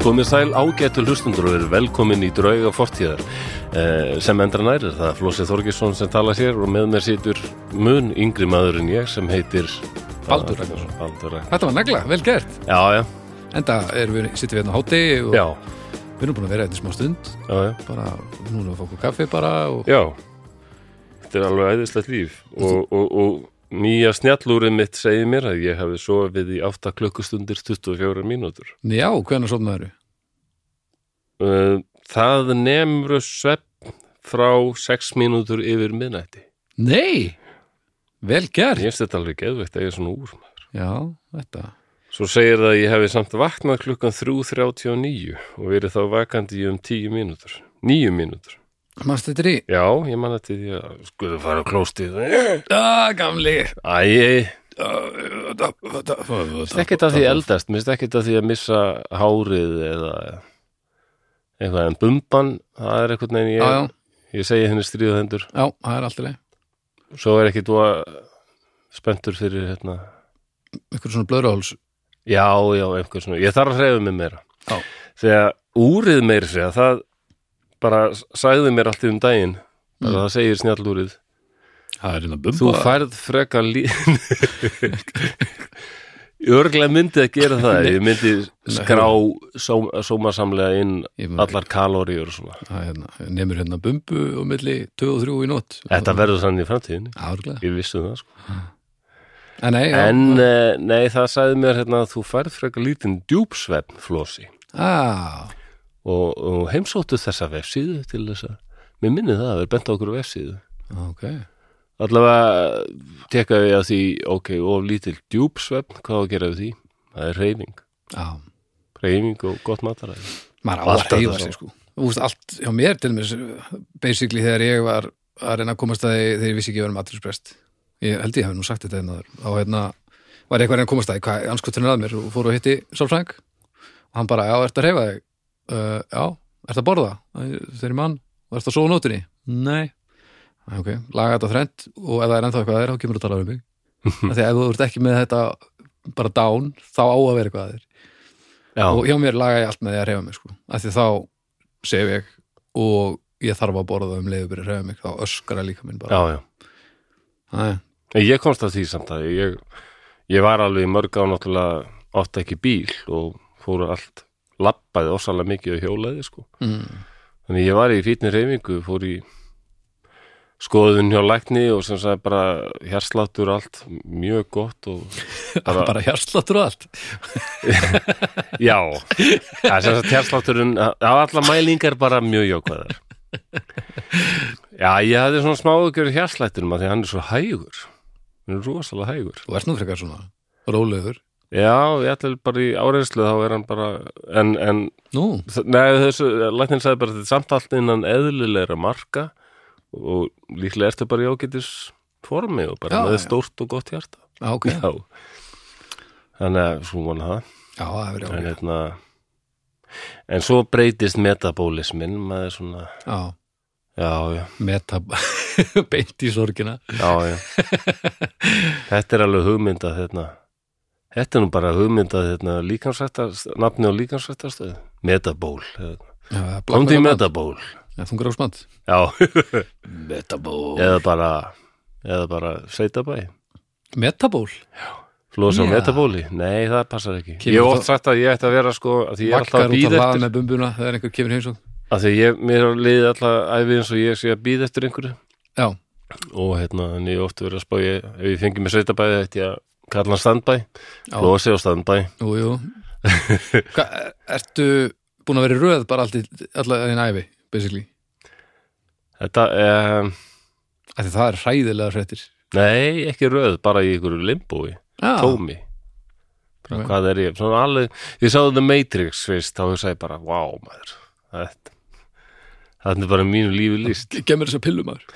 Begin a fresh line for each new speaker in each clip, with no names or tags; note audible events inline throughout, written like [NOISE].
Komið sæl ágættu hlustundur og er velkomin í drauga fortíðar eh, sem endra nærir. Það er Flósi Þorgesson sem tala sér og með mér situr mun yngri maður en ég sem heitir Ah,
Baldur Ragnarsson.
Baldur Ragnarsson.
Þetta var negla, vel gert.
Já, já,
Enda erum við, sittum við hérna á háti og
já,
við erum búin að vera hérna í smá stund.
já, já.
Bara, núna erum við að fá okkur kaffi bara og...
Já, þetta er alveg æðislegt líf og, og, og nýja snjallúrið mitt segir mér að ég hefði sofið í 8 klukkustundir 24 mínútur.
Já, hvernig sopnaður við?
Eh, Það nemur svepp frá 6 mínútur yfir miðnætti.
Nei! Vel gert!
Ég finnst þetta alveg geðveikt að ég er svona úr maður.
Já, þetta.
Svo segir það að ég hefði samt vaknað klukkan 3.39 og verið þá vakandi í um 10 mínútur. 9 mínútur.
Manstu þetta í?
Já, ég man þetta því að skoðu fara á klóstið.
Ah, gamli!
Æ,
Þetta
ekkert að því eldast, mér finnst ekkert að því að missa hárið eða eitthvað en bumban, það er eitthvað neginn
Já, já,
ég, ég segi henni stríðuhendur.
já, það er alltaf leið.
Svo er ekki þú spenntur fyrir hérna.
Ykkur svona blöðráhóls.
Já, já, einhver svona. Ég þarf að hreyfa mig meira.
Já.
þegar úrið meir segja, það bara sagði mér allt í um daginn
Mm.
bara það segir snjallúrið
Það er hérna bumba.
þú færð freka lí [LAUGHS] ég örglega myndi að gera það ég myndi skrá sóm, sómasamlega inn
Ég mun-
allar kaloríur og svona
Það er hérna, nefnir hérna bumbu og milli 2 og 3 í nótt.
þetta verður þannig í framtíðinni
Árglega.
ég vissi það sko
En nei, já.
en eh, nei það sagði mér hérna að þú færð freka lítinn djúpsvefn flosi
Á,
og, og heimsóttu þessa vefsíðu til þess að mér minni það að vera bent á okkur vefsíðu
ok.
allavega tekka við að því ok, of lítil djúpsvefn hvað á að gera við því? Það er reyfing
Á,
reyfing og gott mataræði
maður á að
Alltaf
reyfa
það
sig sko
svo.
Þú veist, allt hjá mér til mér basically þegar ég var að reyna að komast að því þegar ég vissi ekki að vera maturisprest ég held ég hef nú sagt þetta einnaður á hérna var ég eitthvað að reyna að komast að því hvað anskotunir að mér og fór og hitti Sálfræng og hann bara, já, ertu að reyfa þig? Uh, já, ertu að borða? Þegar ég mann, og ertu að sofa á nótunni? Nei Æ, Ok, laga þetta þrend og ef það er ennþá eitthvað að þér, þá kemur að tala um mig Af Því að ef þú ert ekki með þetta bara down, þá á að vera eitthvað að þér
Já,
og hjá mér laga ég allt með því að reyfa mig sko. af því þá sef ég og ég þarf að borða um leiðu byrja að reyfa mig þá öskara líka minn bara
já, já
Æ,
En Ég komst að því samt að ég, ég var alveg í mörg á náttúrulega átt ekki bíl og fóru allt labbaði ósalega mikið og hjólaði sko
mm,
Þannig ég var í fítni reyfingu, fór í skoðun hjá lækni og sem sagði bara hérsláttur allt mjög gott og
bara, [LAUGHS] bara hjarsláttur og allt
Já, það er sem sagt hérslátturinn á alla mælingar bara mjög jókvæðar Já, ég hafði svona smáugjör hérslættinum að því að hann er svo hægur hann er rosalega hægur
þú ert nú frekar svona, rólegur
Já, ég ætlaði bara í áreinslu þá er hann bara en, en
nú,
nei, þessu, læknir sagði bara að þetta er samt allt innan eðlilegra marka og líklega ertu bara í ágætis formi og bara
Já,
með
já.
stórt og gott hjarta
á, ok já,
Já Þannig að svo vona það
það er verið
en,
ákveð
hérna, en svo breytist metabólismin maður svona
já,
já, já,
meta [LAUGHS] beint í sorgina
já, já.
[LAUGHS]
þetta er alveg hugmynda hérna. þetta er nú bara hugmynda hérna, líkansrættar, nafni á líkansrættarstöð metaból hérna.
Já,
komdu í
blakkar á
metaból
band. Já, þungur ásmand
já,
metaból
eða bara eða bara seitabæ
metaból,
flosa
Já.
yeah. metabóli, nei það passar ekki
Kemur
ég hef
þá-
oft sagt að ég ætti að vera sko að því ég er alltaf
vakkar út
að
að
býða
laða
eftir
með bumbuna þegar einhver kemur heim svo
að því ég, mér liði alltaf æfi eins og ég sé að býða eftir einhverju
já,
og hérna, en ég hef oft verið að spá ég, ef ég fengi mér sveitabæði þetta ég að kalla hann standbæ
Já.
losi á standbæ
Jú, jú [LAUGHS] Hva, Ertu búin að vera í röð bara allt í allar þín æfi, basically
þetta, um,
Af því það er hræðilega fréttir
nei, ekki röð bara í ykkur limbói,
Já,
tómi
Ok.
bara, hvað er ég, svona alveg ég sáði The Matrix fyrst, þá ég sagði bara wow, maður, þetta þetta er bara mínu lífi líst
gemur þess að pillum maður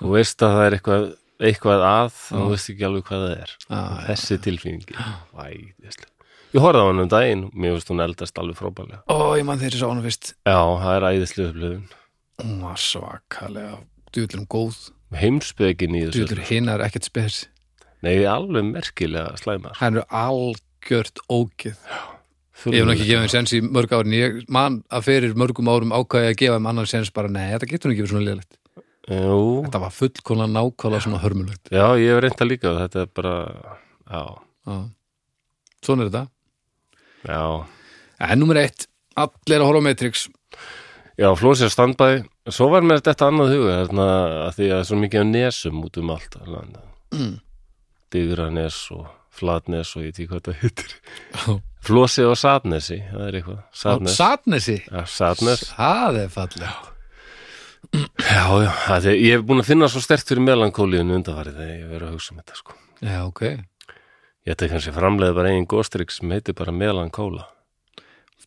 þú veist að það er eitthvað eitthvað að, þú veist ekki alveg hvað það er
Mm. Ah, Já, Ah.
þessi tilfinning Æ, veistlega. ég horfði á hann um daginn mér veist hún eldast alveg frábælega
Ó, ég mann þeirri sá hana fyrst
já, það er æðislega upplöfun
Hún var svakalega Djúðlum góð,
heimsbyggjinn í þessu
djúðlur hinnar ekkert spes
Nei, alveg merkilega slæmar
Hann eru algjört ógið Ég hef nú ekki gefið henni sens í mörg árin ég man að fyrir mörgum árum ákvæði að gefa henni annan sens bara, nei, þetta getur henni ekki verið svona liðlegt
Jú,
Þetta var fullkona nákvæða svona hörmulegt
já, ég hef reynda líka og þetta er bara, já,
Já. Svona er þetta
já
En nummer eitt, allir að horfa á Matrix
Já, Flósið standbæði Svo var mér þetta annað huga þarna, að því að það er svo mikið af nesum út um allt mm. Digranes og Flatnes og ég tík hvað þetta hittir
Já.
Flósið og Satnesi, það er eitthvað Satnes,
Satnesi
Já, Satnes
Það er fallegt
Já, já, það er, ég hef búin að finna svo stert fyrir melankóliðinu undanfarið þegar ég hef verið að hugsa um þetta sko
Já, ok
Ég ætti kannski að framleiða bara eigin góstrík sem heitir bara melankóla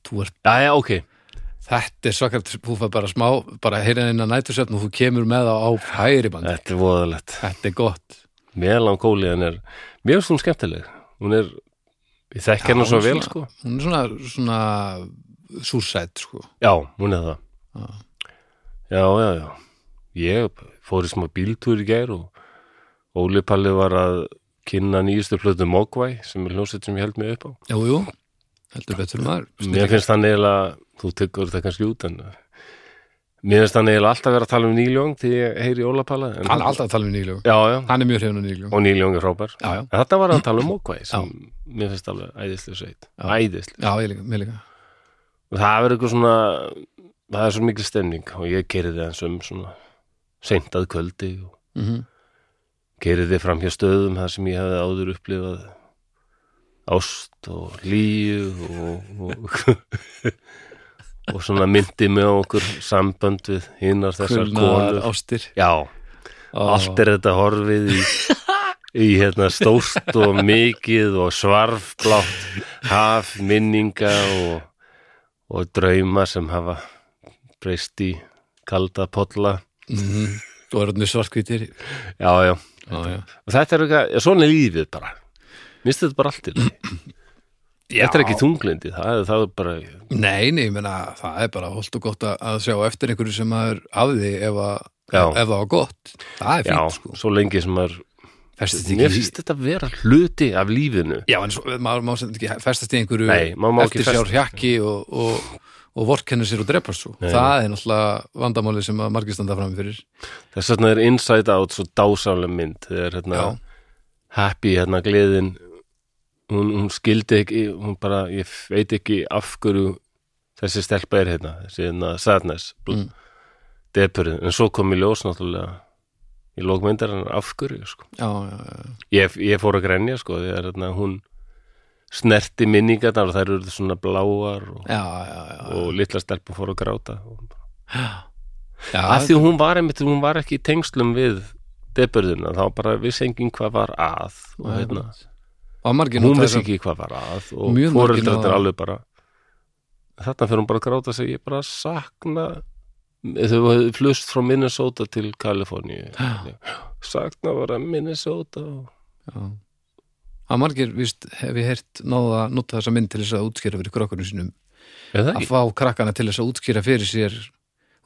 Þú ert,
Já, já, ok,
Þetta er svakart, þú fær bara smá bara heyrðin inn að nætursefn og þú kemur með það á hægri bandi
þetta er voðalegt
Þetta er gott
Melankóliðan er, mjög svona skemmtileg Hún er, ég þekk hennar svo
Já,
vel
svona-
sko
Hún er svona, svona súsætt, sko
Já, hún er það Já, já, já Ég fór í smá bíltúr í gær og Óli Palli var að kynna nýjustu plötu Mogwai sem er hljóset sem ég held mig upp á
Jú, jú, heldur betur maður
Mér finnst það eiginlega, þú tekur það kannski út en mér finnst það eiginlega alltaf vera að tala um Níljón því ég heyri Óla Palla en-
Hann er alltaf að tala um nýljög
Já, já,
Hann er mjög hrifun af nýljög
og Níljón er frábær
Já, já,
En þetta var að
[CLEARS THROAT]
tala um Mogwai sem mér finnst alveg æðislega sveit Æðislega
já, ég líka, mér líka
og það er eitthvað svona það er svo mikil stemning og ég kerði það eins um svona seint að kvöldi og
mm
kerði þið fram hjá stöðum þar sem ég hefði áður upplifað ást og líu og og, [LAUGHS] og svona myndi með okkur sambönd við hinnar þessar konur
ástir
já,
Ó.
allt er þetta horfið í, í hérna stórt og mikið og svarfblátt haf, minninga og, og drauma sem hafa breyst í kalda polla
Þú er orðinu svartkvítir Já,
já, já,
já,
og þetta er eitthvað, já, svona er lífið bara minnst þetta bara allt í
[CLEARS THROAT]
lagi. þetta er ekki tunglindi það, er- það er bara,
Nei, nei, ég meina, það er bara holdt og gott að, að sjá eftir einhverju sem maður hafði ef, að,
Já.
ef það var gott Það er
já,
fínt, sko
svo lengi sem maður
Festist
mér
ekki í
finnst þetta vera hluti af lífinu
Já, en svo, maður má sem ekki festast í einhverju
Nei, maður má ekki
eftir sjár hjakki og, og, og vorkenna sér og drepa svo Það er náttúrulega vandamálið sem að margir standa fram fyrir
þess vegna er Inside Out svo dásálega mynd þegar hérna
Já.
happy hérna gleðin hún, hún skildi ekki hún bara, ég veit ekki af hverju þessi stelpa er hérna þessi hérna sadness mm. depurin, en svo kom í ljós náttúrulega í lókmyndar hann af hverju sko.
Já, já, já,
ég, ég fór að grenja sko þegar hérna hún snerti minningarnar og þær eru svona bláar og,
já, já, já.
og litla stelpa fór að gráta og
já
af því hún var einmitt, hún var ekki í tengslum við deburðina, þá bara vissi enginn hvað var að og hérna,
og margir
hún
nota
vissi
þessa-
ekki hvað var að og
Mjög margir
fóreldrarnir
nota-
alveg bara þarna fyrir hún bara að gráta sig ég bara sakna þau var flust frá Minnesota til Kaliforníu sakna var að Minnesota og...
Já. að margir, víst, hef ég heyrt náða að nota þessa mynd til þess að útskýra fyrir krakkanum sínum
eða
að
ekki,
fá krakkana til þess að útskýra fyrir sér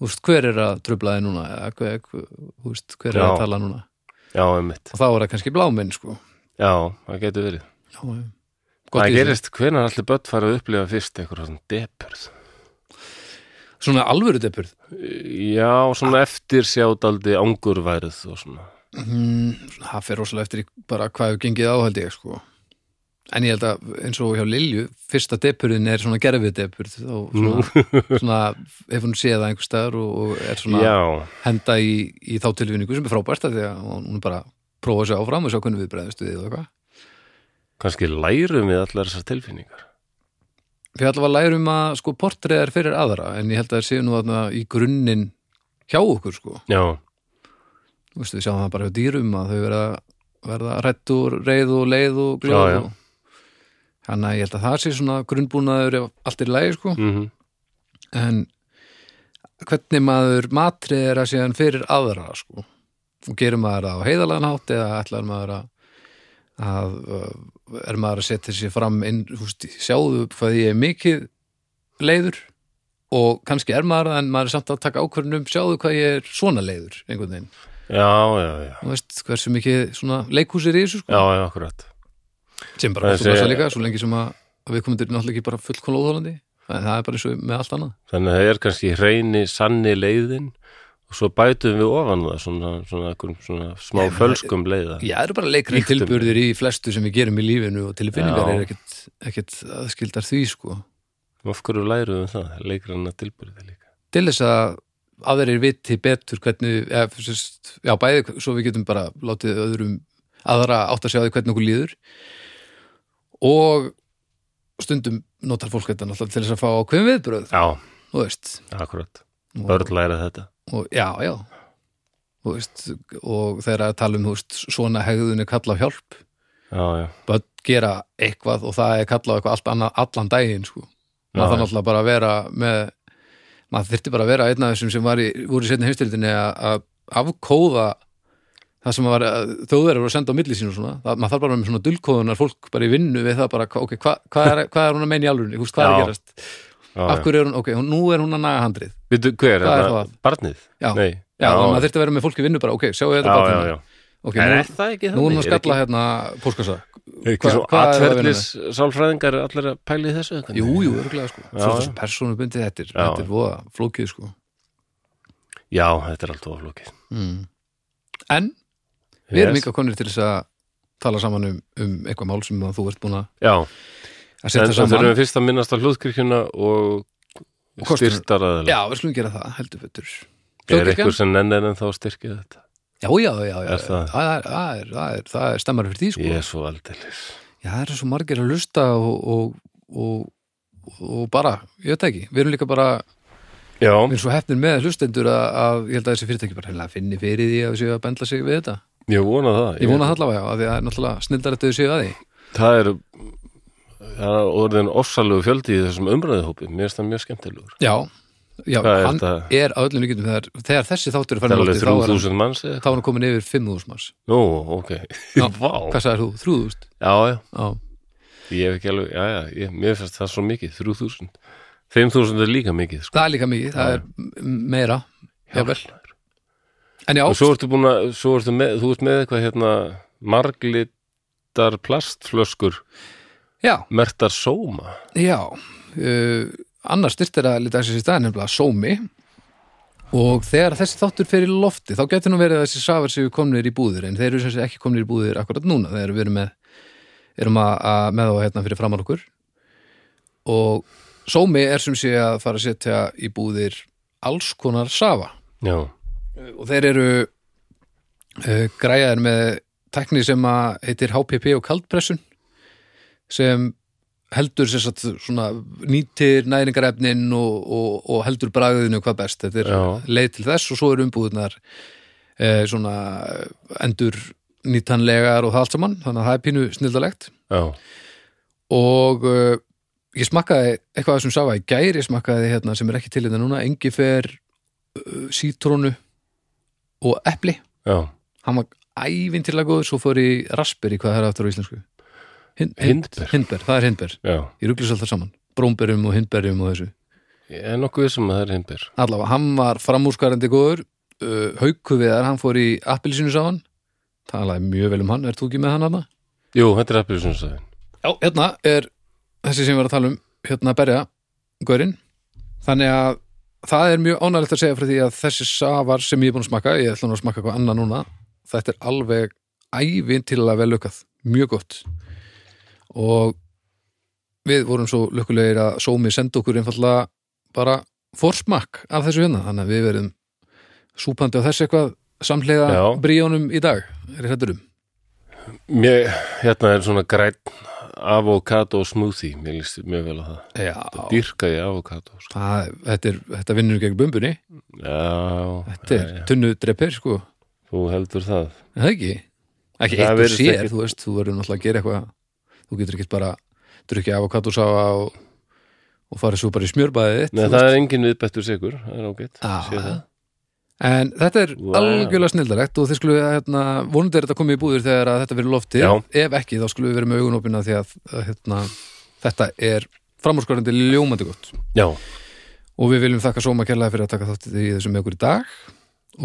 úst, hver er að trubla þið núna eða hver, úst, hver er
Já.
að tala núna
já einmitt
og þá er það kannski bláminn sko.
já, það getur verið
Já, já. Gott
Það
í
gerist, hvenær allir börn fara að upplifa fyrst eitthvað svona depurð?
þessu. svona alvöru depurð
Já, svona eftir sjádaldi angurværið og svona.
Mm, svona, það fer rosalega eftir í bara hvað hefur gengið á held ég sko. en ég held að eins og hjá Lilju fyrsta depurðin er svona gerfið depurð og
[LAUGHS]
svona, svona ef hún séð það einhver staðar og, og er svona
Já,
henda í, í þá tilfinningu sem er frábært af því að hún er bara að prófa sig áfram og sjá hvernig við bregðumst við og eitthvað
kannski lærum við allar þessar tilfinningar.
við allavega lærum að sko portreðar fyrir aðra en ég held að það séu nú þarna í grunninn hjá okkur sko
Já,
Þú Veistu, við sjáum það bara hjá dýrum að þau verða, verða rættur, reið og leið og glöð
Já, já.
og þannig að ég held að það sé svona grunnbúnaður ef allt er í lægi sko
mm
en hvernig maður matriðir að síðan fyrir aðra sko og gerir maður það á heiðalagan hátt eða ætlar maður að, að uh, er maður að setja sér fram inn, húst, sjáðu hvað ég er mikið leiður og kannski er maður það en maður er samt að taka ákvörnum sjáðu hvað ég er svona leiður einhvern veginn,
já, já, já,
þú veist hversu mikið svona leikhúsir í þessu sko
já, já, akkurat.
sem bara gott
Það
og blessað
sé-
líka, svo lengi sem að að við komum til náttúrulega ekki bara fullkóla óþólandi en það er bara eins og með allt annað
þannig að það er kannski hreini sanni leiðin og svo bætum við ofan á það svona, svona, svona, svona smá fölskum leiða
Já, það eru bara leikræn
Ríktum.
tilburðir í flestu sem við gerum í lífinu og tilfinningar
Já.
er ekkit, ekkit aðskildar því sko
af hverju læruðum við það, leikranna tilbyrði líka
til þess að aðrir viti betur hvernig, eða, sérst, já bæði svo við getum bara látið öðrum aðra átt að sjá því hvernig okkur líður og stundum notar fólk þetta náttúrulega til þess að fá ákveðum viðbröð,
já,
þú veist
akkurat,
og,
börn læra þetta
og, já, já þú veist, og þegar að tala um þú veist, svona hegðunni kalla á hjálp
já, já,
börn gera eitthvað og það er kallað á eitthvað allt annað allan daginn sko.
Já,
maður þarf
já.
náttúrulega bara að vera með maður þyrfti bara að vera einn af þessum sem var í, voru í setni heimstyrildinni að afkóða það sem var þjóðverður voru að senda á milli sín og svona, það, maður þarf bara með svona dulkóðunar fólk bara í vinnu við það bara, hva- ok, hvað hva er, hva er hún að meina í alvörunni, Þú veist, hvað er
Já,
að gerast
já,
af
já.
hverju er hún, ok, hún, nú er hún að naga handrið
Veitu, hver,
Hvað er
er það?
það?
barnið?
já, já,
Nei,
þannig að maður þyrfti að vera með fólk í vinnu bara, ok, sjáu
já,
þetta
já,
barninu.
já.
ok,
En
nú,
er það ekki
nú er hún að
þannig? Er ekki-
skalla hérna póskasa,
Er ekki
Hva-
svo
hvað er það að vinna
atverðlis sálfræðingar allir að pæla í þessu?
jú, jú, örgulega sko
Já,
svo
hérna. já.
þessu persónubundið þetta er,
Já.
þetta er voða flókið sko
Já, þetta er allt oflókið.
Mm. En við erum ykkar konir til þess að tala saman um, um eitthvað mál sem að þú ert búin að
Já,
að
en
setja
það
saman.
þurfum við fyrst að minnast á hlúðkirkjuna og
kostur.
styrtaraðilega.
Já, við slum gera það, heldur betur.
Er
Þjóðkirkjan?
eitthvað sem nennir en þá styrkið þetta?
Já, já, já, já.
Er það?
Það er, það er, það er, það er stemmar fyrir því, sko.
Ég er svo aldeilis.
Já, það eru svo margir að lusta og, og, og, og bara, ég veit það ekki, við erum líka bara,
Já,
við erum svo hefnir með hlustendur að, að ég held að þessi fyrirtæki bara hennilega finni fyrir því að þau séu að bendla sig við þetta.
ég vona það.
Ég vona að halla já, af því að það er náttúrulega snildar að þau séu að því.
Það er, það er orðin ofsalegu fjöldi í þessum umræðuhópi. Mér finnst það mjög skemmtilegur.
Já, já,
Hvað er
hann
þetta?
er að öllum líkjum þegar, þegar þessi þáttur er
Það
farin
er
að
alveg
lofti, þá er hann
3000 manns eða?
þá var hann komin yfir 5.000 manns
Nú, ok.
Já.
Vá.
hvað sagðir þú, 3.000?
Já, já.
[LAUGHS] Já,
Ég hef ekki alveg, já, já, ég, mér finnst það svo mikið, 3000. 5000 er líka mikið, sko.
það er líka mikið, það er m- meira jafnvel.
Hjálpar.
en já,
Og svo ertu búin að, svo ertu með, þú ert með eitthvað hérna, marglitar plastflöskur,
já,
mertar sóma.
já uh, annars styrtir að lita þessi stað nefnilega sómi og þegar þessi þáttur fer í lofti þá getur nú verið að þessi safar séu komnir í búðir en þeir eru sem sé ekki komnir í búðir akkurat núna þegar við erum með erum að, að með þá hérna fyrir framar okkur og sómi er sem sé að fara að setja í búðir alls konar safa
Já,
Eh, og þeir eru uh, græjaðir með tekni sem að heitir HPP og kaldpressun sem heldur sér satt svona nýtir næringarefnin og, og, og heldur bragðinu hvað best þetta er
Já.
leið til þess og svo eru umbúðunar uh, svona endur nýtanlegar og það allt saman þannig að það er pínu snildalegt
já,
og uh, ég smakkaði eitthvað sem safa í gær, ég smakkaði hérna sem er ekki til þetta núna, engifer uh, sítrónu og epli,
já.
hann var ævintilega góður, svo fór í raspberry hvað það er aftur á íslensku Hin- hin-
Hindber.
Hindber, það er hindber,
Já,
ég ruglis alltaf saman brómberum og hindberjum og þessu
ég er nokkuð vissum að það er himbir.
allavega, hann var framúrskarandi góður uh, hauku við þar, hann fór í appilsinu sáan, talaði mjög vel um hann er þú ekki með hann hana?
Jú, þetta er appilsinsæðin.
Já, hérna er þessi sem við erum að tala um hérna berja, gaurinn þannig að það er mjög ánægilegt að segja frá því að þessi safar sem ég er búin að smakka ég ætla nú að smakka eitthvað annað núna þetta er alveg ævinn til að vel lukkað mjög gott og við vorum svo lukkulegir að Sómi senda okkur einfallega bara forsmakk af þessu hérna þannig að við verðum súpandi á þessu eitthvað samlega
Já.
bríjónum í dag er þetta um
Mér, hérna er svona græn avokado smoothie, mér líst mjög vel á það.
Já,
Dýrka ég avokado, sko.
Það, þetta, er, þetta vinnur gegn bumbunni
Já,
Þetta er tunnudreppir sko
þú heldur það.
Er Það ekki Ekki
Það
eitt og
virðist
sér,
ekki-
þú veist, þú verður náttúrulega að gera eitthvað Þú getur ekkert bara drukkið af og kattusáfa og, og farið svo bara í smjörbæðið þitt
Nei,
þú
það
veist.
er engin viðbættur sigur, það er ágætt.
Já.
Sé það.
En þetta er
Vá.
algjörlega snildarlegt og þið skulle, hérna, vonandi er þetta komið í búður þegar að þetta verið lofti,
Já.
ef ekki þá skulle við verið með augunopina því að að, hérna, þetta er framúrskorandi ljómandi gott
Já,
og við viljum þakka Sóma kærlega fyrir að taka þáttið í þessum með okkur í dag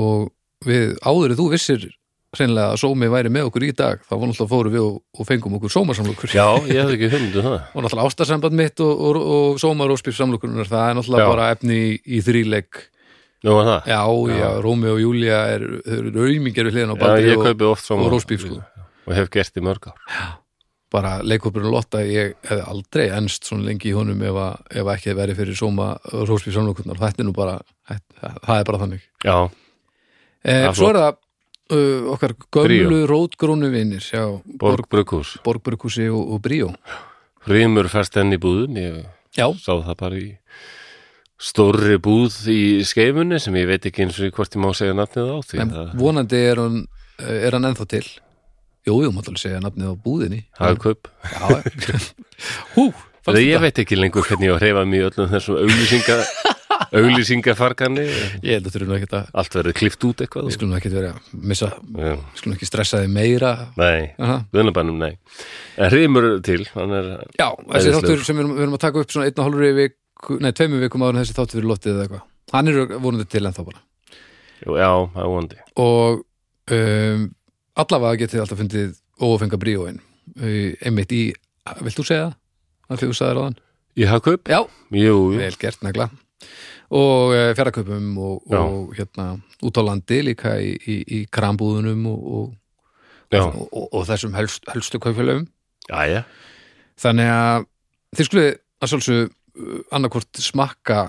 og við áður en þú vissir hreinlega að sómi væri með okkur í dag þá var náttúrulega fóru við og, og fengum okkur sómarsamlokur
Já, ég hef ekki hugmyndu það
og náttúrulega ástarsamband mitt og, og, og sómar og spyrsamlokunar það er náttúrulega
Já.
bara efni í, í þríleik
Nú var það
já, já, Rómi og Júlia er, þau eru raumingjar við hliðin á
Já,
Baldri
ég
og,
kaupi oft
og
saman
Rósbíf sko
Og hef gert í mörg ár
bara leikhópurinn Lotta ég hefði aldrei ennst svona lengi í honum ef, að, ef ekki hefði verið fyrir sóma Rósbíf samlokunar, þetta er nú bara þetta, það er bara þannig
Já,
eh,
Það er
svo er það uh, okkar gömlu rótgrónu vinnir já, Borg,
Borg Brukhús
Borgburkusi og, og Bríó
Rímur fæst enn í búðum Ég
já,
sá það bara í stórri búð í skeifunni sem ég veit ekki eins og hvort ég má segja nafnið á því
En
það,
vonandi er hann, eh, er hann ennþá til Jú, jú, máttalega segja nafnið á búðinni
hagkaup
Já,
[LAUGHS]
Hú,
Þegar
fannst
ég
þetta?
veit ekki lengur hvernig ég á að hreyfa mig í öllum þessum auglýsinga,
[LAUGHS]
auglýsingafarkani.
Ég held að þurfum ekki að
Allt verður klift út eitthvað.
Við
Sko.
skulum ekki vera að missa
Já,
Við skulum ekki stressa þið meira
nei,
Aha.
vunabannum nei. En hreymur til, hann er,
Já, þessi
Æðislegur.
þáttur sem við erum, við erum að taka upp svona einn og hálfri viku, nei, tveimur vikum áður en þessi þáttur fyrir lottið eða eitthvað Hann er vonandi til ennþá bara
já, það er vondi.
og um, allavega getið þið alltaf fundið ófengar bríóin Uh, einmitt í, vilt þú segja það? Það fyrir þú sagðir á þann?
Í hagkaup?
Já,
Jú, jú.
vel gert negla og uh, fjaraköpum og,
Já.
og hérna út á landi líka í, í, í krambúðunum og, og,
já,
og, og, og þessum helst, helstu kaupfélögum
já, já.
þannig að þið skulle að sjálfsög annarkvort smakka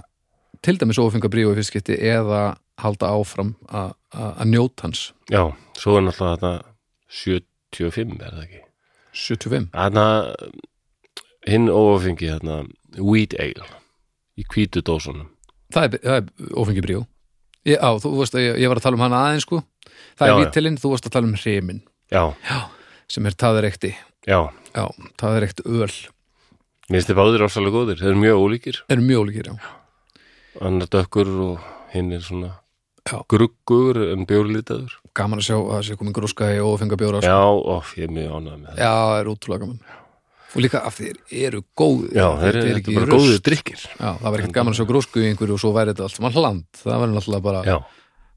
til dæmis ófengar bríó í fyrstskipti eða halda áfram að- að að njóta hans
Já, svo er náttúrulega þetta 75, er það ekki?
75
Þarna, hinn óafengi, þarna, wheat ale í hvítu dósunum.
það er, það er ófengi bríó ég, á, þú veist að ég, ég var að tala um hana aðeins sko það
Já,
er
já.
vítilinn, þú varst að tala um hreimin
Já,
sem er taðarekti
já.
já, taðarekt öl
Mér finnst þið báðir ásalega góðir. Þeir eru mjög ólíkir.
er mjög ólíkir já
annar dökkur og hinn er svona
Já.
gruggur en bjórlitaður
gaman að sjá að það sé komin gróska í ófengar bjóra já.
já, óf, ég er mjög ánægð með það
já, það er útrúlega gaman og líka af þeir eru góð
já, þeir eru þetta er bara góðir drikkir
já, það var ekkert gaman að sjá grósku í einhverju og svo væri þetta allt saman hland það var náttúrulega bara,
já,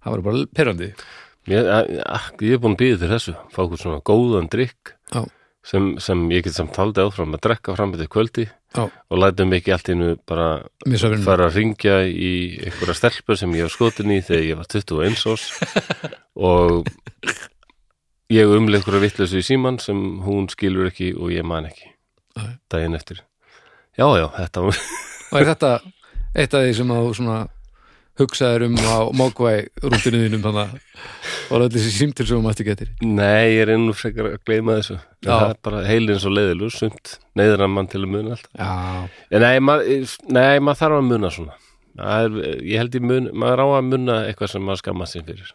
það var bara perrandi
ég, a, a, ég er búin að býða þér þessu fá okkur svona góðan drikk
Já.
sem, sem ég get samt haldið áfram að drekka fram þetta kvöldi
Já.
og lætum ekki allt innu bara
mér svo verið
Mm. fara að ringja í einhverja stelpur sem ég var skotin í þegar ég var 21 ás
[LAUGHS]
og ég umlega einhverja vitleysu í síman sem hún skilur ekki og ég man ekki
Nei.
daginn eftir já, já, þetta var [LAUGHS]
og er þetta eitt af því sem þú svona hugsaðir um á mókvæ rúndinu þínum þannig að var öll þessi símtil sem þú mætti getur
nei, ég er enn og frekar að gleyma þessu En
Já.
það er bara heilin svo leiðilur sumt, neyðar að mann til að muna allt
já,
en nei, maður nei, mað þarf að muna svona Það er, ég held ég mun, maður á að muna eitthvað sem maður skammast sín fyrir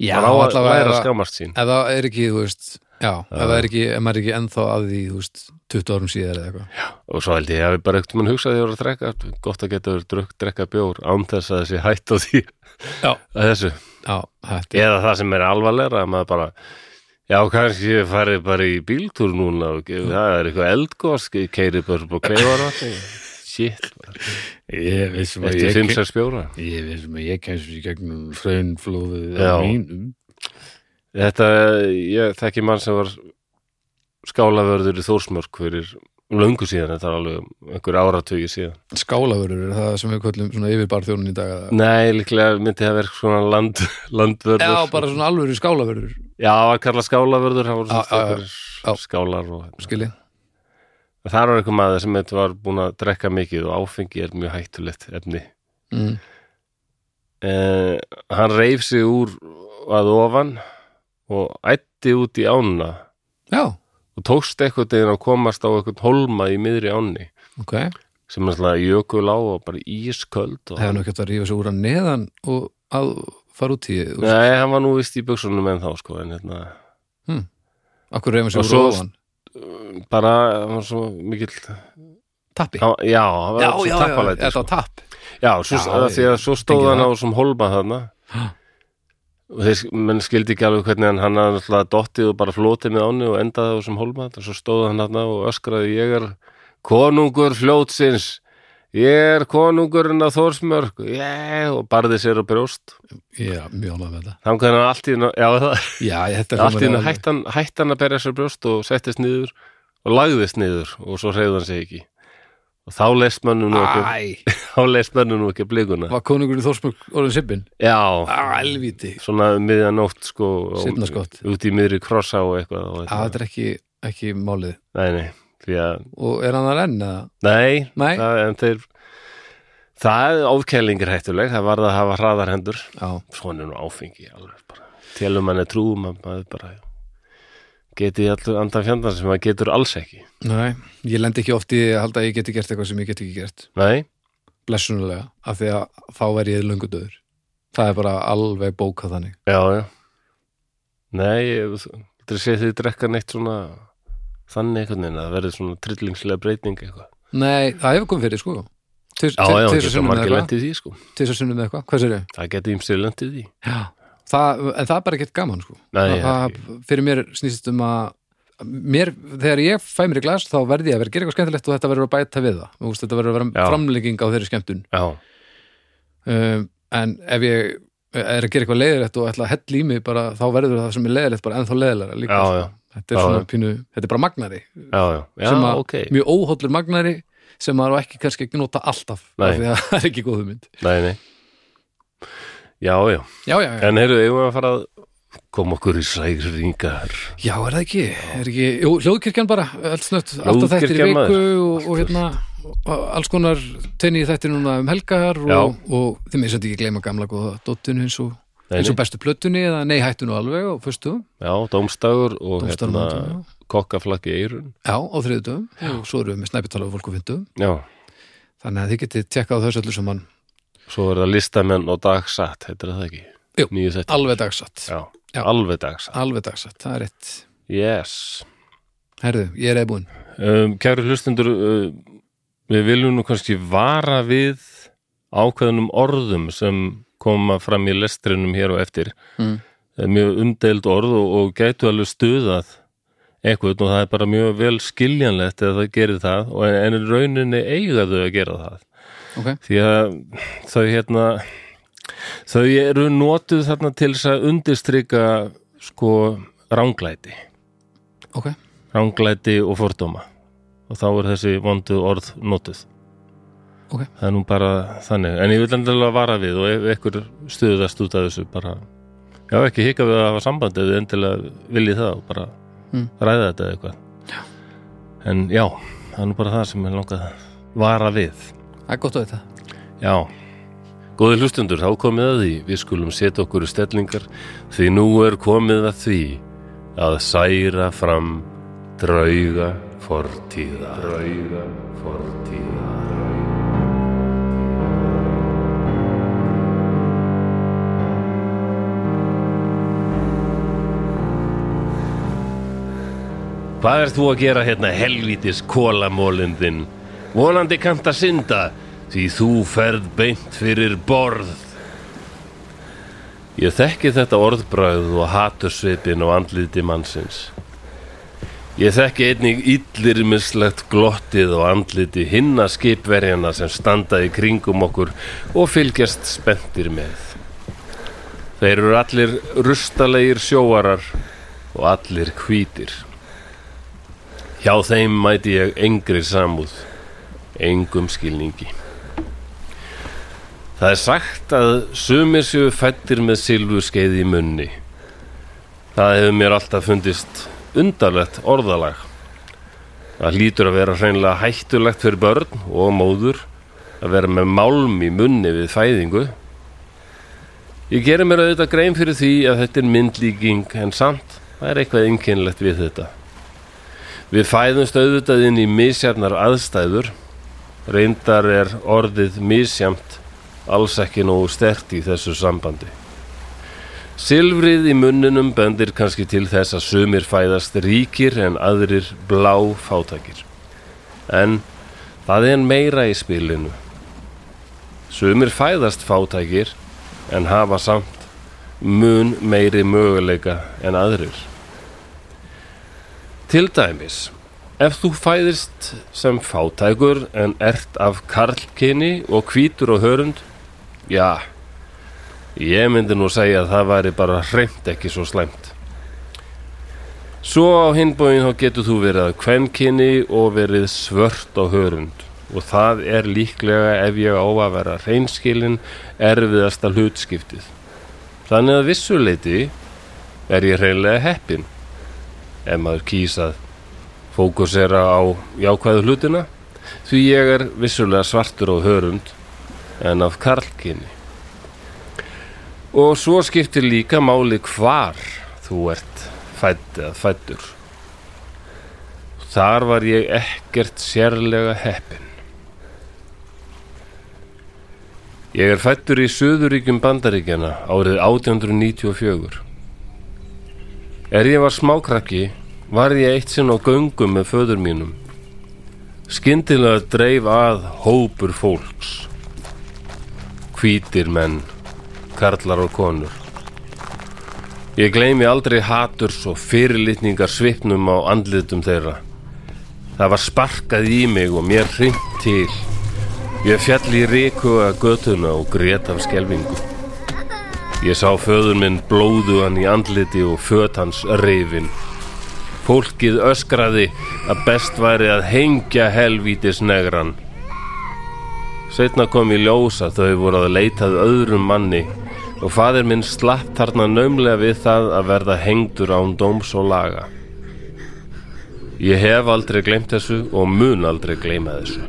já
maður á að
allavega er
læra að
að
skammast sín
ef það er ekki, þú veist já, ef það er ekki, ef maður er ekki ennþá að því, þú veist 20 árum síðar eða eitthvað
og svo held ég að við bara ekkert mann hugsaði að ég voru að drekka gott að geta verið drukk, drekka bjór án þess að þessi hætt á því
Já.
[LAUGHS] að þessu,
já, þetta
eða það sem er alvarlegra að maður bara, já kannski ég farið bara í bíltúr núna og ge- það er eitthvað eldgosk, keiri bara upp og kleifar á
[LAUGHS]
því, shit
ég vissum
eftir 5-6 bjóra
Ég veist sem að ég kemst í gegnum hraunflóðið
Já.
á mínum.
þetta, ég þekki mann sem var skálavörður í Þórsmörk fyrir löngu síðan, þetta er alveg einhver áratugi síðan
Skálafurur er það sem við köllum svona yfirbarþjónin í dag. eða-
Nei, líklega myndi það verið svona land, landvörður
Já, bara svona alvöru skálafurur,
Já, að kalla skálavörður það voru
Já, já,
svona
já.
einhverjir skálar og
skilji.
það var eitthvað maður sem þetta var búin að drekka mikið og áfengi er mjög hættulegt efni
Mm.
eh, Hann reif sig úr að ofan og ætti út í ána
Já,
og tókst eitthvað deginn að komast á eitthvað holma í miðri áni
ok.
sem er svona jökul á og bara ísköld og
Það hefur nú ekki átt að rífa sig úr að neðan og að fara út í því.
Nei, hann var nú vist í buksunum en þá sko en hérna
Akkur reyfum sig
Og
úr
svo-
ofan.
bara, hann var svo mikill
Tappi.
Hann- Já, hann var svo tappalæti
þetta
sko.
var tapp.
Já, svo,
Já,
já, því að svo stóð
tengi
hann á
það.
sem holma þarna
Ha.
og þeir sk- menn skildi ekki alveg hvernig hann hann hafði náttúrulega dottið og bara flotið með áni og endaði á sem holma og svo stóð hann þarna og öskraði ég er konungur fljótsins ég er konungurinn á Þórsmörk yeah, og barði sér á brjóst
já, mjög ánægð með þetta
þannig að hann allt í einu- já, það-
já, þetta
allt í
hljómar
einu
alveg-
hættan, hættan að berja sér á brjóst og settist niður og lagðist niður og svo reyði hann sig ekki og þá leist mönnum nú ekki,
Æ,
þá leist mönnum nú ekki blikuna
var konungurinn í Þórsmörk orðin sippin?
já,
Alvíti
svona miðjanótt sko, og-
Seinna skott.
út í miðri krossa og eitthvað og
Já, þetta er ekki, ekki málið
nei, nei, því að
Og er hann að renna?
Nei,
Nei.
Það, en þeir það er ofkælingar hættuleg það varð að hafa hraðar hendur
Já,
svona er nú áfengi alveg bara telum hann er trúum að maður bara geti allur andan fjandan sem maður getur alls ekki
nei, ég lendi ekki oft í því að halda að ég geti gert eitthvað sem ég get ekki gert
Nei,
Blessunulega, af því að þá væri ég löngu döður Það er bara alveg bókað þannig
já, já Nei, ég þú sé þið drekka neitt svona þannig einhvern veginn að það verður svona trillingslega breyting eitthvað
Nei, það hefur komið fyrir sko Til
Já, já,
þess að
geta
sunnum með
margir
eitthvað
lent í því sko
Til þess að sunnum með eitthvað, hvað sér ég?
Það geta ýmsið lent í því
Já, það, en það er bara ekkert gaman sko
Nei,
það,
ég er
það, Fyrir mér snýst um að Mér, þegar ég fæ mér í glas þá verði ég að vera að gera eitthvað skemmtilegt og þetta verður að bæta við það Þú veist, þetta verður að vera
Já.
framlegging á þeirri skemmtun
Já,
um, en ef ég er að gera eitthvað leiðilegt og ætla að hella í mig bara, þá verður það sem er leiðilegt bara ennþá leiðilega líka
Já,
sko.
já.
þetta er
Já,
svona
já.
pínu, þetta er bara magnari
já, já, já,
sem að,
ok
mjög óhóllur magnari sem maður á ekki kannski ekki nota alltaf
Nei.
af því að [LAUGHS] það er ekki góð hugmynd
Nei, nei Já, já
já, já, já,
En heyrðu, eigum við að fara að koma okkur í særingar
já, er það ekki, er ekki jú, hljóðkirkjan bara, allt snött alltaf þættir í
Hljóðkirkjan,
viku
maður.
og, og hérna og alls konar tenni í þættir núna um helgar
Já.
og, og þið með samt ekki gleyma gamla góða dottinu eins og,
Nei,
eins og
nei.
bestu plötunni eða nei hættu nú alveg og fyrstu
Já, dómstagur og
Dómstagur á
hérna,
morgun,
kokkaflakki í eirun
Já, á þriðutum og svo erum við með snæpitala og fólk og fyndum
Já,
þannig að þið getið tjekkað á þessu öllu saman
svo er það listamenn og dagsatt heitir það ekki?
Jú,
Nýju þetta
alveg dagsatt,
Já,
Já.
alveg dagsatt
alveg dagsatt, það er rétt
Yes
Herðu, ég er eðbúinn
um, Kæru hlustendur uh, við viljum nú kannski vara við ákveðnum orðum sem koma fram í lestrinum hér og eftir
mm.
Það er mjög umdeild orð og, og gætu alveg stuðað eitthvað og það er bara mjög vel skiljanlegt eða það gerir það og en, en í rauninni eiga þau að gera það
Ok,
því að þau hérna þau eru notuð þarna til þess að undirstrika sko ránglæti
ok,
ránglæti og fordóma og þá er þessi vondu orð notuð
Ok.
það er nú bara þannig en ég vil endilega vara við og ef ekkur stuðast út af þessu bara já ekki hika við að hafa samband ef þið endilega viljið það og bara
Mm.
ræða þetta eða eitthvað já. en já, það er nú bara það sem ég langað að vara við
það er gott á þetta
já Góði hlustundur, þá komið að því, við skulum setja okkur í stellingar, því nú er komið að því að særa fram drauga fortíða. Drauga fortíða. Hvað ert þú að gera hérna helvítis kólamólindin? Vonandi kannt að synda, því þú ferð beint fyrir borð. Ég þekki þetta orðbröð og hatursvipin og andliti mannsins. Ég þekki einnig illirmislegt glottið og andliti hinna skipverjana sem standa í kringum okkur og fylgjast spenntir með. Þeir eru allir rustalegir sjóarar og allir hvítir. Hjá þeim mæti ég engri samúð, engum skilningi. Það er sagt að sumir séu fættir með silfuskeið í munni. Það hefur mér alltaf fundist undarlegt orðalag. Það hlýtur að vera hreinlega hættulegt fyrir börn og móður að vera með málm í munni við fæðingu. Ég gerir mér auðvitað grein fyrir því að þetta er myndlíking en samt það er eitthvað einkennlegt við þetta. Við fæðumst auðvitað inn í misjarnar aðstæður. Reyndar er orðið misjamt alls ekki nógu stert í þessu sambandi. Silfrið í munninum bendir kannski til þess að sumir fæðast ríkir en aðrir blá fátakir. En það er meira í spilinu. Sumir fæðast fátakir en hafa samt mun meiri möguleika en aðrir. Til dæmis Ef þú fæðist sem fátækur en ert af karlkyni og hvítur og hörund, já, ég myndi nú segja að það væri bara hreint ekki svo slæmt. Svo á hinbóin þá getur þú verið af kvenkyni og verið svört og hörund og það er líklega ef ég á að vera hreinskilin erfiðasta hlutskiptið. Þannig að vissuleiti er ég hreinlega heppin ef maður kýsað fókusera á jákvæðu hlutina því ég er vissulega svartur og hörund en af karlkynni. Og svo skiptir líka máli hvar þú ert fætt eða fættur. Þar var ég ekkert sérlega heppin. Ég er fættur í Suðuríkjum Bandaríkjana árið 1894. Er ég var smákrakki var ég eitt sinn á göngum með föður mínum. Skyndilega dreif að hópur fólks. Hvítir menn, karlar og konur. Ég gleymi aldrei haturs og fyrirlitningar svipnum á andlitum þeirra. Það var sparkað í mig og mér hrind til. Ég fjall í ríku að götuna og grét af skelvingu. Ég sá föður minn blóðuan í andliti og föt hans reyfin. Fólkið öskraði að best væri að hengja helvítis negran. Setna kom í ljós að þau voru að leitað öðrum manni og fadir minn slapp þarna naumlega við það að verða hengdur án dóms og laga. Ég hef aldrei glemt þessu og mun aldrei gleyma þessu.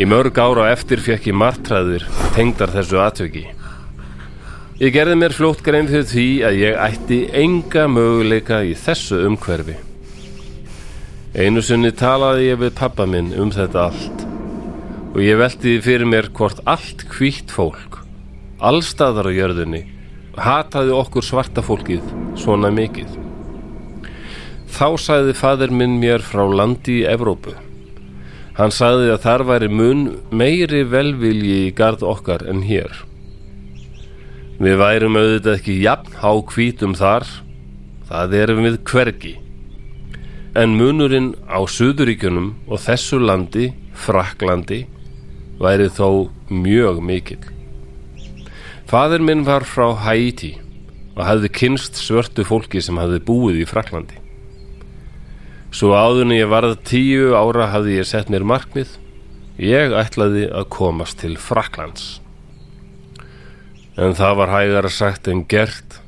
Í mörg ára á eftir fekk ég martræðir tengdar þessu atveki. Ég gerði mér fljótt grein fyrir því að ég ætti enga möguleika í þessu umhverfi. Einu sunni talaði ég við pappa minn um þetta allt og ég velti því fyrir mér hvort allt hvítt fólk, allstaðar á jörðunni, hataði okkur svarta fólkið svona mikið. Þá sagði fadir minn mér frá landi í Evrópu. Hann sagði að þar væri mun meiri velvilji í garð okkar en hér. Við værum auðvitað ekki jafn á hvítum þar, það erum við hvergi. En munurinn á Suðuríkjunum og þessu landi, Fraklandi, væri þó mjög mikill. Fadir minn var frá Haiti og hafði kynst svörtu fólki sem hafði búið í Fraklandi. Svo áðunni ég varð tíu ára hafði ég sett mér markmið, ég ætlaði að komast til Fraklands. En það var hægara sagt en gert.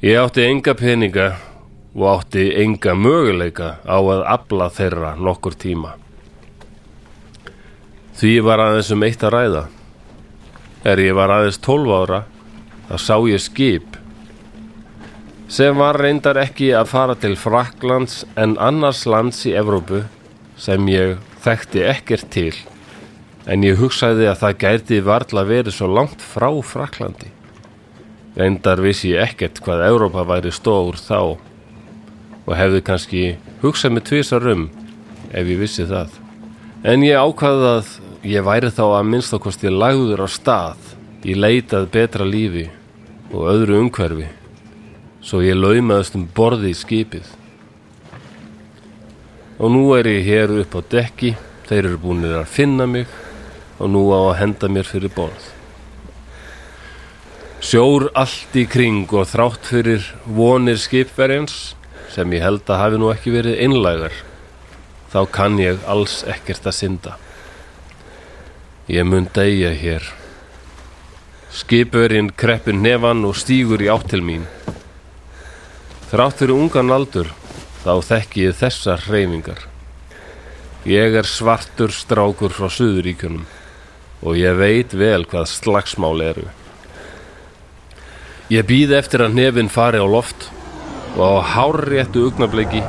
Ég átti enga peninga og átti enga möguleika á að abla þeirra nokkur tíma. Því var aðeins um eitt að ræða. Er ég var aðeins 12 ára, þá sá ég skip sem var reyndar ekki að fara til Fraklands en annars lands í Evrópu sem ég þekkti ekkert til en ég hugsaði að það gæti varla verið svo langt frá Fraklandi. Endar vissi ég ekkert hvað Európa væri stór þá og hefði kannski hugsað mig tvisar um ef ég vissi það. En ég ákvaði að ég væri þá að minnst okkosti lagður á stað í leitað betra lífi og öðru umhverfi svo ég laumaðist um borði í skipið. Og nú er ég hér upp á dekki, þeir eru búinir að finna mig og nú á að henda mér fyrir borð. Sjór allt í kring og þrátt fyrir vonir skipverjans, sem ég held að hafi nú ekki verið einlægar, þá kann ég alls ekkert að synda. Ég mun deyja hér. Skipverjinn kreppir nefan og stígur í átt til mín. Þrátt fyrir ungan aldur, þá þekki ég þessar hreyfingar. Ég er svartur strákur frá Suðuríkunum og ég veit vel hvað slagsmál eru. Ég býð eftir að nefinn fari á loft og á hárréttu augnableiki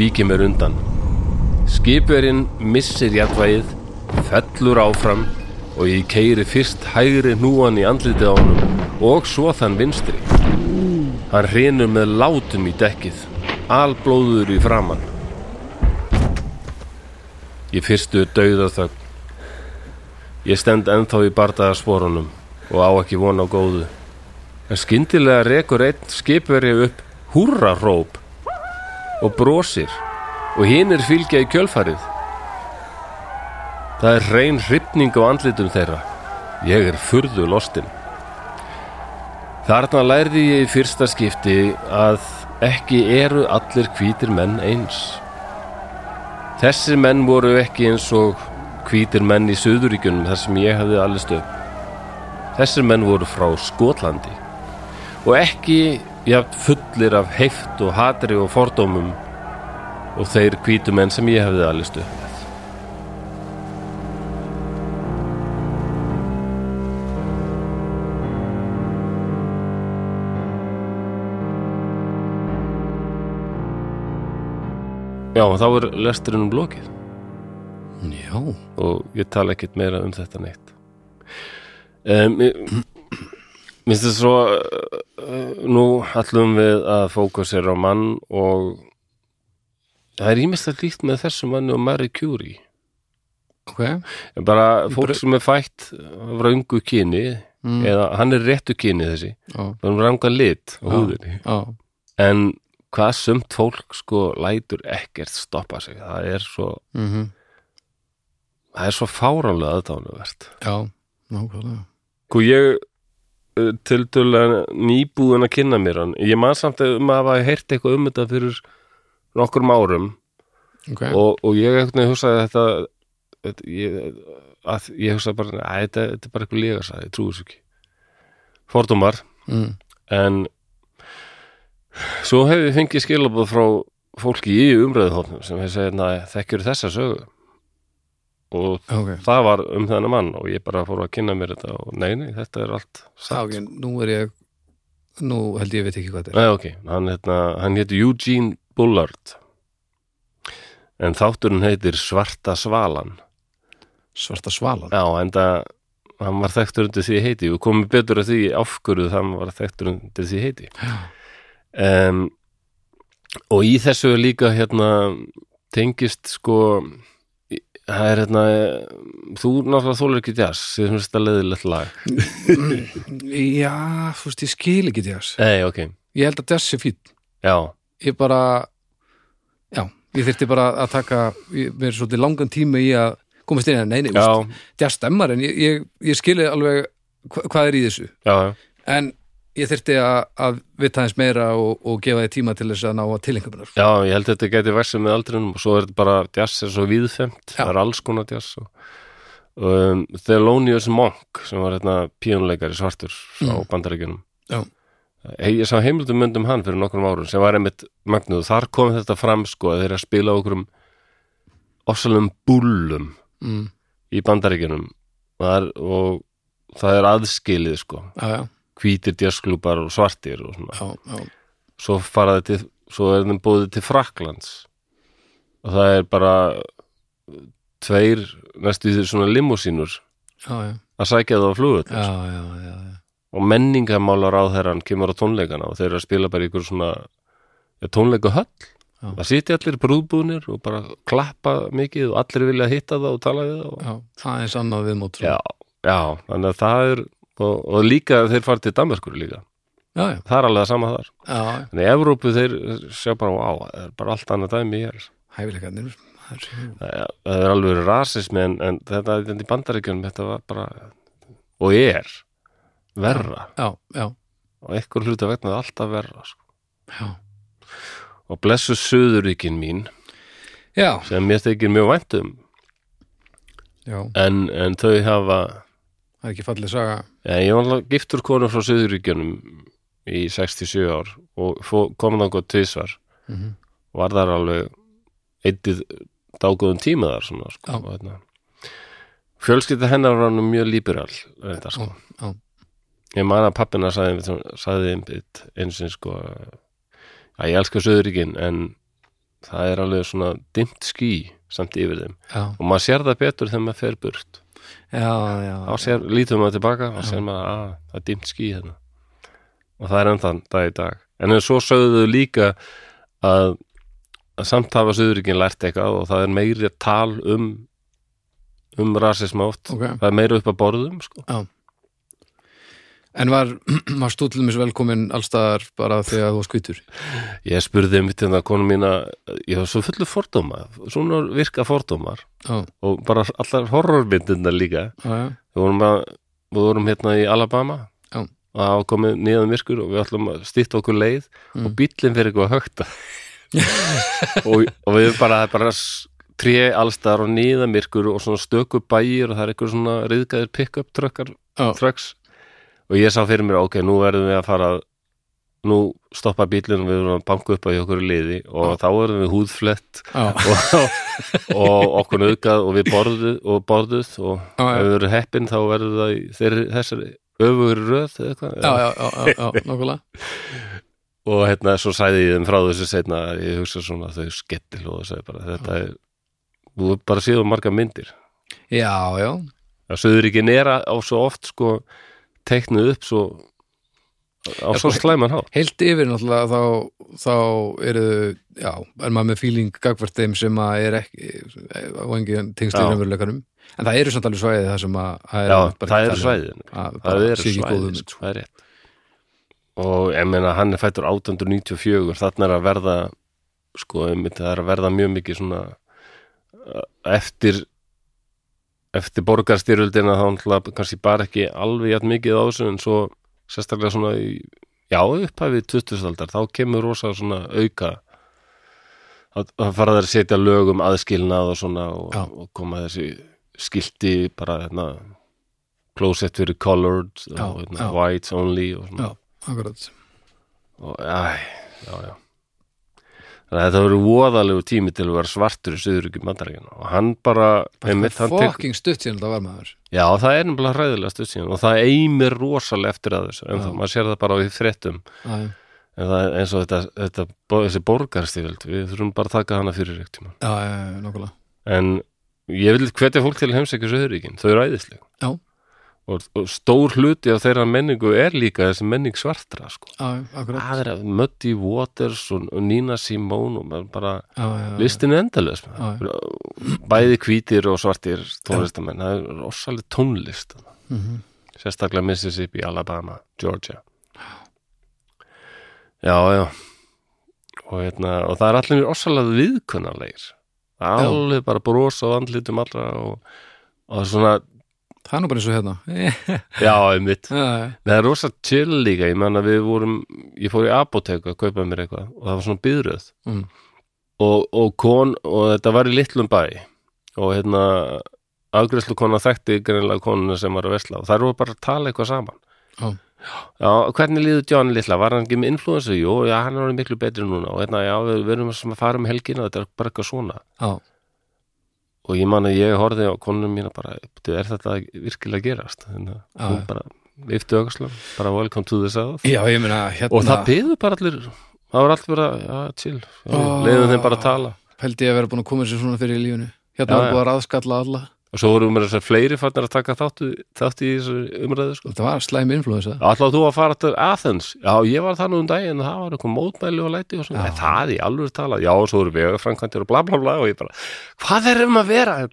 viki mér undan. Skipverinn missir jætvægið, fellur áfram og ég keiri fyrst hægri núan í andlitið á honum og svo þann vinstri. Hann hrinur með látum í dekkið, alblóður í framann. Ég fyrstu dauða þögn. Ég stend ennþá í bardaðarsporunum og á ekki von á góðu. En skyndilega rekur einn skipverið upp húrarróp og brosir og hinn er fylgja í kjölfarið. Það er reyn hrifning á andlitum þeirra. Ég er furðu lostin. Þarna lærði ég í fyrsta skipti að ekki eru allir hvítir menn eins. Þessir menn voru ekki eins og hvítir menn í Suðuríkjunum þar sem ég hafði allist upp. Þessir menn voru frá Skotlandi og ekki jafn fullir af heift og hatri og fordómum og þeir hvítu menn sem ég hafði allist upp. með. Já, þá er lesturinn um lokið.
Já,
og ég tala ekkert meira um þetta neitt um, ég- Mér finnst þetta svo uh, nú allum við að fókusera á mann og það er ímest að líkt með þessu manni og Marie Curie
ok.
En bara fólk
bara-
sem er fætt af röngu kyni
Mm.
eða hann er réttu kyni þessi
Já,
bara um ranga lit á
Já.
húðinni
já,
en hvað sumt fólk sko lætur ekkert stoppa sig það er svo,
mhm,
það er svo fárálega aðdánuvert
já, nákvæmlega.
Sko ég til dæla nýbúin að kynna mér hann ég man samt að um að hafa heyrt eitthvað um þetta fyrir nokkrum árum
Ok,
og, og ég einhvern veginn hugsaði að þetta, þetta ég, að, ég hugsaði bara að þetta, þetta er bara eitthvað legarsæði, ég trúi þessu ekki fordómar
mm.
en svo hef ég fengið skilabóð frá fólki í umræðuhófnum sem hef segið að þekkjur þessa sögu og
ok.
það var um þennan mann og ég bara fór að kynna mér þetta og nei, nei, þetta er allt
Sá,
satt.
ok, nú er ég, nú held ég veit ekki hvað þetta er.
Nei, ok, hann, hérna, hann héti Eugene Bullard en þátturinn heitir Svarta Svalan
Svarta svalan.
Já, en það hann var þekktur undir því heiti og komið betur að því af hverju þann var þekktur undir því heiti um, og í þessu er líka hérna tengist sko í- það er hérna eh, þú náttúrulega þólar ekki jazz því sem þetta leðilegt lag
Já, þú veist, ég skil ekki jazz.
Nei, ok,
Ég held að jazz er fín.
já,
Ég bara, já, ég þyrfti bara að taka, ég, mér er svolítið langan tíma í að komast inn að neini,
já,
jazz stemmar, en ég, ég, ég skili alveg hva, hvað er í þessu.
já, já.
En ég þyrfti að, að vita hans meira og, og gefa þið tíma til þess að ná að tilengjumunnar.
Já, ég held að þetta gæti versa með aldrinum og svo er þetta bara, jazz er svo víðfemt
Já.
það er alls konar jazz og, um, Thelonious Monk sem var hérna píónleikari svartur frá
Mm.
bandaríkjunum
Já.
Hey, ég sá heimildum myndum hann fyrir nokkrum árum sem var einmitt magnuð, þar kom þetta fram sko að þeir eru að spila á okkurum ofsalum búllum
Mm.
í bandaríkjunum og það er, og það er aðskilið sko
Já, já,
hvítir jazzklúpar og svartir og svona
já, já.
svo faraði til svo er þeim búið til Fraklands og það er bara uh, tveir næstu því svona limúsínur
Já, já,
að sækja það á flugut
já, já, já, já.
og menningamálar á þeirra hann kemur á tónleikana og þeir eru að spila bara í ykkur svona ja, tónleika höll
Já.
það sitja allir brúðbúnir og bara klappa mikið og allir vilja hitta það og tala við það og...
já. Það er eins annað viðmót.
já, já, þannig að það er og, og líka þeir fara til Danmarkur líka
já, já,
það er alveg það sama þar
já,
en í Evrópu þeir sjá bara á, það er bara allt annað dæmi hér
hæfileikarnir. það er-
það það er alveg rasismi en, en þetta þetta í bandaríkjunum þetta var bara og er verra
Já, já,
og ekkur hluta vegna er alltaf verra sko.
já.
og blessu söðuríkin mín
Já,
sem mér þykir mjög vænt um
já,
en, en þau hafa
það er ekki fallið saga.
ja, ég var alveg giftur konu frá söðuríkjunum í 67 ár og fó, kom það okkur tvisvar
Mm -hmm.
var þar alveg eitið dágóðum tíma þar svona,
Já.
sko, og hérna. fjölskylda hennar var hann mjög líberal þetta, sko.
Já, já.
ég man að pappina sagði, sagði einmitt eins og sko að ég elska söðuríkin en það er alveg svona dimmt ský samt yfir þeim
Já,
og maður sér það betur þegar maður fer burt
já, já.
þá sér, lítum maður tilbaka og sér maður að það er dimmt ský hérna og það er ennþann dag í dag en svo sögðu þau líka að, að samt hafa söðuríkin lært eitthvað og það er meiri tal um um rasisma oft
Ok.
það er meira upp að borðum sko
Já. En var, [CLEARS THROAT] var stúllum þessu velkomin allstaðar bara þegar þú var skvítur?
Ég spurði um þetta konu mína, ég var svo fullu fordóma, svona virka fordómar
Já,
og bara allar horrormyndina líka.
já, já.
Við vorum, að, við vorum hérna í Alabama
Já.
og það var komið nýðan myrkur og við ætlum að stýtta okkur leið
Mm.
og bíllinn fyrir eitthvað
[LAUGHS]
að högta. og, og við bara, það er bara tré allstaðar og nýðan myrkur og svona stöku bæir og það er eitthvað svona riðgæðir pick-up truckar
Já.
trucks og ég sá fyrir mér, ok, nú verðum við að fara að- nú stoppa bílinn og við verðum að banka upp á í okkur liði og þá verðum við húðflett
Já,
og, [LAUGHS] og okkur nöðgað og við borðuð og borðuð og
Já, já.
ef við verðum heppin þá verður það í þeirri, þessari öfugur röð eða eitthvað
já, já, já, já, já nokkulega.
og hérna svo sæði ég þeim frá þessu setna ég hugsa svona þau skettil og það sagði bara þetta er, þú hefur bara séð um marga myndir
Já, já,
að Söðuríkin er að- á svo oft sko teiknuð upp svo á
Já,
svo
sko,
slæman hátt
heilt yfir náttúrulega þá, þá eru, já, er maður með fíling gagvart þeim sem að er ekki, á engin tengst í
Já.
raunveruleikanum. En það eru samt alveg svæðið það sem að, að
Já, það eru svæðin það
það
eru
er
svæðin,
svæðið.
sko, það er rétt og ég meina hann er fættur 1894 þarna er að verða sko, einmitt, það er að verða mjög mikið svona uh, eftir eftir borgarstyrjöldina þá náttúrulega kannski bara ekki alveg jætt mikið á þessu en svo sérstaklega svona í, já upphæfið 20. aldar þá kemur rosa svona auka þá þá fara þær að setja lög um aðskilnað og svona og,
Já.
og koma þessi skilti bara hérna closet fyrir colored
Já,
og hérna,
já.
whites only og svona
Já, akkurat.
og æ, já, já þannig að það verið voðalegu tími til að vera svartur í Suðuríki bandaríkina og hann bara, einmitt, hann tek,
Fucking stutt síðan það var maður.
já það er nefnilega hræðilega stuð síðan og það eimir rosalega eftir að þessu en
Já.
það, maður sér það bara á því fréttum
Já, já.
en það er eins og þetta, þetta bo- þessi borgarstyrjöld, við þurfum bara að taka hana fyrir eitt tíma,
Já, já, já, nokkulega.
en ég vil hvetja fólk til að heimsækja Suðuríkin, þau eru æðisleg
Já.
og, og stór hluti af þeirra menningu er líka þessi menning svartra sko
Já, já, akkurat.
aðra, Muddy Waters og, og Nina Simone og maður bara
Já, já, já.
listin er endalaus
Já,
maður. bæði hvítir og svartir tónlistamenn, það er rosaleg tónlist
Mhm.
sérstaklega Mississippi, Alabama, Georgia já, já og, hérna, og það er allir rosalega viðkunnalegir alveg bara brosa á andlitum allra og, og svona,
Það er nú bara eins og hérna.
já, einmitt
Já, já, já.
Nei, Það er rosa chill líka, ég menna við vorum, ég fór í apotek að kaupa mér eitthvað og það var svona byðröð
Mm.
og, og kon, og þetta var í litlum bæ og hérna afgræslu kona þekkti greinlega konuna sem var að vesla og þær voru bara að tala eitthvað saman.
Já.
Já, hvernig líður John litla? Var hann ekki með influensu? Jú, já, hann er orðinn miklu betri núna og hérna, já, við verum að fara um helgina, þetta er bara eitthvað svona
Já,
og ég man að ég horfði á konunum mína bara, "Bíddu, er þetta virkilega að gerast? Þannig
Já,
að hún
já.
bara, yftu öxlum, bara welcome to the south
já ég meina hérna.
og það byðu bara allir það var allir bara, já, chill já,
Ó.
leiðum þeim bara að tala
Held ég að vera búin að koma sér svona fyrir í lífinu. Hérna
Já,
var
já.
búin að raðskalla alla.
og svo vorum við þessar fleiri farnir að taka þáttu, þátt í þessu umræðu sko.
Þetta var slæmi influensa.
Ætlaðu þú að fara til Athens? Já, ég var það nú um daginn og það var eitthvað mótmæli og læti og svona,
Já.
Nei, það í alveg tala, já, svo eru vegafrankvæmtir og bla bla bla og ég bara, hvað er um að vera? Og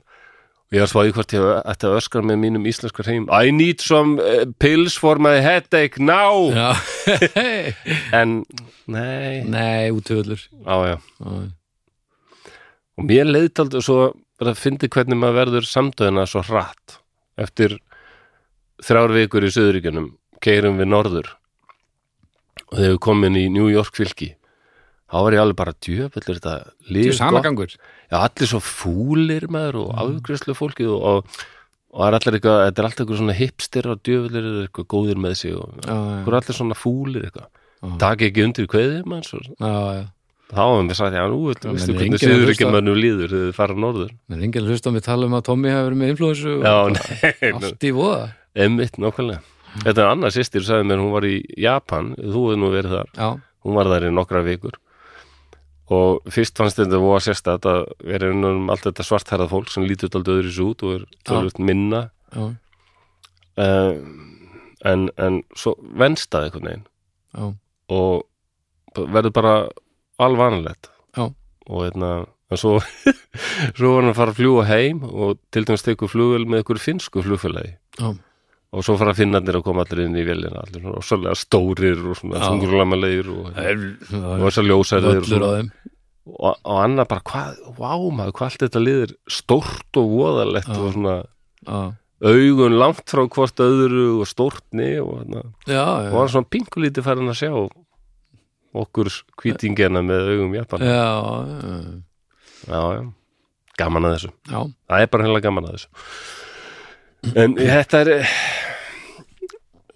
ég var svo í hvort ég ætti að öskra með mínum íslenskur heim, I need some eh, pills for my headache now
Já. [LAUGHS]
en, nei,
Nei, útöðlur.
á já og mér leiðtaldi og svo bara fyndi hvernig maður verður samdöðina svo hratt eftir þrjár vikur í Suðuríkjunum keirum við norður og þegar við komin í New York fylki þá var ég alveg bara djöfellur þetta
Þú
líf
sama Mm.
gott.
gangur.
Já, allir svo fúlir maður og afgræslu fólkið og, og, og það er allir eitthvað, þetta er alltaf eitthvað svona hipster og djöfellur eru eitthvað góðir með sig og
Já, já,
okkur allir svona fúlir eitthvað
Já.
takk ekki undir kveðið manns og
já, já.
þá hefum við sagt, já, nú
Já,
veistu veistu
menn,
hvernig
enginn að
siður ekki
hlusta.
mönnum líður þegar þið fara norður
En enginn hlust á mig tala um að Tommy hafi verið með influensu og
Já, nei,
Sko, allt í voða.
emmitt nákvæmlega Þetta er annars sýstir, sagði mér, hún var í Japan þú hefði nú verið þar,
Já,
hún var þar í nokkra vikur og fyrst fannst þetta voða sérstætt að vera innan um allt þetta svartherrað fólk sem lítur alltaf öðru svo út og er tölvöld minna
já,
uh, en, en svo venstaði einhvern veginn
já.
og verður bara alvanalegt
Já.
og hérna en svo, [LAUGHS] svo var hann að fara að fljúa heim og til dæmis tekur flugvél með ykkur finnsku flugfélagi
Já.
og svo fara finnarnir að koma allir inn í vélina allir svona rosalega stórir og svona
Já.
þungurlamalegir og, og
Völlur
þessar ljósæðir og,
á
svona.
þeim
og, og annað bara hvað, vá maður, hvað allt þetta liðir stórt og voðalegt
Já.
og svona
Já,
augun langt frá hvort öðru og stórtni og þarna
já,
og
já,
var svona pingulítið farin að sjá okkur kvítingina með augum japan
já, já.
já, já. gaman að þessu
já.
það er bara heila gaman að þessu en þetta er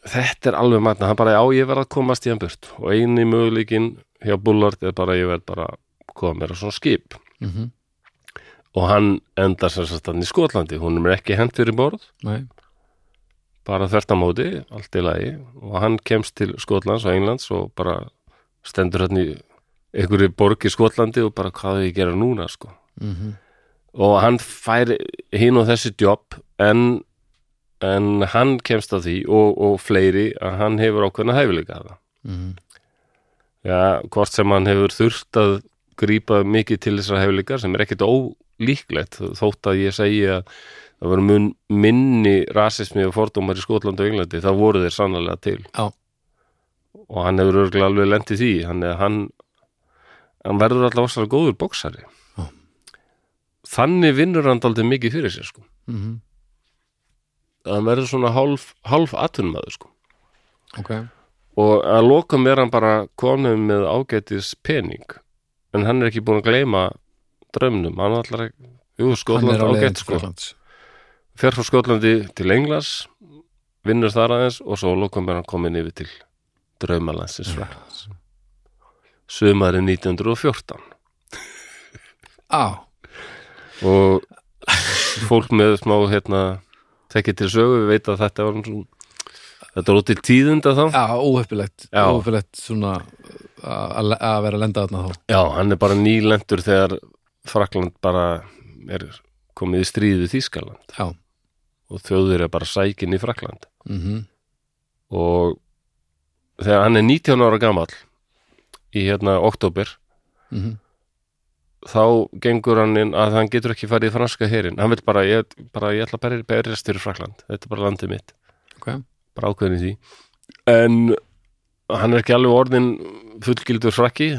þetta er alveg matna hann bara á ég verð að komast í hann burt og eini möguleikin hjá Bullard er bara ég verð bara að koma mér á svona skip
Mm -hmm.
og hann endar sem sagt hann í Skotlandi hún er ekki hent fyrir borð
Nei,
bara þvert á móti, allt í lagi og hann kemst til Skotlands og Englands og bara stendur hann í einhverju borg í Skotlandi og bara hvað er ég að gera núna sko
mm
og hann fær hinn og þessi jobb en, en hann kemst að því og, og fleiri að hann hefur ákveðna hæfileika að það
Mhm.
Já, hvort sem hann hefur þurft að grípa mikið til þessar hæfileikar sem er ekkit ólíklegt þótt að ég segi að það voru mun minni rasismi og fordómar í Skotland og Englandi, það voru þeir sannlega til
Já.
og hann hefur örgulega alveg lendið því hann, hann, hann verður alltaf óslega góður boksari
Já.
þannig vinnur hann daldið mikið fyrir sér sko
-hmm.
hann verður svona hálf, hálf atvinnmaður sko
ok
og að lokum er hann bara konum með ágætis pening en hann er ekki búin að gleyma draumnum, hann ætlar ekki Jú, Skotland ágætt sko fer frá Skotlandi til Englas vinnur þar aðeins og svo að lokum er hann komin yfir til draumalandsins Fraklands sumari 1914
Á,
og fólk með smá hérna, tekið til sögu, við veit að þetta var svona, þetta var út til tíðinda þá
á, óheppilegt
Já.
óheppilegt svona uh, að le- að vera að lenda þarna þá
Já, hann er bara nýlendur þegar Frakland bara er komið í stríð við Þýskaland
Já,
og þjóður er bara sækin í Frakland
mm
og þegar hann er 19 ára gamall í hérna oktober
Mhm.
þá gengur hann inn að hann getur ekki farið í franska herin hann vil bara, ég, bara, ég ætla að berjast fyrir Frakland þetta er bara landið mitt
ok
bara ákveðin í því en hann er ekki alveg orðin fullgildur frakki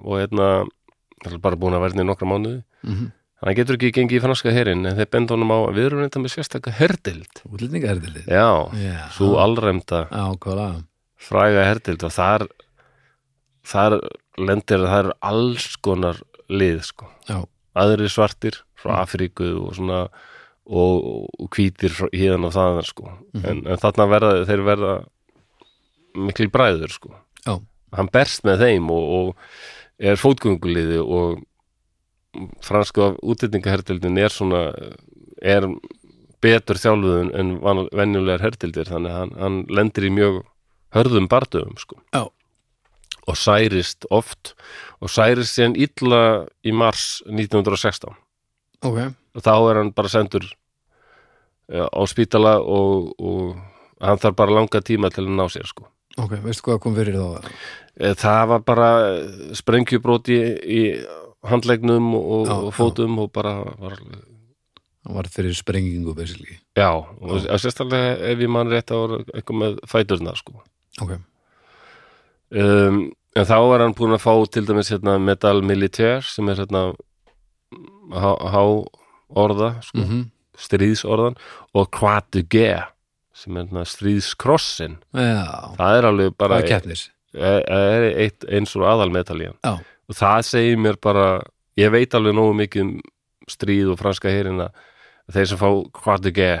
og hérna hann er bara búin að verðin í nokkra mánuði
mm -hmm.
Hann getur ekki gengið í franska herin en þeir benda honum á að við erum reynda með sérstaka herdild.
Útlendinga er þetta
Já,
Já,
svo alræmda
á, hvað laga
fræga herdild og þar, þar lendir það eru alls konar lið sko.
Já, Mm.
Aðri svartir frá Afríku og svona og, og hvítir frá- héðan og þaðan sko.
Mhm.
En, en þarna verða þeir verða mikil bræður sko.
já,
hann berst með þeim og, og er fótgönguliði og franska útlendingahertildin er svona er betur þjálfuðun en van- venjulegar hertildir þannig að hann, hann lendir í mjög hörðum bardöfum sko
Já.
og særist oft og særist síðan illa í mars 1916
ok
og þá er hann bara sendur eh, á spítala og, og hann þarf bara langa tíma til að ná sér sko
ok, veistu hvað kom fyrir þá
Eh, Það var bara sprengjubróti í handlegnum og,
Já,
og fótum og bara var,
hann var fyrir sprengingu basically
já, og já. sérstaklega ef ég mann rétt að voru eitthvað með fæturna sko.
ok,
um, en þá var hann búin að fá til dæmis hérna, medal militær sem er hérna há, há orða sko,
mm -hmm.
stríðsorðan og croix de guerre sem er hérna, stríðskrossin
já
það er alveg bara
það er keppnis
er, er eitt, eins og aðalmedal í hann
Já,
og það segir mér bara ég veit alveg nógu mikið um stríð og franska herina að þeir sem fá hvað ekki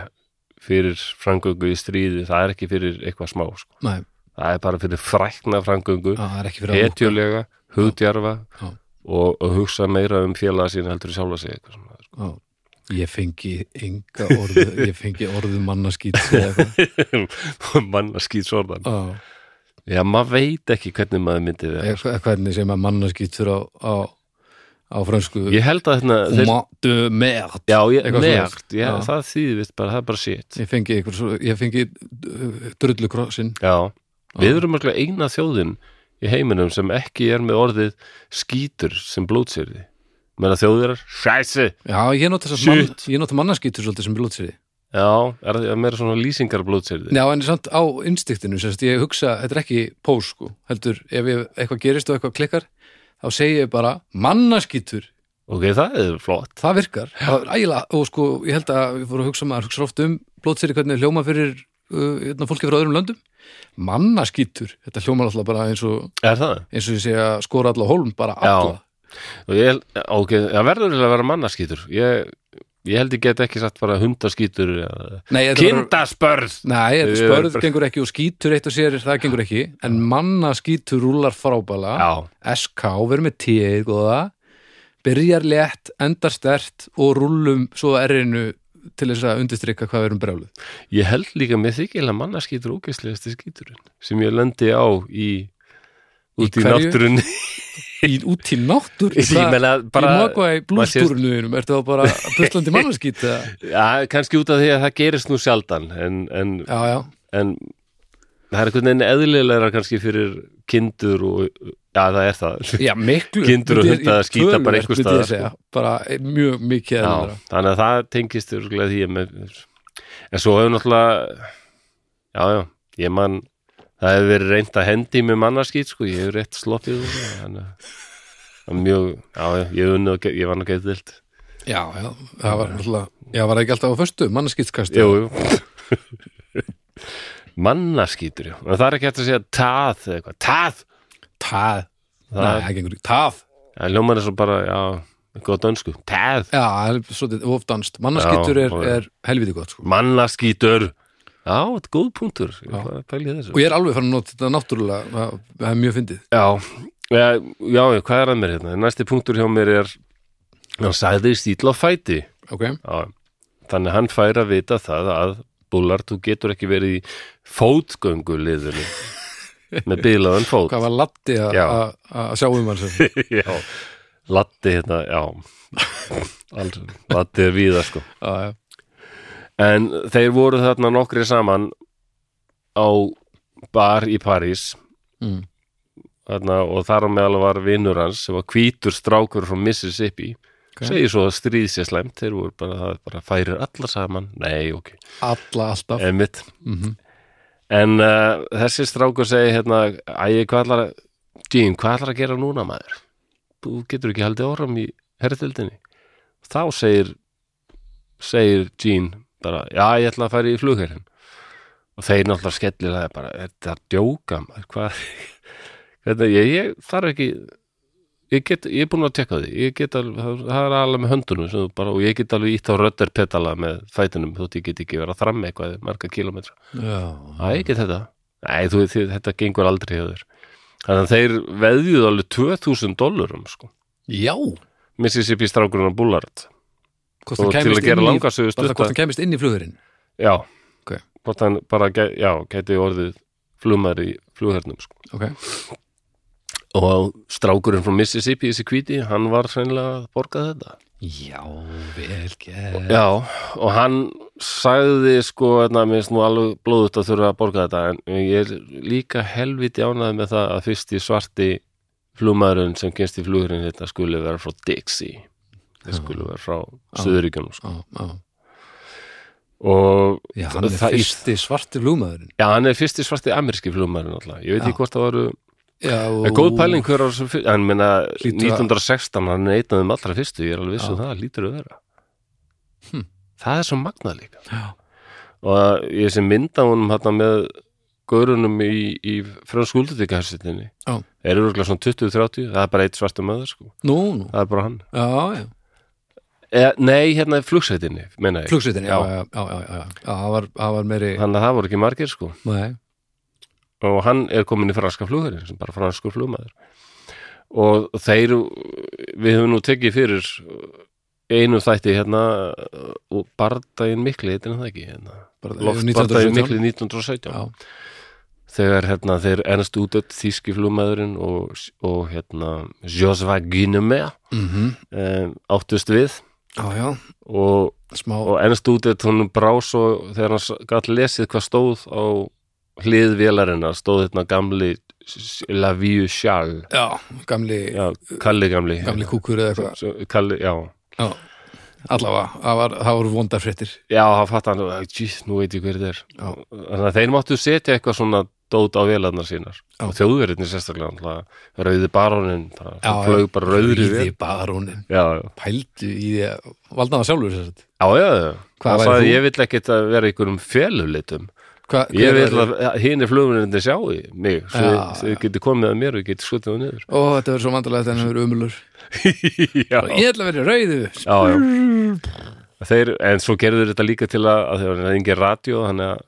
fyrir frangöngu í stríði, það er ekki fyrir eitthvað smá, sko.
nei,
það er bara fyrir frækna frangöngu,
já, það er ekki fyrir að
hetjulega hugdjarfa
Já.
og, og hugsa meira um félaga sín heldur í sjálfa sig
[LAUGHS]
eitthvað svona, sko.
Já, ég fengi enga
[LAUGHS]
orðu, ég fengi orðu mannaskýt eða eitthvað.
manna skýt sorðan
Já,
já, maður veit ekki hvernig maður myndi vera
eitthvað- hvernig sem að mannaskýtur á, á, á fransku
ég held að hérna þeir,
Uma de merde
já, ég,
Eitthvað
nerd,
svoleiðis.
já,
Já.
það þýði vist bara, það er bara shit
Ég fengi, eitthvað svo, ég fengi eh, drullukrossin
Já, við erum mörglega eina þjóðin í heiminum sem ekki er með orðið skítur sem blótsýrði. Meðan að þjóðir er, sjæsi,
Já, ég nota, þessar
Shit.
mann, ég nota mannaskýtur svolítið sem blótsýri
Já, er það meira svona lýsingar blótsýrði?
Já, en samt á innstiktinu, semst, ég hugsa, þetta er ekki pós, sko, heldur, ef ég, eitthvað gerist og eitthvað klikkar, þá segi ég bara, mannaskítur,
Ok, það er flott.
það virkar, það er ægilega, og sko, ég held að við fórum að hugsa, maður hugsa oft um blótsýri hvernig hljóma fyrir uh, hérna, fólki frá öðrum löndum, mannaskítur, þetta hljóma alltaf bara eins og,
Er það?
eins og ég segja, skora alla á hólm, bara
Já.
alla.
Og ég, ok, það verður eiginlega að vera mannaskítur. Ég, ég held ég get ekki sagt bara hundaskítur. eða-
Nei, þetta var-
Kindaspörð!
Nei, þetta
Ég-
spörð gengur ekki og skítur eitt og sér, það gengur ekki, en mannaskítur rúlar frábæla.
Já,
SK, verður með tíð góða, byrjar létt, endar stert og rúllum svo erinu til þess að undirstrykka hvað við erum brjáluð.
ég held líka með þykilega mannaskítur ógeðslegasti skíturinn sem ég lendi á í út í, í
hverju?
náttúrunni.
Í, út í náttúr,
[LAUGHS] Ég meina
í
bara...
Mogwai blústúrnuðinum, ertu þá bara buslandi mannaskít?
[LAUGHS]
eða?
Já, kannski út af því að það gerist nú sjaldan en, en
Já, já,
en það er einhvern veginn eðlilegra kannski fyrir kindur og, já það er það
já, miklu.
Kindur og
myndi ég-
hundar að skíta bara
töluvert,
einhvers
myndi ég
staðar, sko.
segja, Bara mjög mikið
já,
eðlilegra.
þannig að það tengist örugglega því að með, en svo hefur náttúrulega já já, ég man það hefur verið reynd að hendi með mannaskýt sko, ég hefur rétt sloppið úr því, þannig að það er mjög, já já, ég hef unnið og ge- ég var nú gætið dild
Já, já, það var náttúrulega, já, var það ekki alltaf á föstu, mannaskítskast.
jú, jú [LAUGHS] mannaskýtur, já, en það er ekki hægt að segja tað eða eitthvað, tað
Tað,
Það-
nei, það gengur ekki, tað.
Það hljómar eins og bara, já, góða dönsku. Tæð,
Já, það er svolítið ofdanst. Mannaskítur
Já,
er,
og-
er helviti gott, sko.
mannaskítur. Já, þetta er góð punktur. Ég
Já.
var að pæla í
og
þessu.
ég er alveg farin að nota þetta náttúrulega það- það er mjög fyndið
Já, já, já, hvað er að mér hérna? Næsti punktur hjá mér er, hann sagði stíl á fæti.
okay.
Já, þannig að hann fær að vita það að búlar, þú getur ekki verið í fótgöngu liðinu með bílaðan fót.
hvað var Latti að-
Já.
að að sjá um hans
[LAUGHS] já, Latti hérna, já, Alls, Latti er víða sko. En þeir voru þarna nokkri saman á bar í París
mm.
þarna, og þar á meðal var vinnur hans sem var hvítur strákur frá Mississippi
Ok.
segir svo að stríð sé slæmt þeir voru bara, það bara færir alla saman nei, ok,
alla alltaf
emitt
mm
en uh, þessi strákur segi hérna, æg, hvað ætlar að Jim, hvað ætlar að gera núna maður þú getur ekki haldið orðum í herrtildinni þá segir segir Jean bara, já, ég ætla að fara í flugherrin og þeir náttúrulega skellir það bara, þetta er að djóka maður, hvað [LAUGHS] þetta, ég, ég þarf ekki ég, get, ég er búin að tekka því ég get alveg, það- það er alveg með höndunum sem þú bara, og ég get alveg ítt á röddar pedala með fætinum, þótt ég get ekki verið að þramma eitthvað marga kilometra
-hmm.
Æ, ég get þetta. Nei, þú, þið, þetta gengur aldrei hjá þér. Þannig að þeir veðjuð alveg 2000 dollurum, sko.
já,
Mississippi strákurinn á Bullard.
hvort hann
Og til að
kæmist inn
gera
í
langa sögu
bara það hvort
stutta.
hann kæmist inn í flugurinn
Já.
Ok.
Hvort hann bara, gæ, já, gæti orðið flumar í flughernum, sko.
okay.
Og strákurinn frá Mississippi, þessi kvíti, hann var sennilega að borga þetta.
já, vel gert
Já, og hann sagði sko, hérna, mér finnst nú alveg blóðut að þurfa að borga þetta, en ég er líka helviti ánæði með það að fyrsti svarti flugmaðurinn sem kynst í flugurinn þetta skuli vera frá Dixie þetta skuli vera frá Suðuríkjunum sko.
Á, á.
og
já, hann er
það-
fyrsti svarti lúmaðurinn
Já, hann er fyrsti svarti ameríski flugmaðurinn alltaf, ég veit
Já.
ekki hvort það voru
já,
En góð pæling hver á þessum fyrst, en meina
Hlýtur að-
1916, hann er einn af þeim allra fyrstu, ég er alveg viss um
Já. Hm.
það, lítur að vera. Það er svo magnað líka.
Já.
Og ég sem mynda honum hérna með gaurunum í, í frönsk úldutíkahersetinni,
Já.
er örgulega svona 20-30, það er bara eitt svartum maður, sko.
nú, nú,
Það er bara hann.
já, já
E, nei, hérna í flugsveitinni, meina ég.
flugsveitin, já,
Já.
já, já, já, já. já það var, það var meiri
Þannig að það voru ekki margir, sko.
Nei.
og hann er komin í franska flugherinn sem bara franskur flugmaður og þeir við höfum nú tekið fyrir einu þætti hérna og bardaginn mikli, heitir hann það ekki hérna,
Bara- 1917.
loftbardaginn mikli 1917
Já.
þegar hérna þeir ennast útöld þíski flugmaðurinn og, og hérna Josva Guinemer
Mhm.
um, áttust við
já, já,
og,
smá
og ennast útöld hún brá svo þegar hann gætt lesið hvað stóð á hlið vélarinnar stóð hérna gamli La Vie Charles
já, gamli,
já, Kalli gamli
gamli kúkur eða eitthvað
Svo- Kalli, já
Já. allavega, það var- það voru vondar fréttir
Já, það fatt hann, jís, nú veit ég hver þetta er Þannig að þeir máttu setja eitthvað svona dót á vélarnar sínar
Já.
og þjóðverðinni sérstaklega náttúrulega, rauði barónin, bara,
Já,
hann flög bara rauðri vél.
Rauði barónin,
Já, já,
pældu í því að valda það sjálfur sér þetta
já, já, já.
Hvað
Hvað
væri
sagði,
þú?
ég vil ekkit að vera einhverjum félulitum
Hva,
Ég
hver
vil
væri-
að hinn er flugurinn sjái mig, svo
Já,
þið- þið getur komið að mér og ég getur skotið á
[LAUGHS]
niður
Ó, þetta verður svo vandalegt en það verður umulur
Já,
Ég ætla að vera í rauðu
já, já. Þeir, en svo gerður þetta líka til að, að þegar það er engin radio þannig að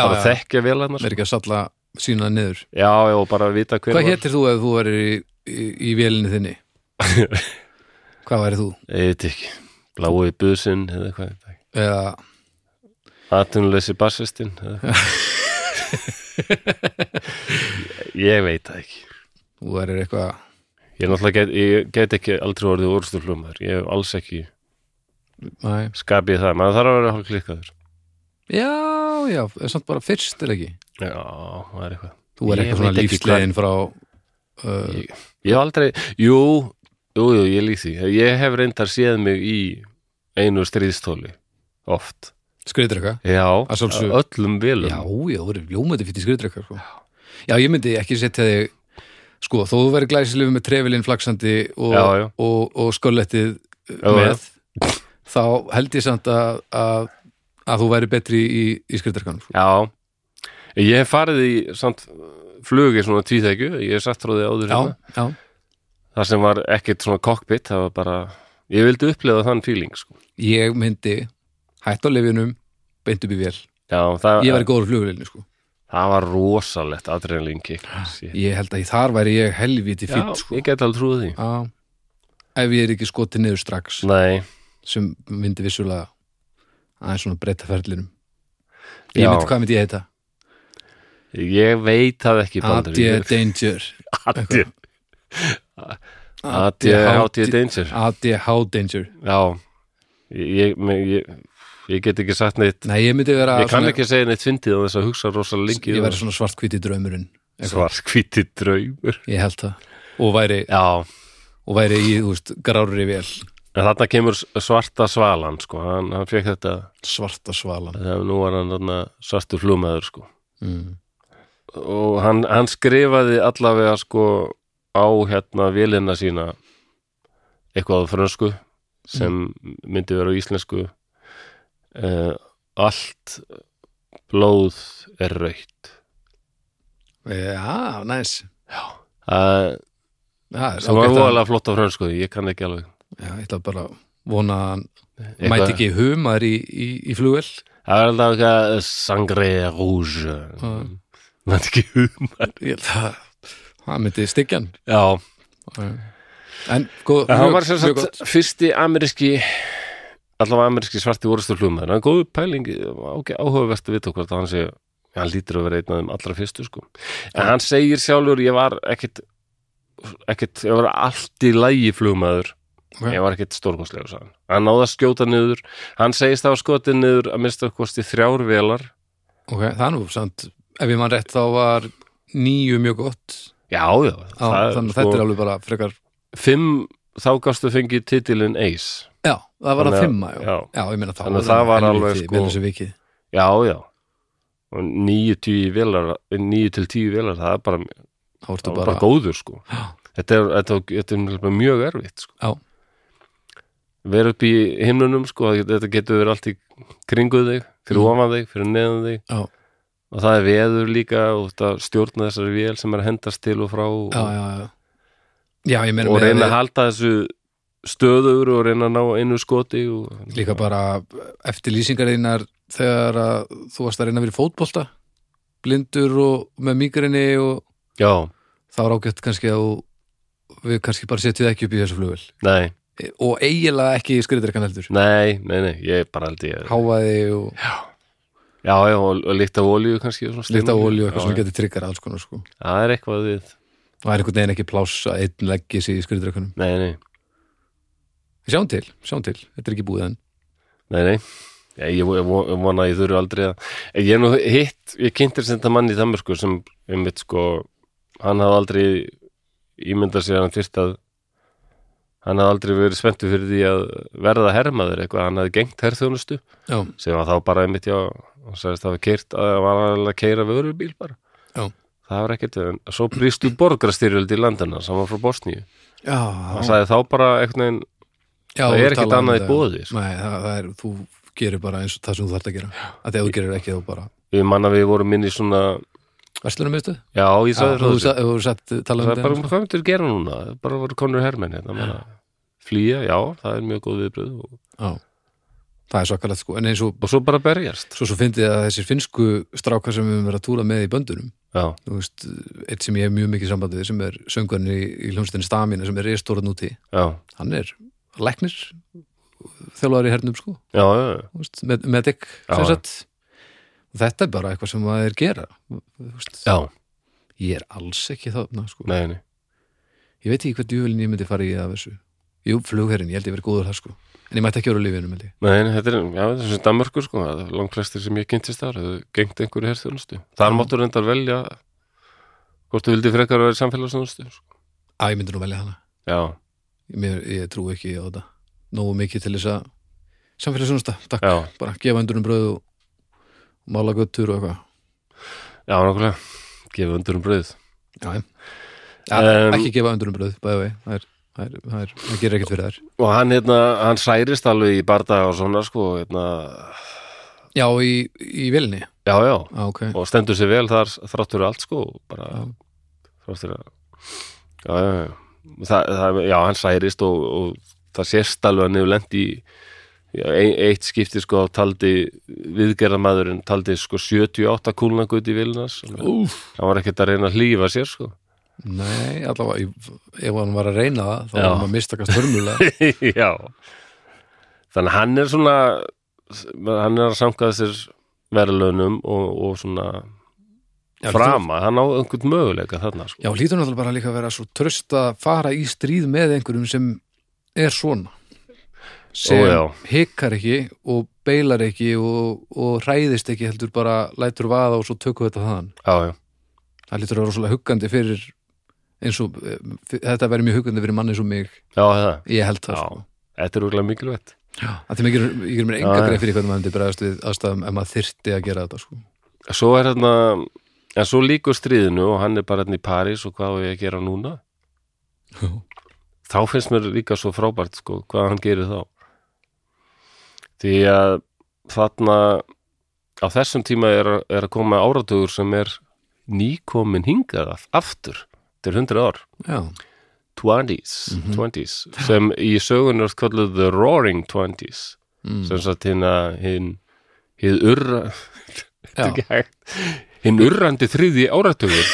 Já,
bara
já.
þekkja vélarnar
Mér ekki að salla sína niður
Já, já, og bara vita hver
Hvað
var
hétir þú ef þú verður í, í, í vélinni
[LAUGHS]
þinni? Hvað væri þú?
Ég veit ekki, blái businn eða eitthvað,
Eða,
atunleysi bassistinn eða
[LAUGHS]
eitthvað Ég veit það ekki
þú verður eitthvað
Ég náttúrulega get, ég get ekki aldrei orðið orðstuflumar, ég hef alls ekki
Næ.
skapið það, maður þarf að vera hálf klikkaður
Já, já, er samt bara fyrst er ekki
Já, það er eitthvað
Þú er
Ég
eitthvað svona uh,
veit ekki
lífslegin frá
Ég- Ég hef aldrei, jú, jú, jú, ég lík því Ég hef reyndar séð mig í einu stríðstóli, oft
skriðdreka
Já,
Að sjálfsögðu.
öllum
Já,
vilum
já, þú verður ljómandi fyrir skriðdreka sko. Já, ég myndi ekki setja þig sko, þó þú verður glæsilegur með trefilinn flaksandi og,
Já, já.
og, og skölettið
já.
með þá held ég samt að, að, að þú væri betri í, í skriðdrekanum sko.
Já, ég hef farið í samt flugi svona tvíþekju, ég hef satt tróðið áður hérna,
já,
það sem var ekkert svona cockpit, það var bara, ég vildi upplega þann feeling, sko.
ég myndi hætt á lifinum, beint upp í vél
Já, það,
ég væri góður flugulilni sko
það var rosalegt adrenalinki. Já,
ég held að í þar væri ég helviti fýtt Ah, sko.
ég get alveg trúið því.
Já. ef ég er ekki skotið niður strax
Nei,
sem myndi vissulega aðeins svona breyta ferlinum ég
Já.
myndi, hvað myndi ég heita?
ég veit það ekki bandur.
AD Danger
Adje. Adje, Adje Danger.
ADH Danger
Já, ég, ég, ég, ég get ekki sagt neitt,
Nei, ég myndi vera
ég kann
svona,
ekki sko. segja neitt fyndið á þess að hugsa um rosalengi.
ég væri svona svartkvíti draumurinn eitthvað.
svarskvíti draumur.
ég held það og væri,
Já,
og væri í, þú veist, grári vel
En þarna kemur s- svarta svalan sko, hann, hann fekk þetta
svarta svalan
þegar nú var hann þarna, svartur flugmaður sko
mm.
og hann, hann skrifaði allavega sko á hérna vélina sína eitthvað á frönsku sem myndi vera á íslensku uh, allt blóð er rautt
Já, næs
það
Já,
sem var óalega flott á frönsku ég kann ekki alveg
Já, ég ætla bara að vona að hann
Eitthvað-
mæti ekki humar í, í, í flugvel
það er alltaf eitthvað sangre rouge
Mm.
mætti ekki humar
ég held að hann myndi styggja hann
já
en góð,
En hann var sem
mjög, mjög gott
sagt fyrsti ameríski allavega ameríski svarti vorustu flugmaður en góðu pæling, okay, áhugavert að vita hvort að hann sé, hann lítur að vera einn af þeim allra fyrstu sko, en hann segir sjálfur ég var ekkit ekkit, ég var allt í lægi flugmaður
Ok.
ég var ekkit stórkostlegur sagði hann. hann náði að skjóta niður hann segist það var skotið niður að minnsta kosti þrjár velar
ok, það er nú samt, ef ég mann rétt þá var nýju mjög gott
já, já, sko
á, þannig að þetta er alveg bara frekar
fimm, þá gastu fengið titilin Ace
já, það var
Þannig
að
að-
fimma, já,
já.
já ég meina þá
Þannig að það var alveg, sko-
vel þessu vikið
Já, já og níu, tíu vélar, níu til tíu vélar það er bara,
þá ertu
það er
bara,
bara góður sko
Já.
þetta er, þetta, þetta er nefnilega mjög erfitt sko.
Já.
vera upp í himnunum sko, þetta getur verið allt í kringuð þig fyrir
Mm.
ofan þig, fyrir neðan þig
Já.
og það er veður líka og það stjórna þessari vél sem er að hendast til og frá og,
já, já, já já, ég meina
og
með-
reyna að halda þessu stöður og reyna að ná einu skoti og,
líka bara eftir lýsingar einar þegar að þú varst að reyna að vera í fótbolta blindur og með mýgrinni og
já,
þá er ágætt kannski að þú- við kannski bara setjum þig ekki upp í þessu flugvel
nei,
E- og eiginlega ekki skriðdrekkan heldur
nei, nei, nei ég er bara held ég
háfaði og
Já, já, og, og líkt af olíu kannski og svona stein-
lita olju og
Já,
eitthvað sem getur tryggar alls konar sko.
já, Það er eitthvað við,
og það er einhvern veginn ekki pláss að einn leggis í skriðdrekkanum
nei, nei,
sjáum til, sjáum til, þetta er ekki búið enn
nei, nei Já, ég, vo- ég vo- ég vona að ég þurfi aldrei að En Ég er nú hitt, ég kynntir sem þetta mann í Danmarku sem, einmitt sko hann hafði aldrei ímyndað sér að hann fyrst að hann hafði aldrei verið spenntu fyrir því að verða hermaður eitthvað, hann hafði gengt herþjónustu
já,
sem var þá bara einmitt já og sagðist það var keirt að var alveg að keira vörubíl bara
Já.
það var ekkert, en svo brýstu borgarstyrjöld í landina sem var frá Bosníu
já
hann sagði þá bara einhvern veginn
já,
það
þú
er
ert
ekkert
talað um
annað í
þetta, já.
boði, sko.
nei, það, það er, þú gerir bara eins og það sem þú þarft að gera að því að þú gerir ekki þá bara
ég manna við vorum inn í svona
verslunum mistu já,
já, ég sagði
þú
það
sa- þú sett talað um
það er
þetta
bara, hvað myndir gera núna? bara voru konur hermenn hérna ja. flýja, já, það er mjög góð viðbröð og,
já, það er svakalegt sko en eins og
og svo bara berjast
svo svo fyndið að þessir finnsku strákar sem við höfum verið að túla með í böndunum
já,
þú veist, eitt sem ég hef mjög mikið sambandið sem er söngvarinn í, í hljónstinni Stamina sem er reistóran úti,
já,
hann er læknir þjálfari í hernum sko,
já, já, já.
þú veist, med, medic
Já,
sem
já.
sagt og þetta er bara eitthvað sem maður gera þú veist,
já.
ég er alls ekki þarna sko.
Nei, nei.
ég veit ekki hvað djúvelin ég myndi fara í af þessu jú, flugherrin, ég held ég verið góður þar sko en ég mætti ekki vera á lífinu, held ég
Nei, nei, þetta er, já, þetta er sem Danmörkur sko, það er langt flestir sem ég kynntist þar, það gengt einhverju herþjónustu. Þar máttu reyndar velja hvort þú vildi frekar að vera í samfélagsþjónustu. Sko.
að ég myndi nú velja hana
Já,
Mér, ég trú ekki á þetta nógu mikið til þess að samfélagsjónusta, takk,
já,
bara gefa endurum bröð og og mála göttur og eitthvað
já, nákvæmlega, gefa undur um bröð.
já, já. Ja,
Em,
ekki gefa endurum bröð, bæði vei það, er, það, er, það, er, það gerir ekkert fyrir þær
Og hann, hérna, hann særist alveg í barða og svona, sko, hérna,
já, í, í vilni já,
já, já,
Ah, ok,
og stendur sér vel þar þráttur allt, sko, bara,
Já.
þráttur að, já, já, já, það, það, já, hann særist og, og það sést alveg að niður lent í, Já, ein- eitt skipti sko taldi viðgerðamaðurinn taldi sko 78 kúlnagut í vilnas hann
úf
var ekkert að reyna að hlýfa sér sko
nei, allavega, í- ef hann var að reyna það þá
Já.
var hann að mistakast
[LAUGHS]
hörmulega
já þannig að hann er svona hann er að samkaða sér verðlaunum og, og svona
Já,
frama, hann á einhvern möguleika þarna sko.
já, hlýtur náttúrulega bara líka að vera svo tröst að fara í stríð með einhverjum sem er svona sem
já.
hikar ekki og beilar ekki og, og hræðist ekki heldur bara lætur vaða og svo tökum við þetta þaðan
já, já,
það lítur að vera rosalega huggandi fyrir eins og eh, fyr- þetta verið mjög huggandi fyrir manni eins og mig
já, það
ég held það
já,
sko.
þetta er úrlega mikilvægt
að því mig gerir, ég gerir mér
Já,
enga
já.
greið fyrir hvernig maður myndi bregðast við aðstæðum ef maður þyrfti að gera þetta sko.
svo er hérna en svo líkur stríðinu og hann er bara hérna í París og hvað á ég að gera núna þá finnst mér líka svo frábært sko, hvað hann gerir þá því að þarna á þessum tíma er, er að koma áratugur sem er nýkomin hingað af- aftur til 100 ár
já,
20s, 20s sem í sögunni er kvölduð The Roaring 20s
Mm.
sem satt hérna hinn hinn urra
já,
[LAUGHS] ekki hægt hinn urrandi þriði áratugur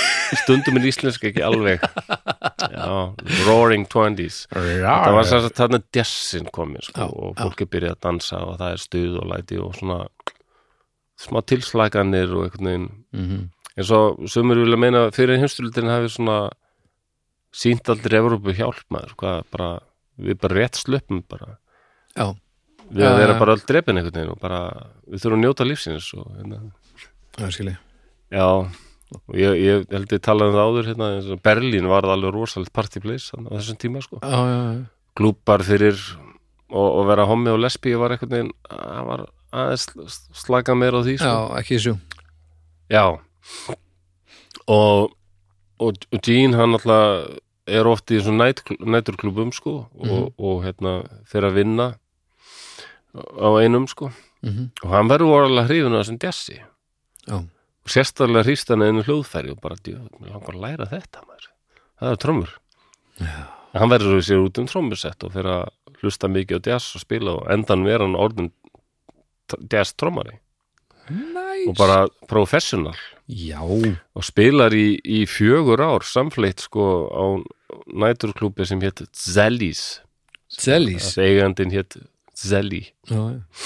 stundum er íslensk ekki alveg já, Roaring 20s það var sem sagt þarna jazzin komin sko,
Já,
og fólki byrjaði að dansa og það er stuð og læti og svona smá tilslækanir og einhvern veginn
Mhm.
eins og sumur vilja meina að fyrir heimsturlutin hafi svona sínt aldrei Evrópu hjálp maður hvað bara, við bara rétt slöpum bara
já,
við
Já,
að vera
já.
bara all drepin einhvern veginn og bara við þurfum að njóta lífsins og hérna
það er skilji
já og ég, ég held ég talaði um það áður hérna eins og Berlín varð alveg rosalegt party place þarna á þessum tíma sko
já, já, já,
klúpar fyrir og, og vera homi og lesbí var einhvern veginn að var aðeins sl- slaka meira á því
já,
sko.
ekki þessu
já. og og Jean hann alltaf er oft í svona næt, næturklúbum sko og, og hérna fyrir að vinna á einum sko
Mhm.
og hann verður orðalega hrifin að þessum djassi
já,
og sérstaklega hrýst hann einu hljóðfæri og bara, djú, mig langar að læra þetta maður. það er trommur já. hann verður sér út um trommusett og fyrir að hlusta mikið á jazz og spila og endan vera hann orðin t- jazz trommari
nice
og bara professional
já,
og spilar í, í fjögur ár samfleitt sko á næturklúbi sem hétt Zellies
sellis
að eigandinn hétt Zelli
já, já,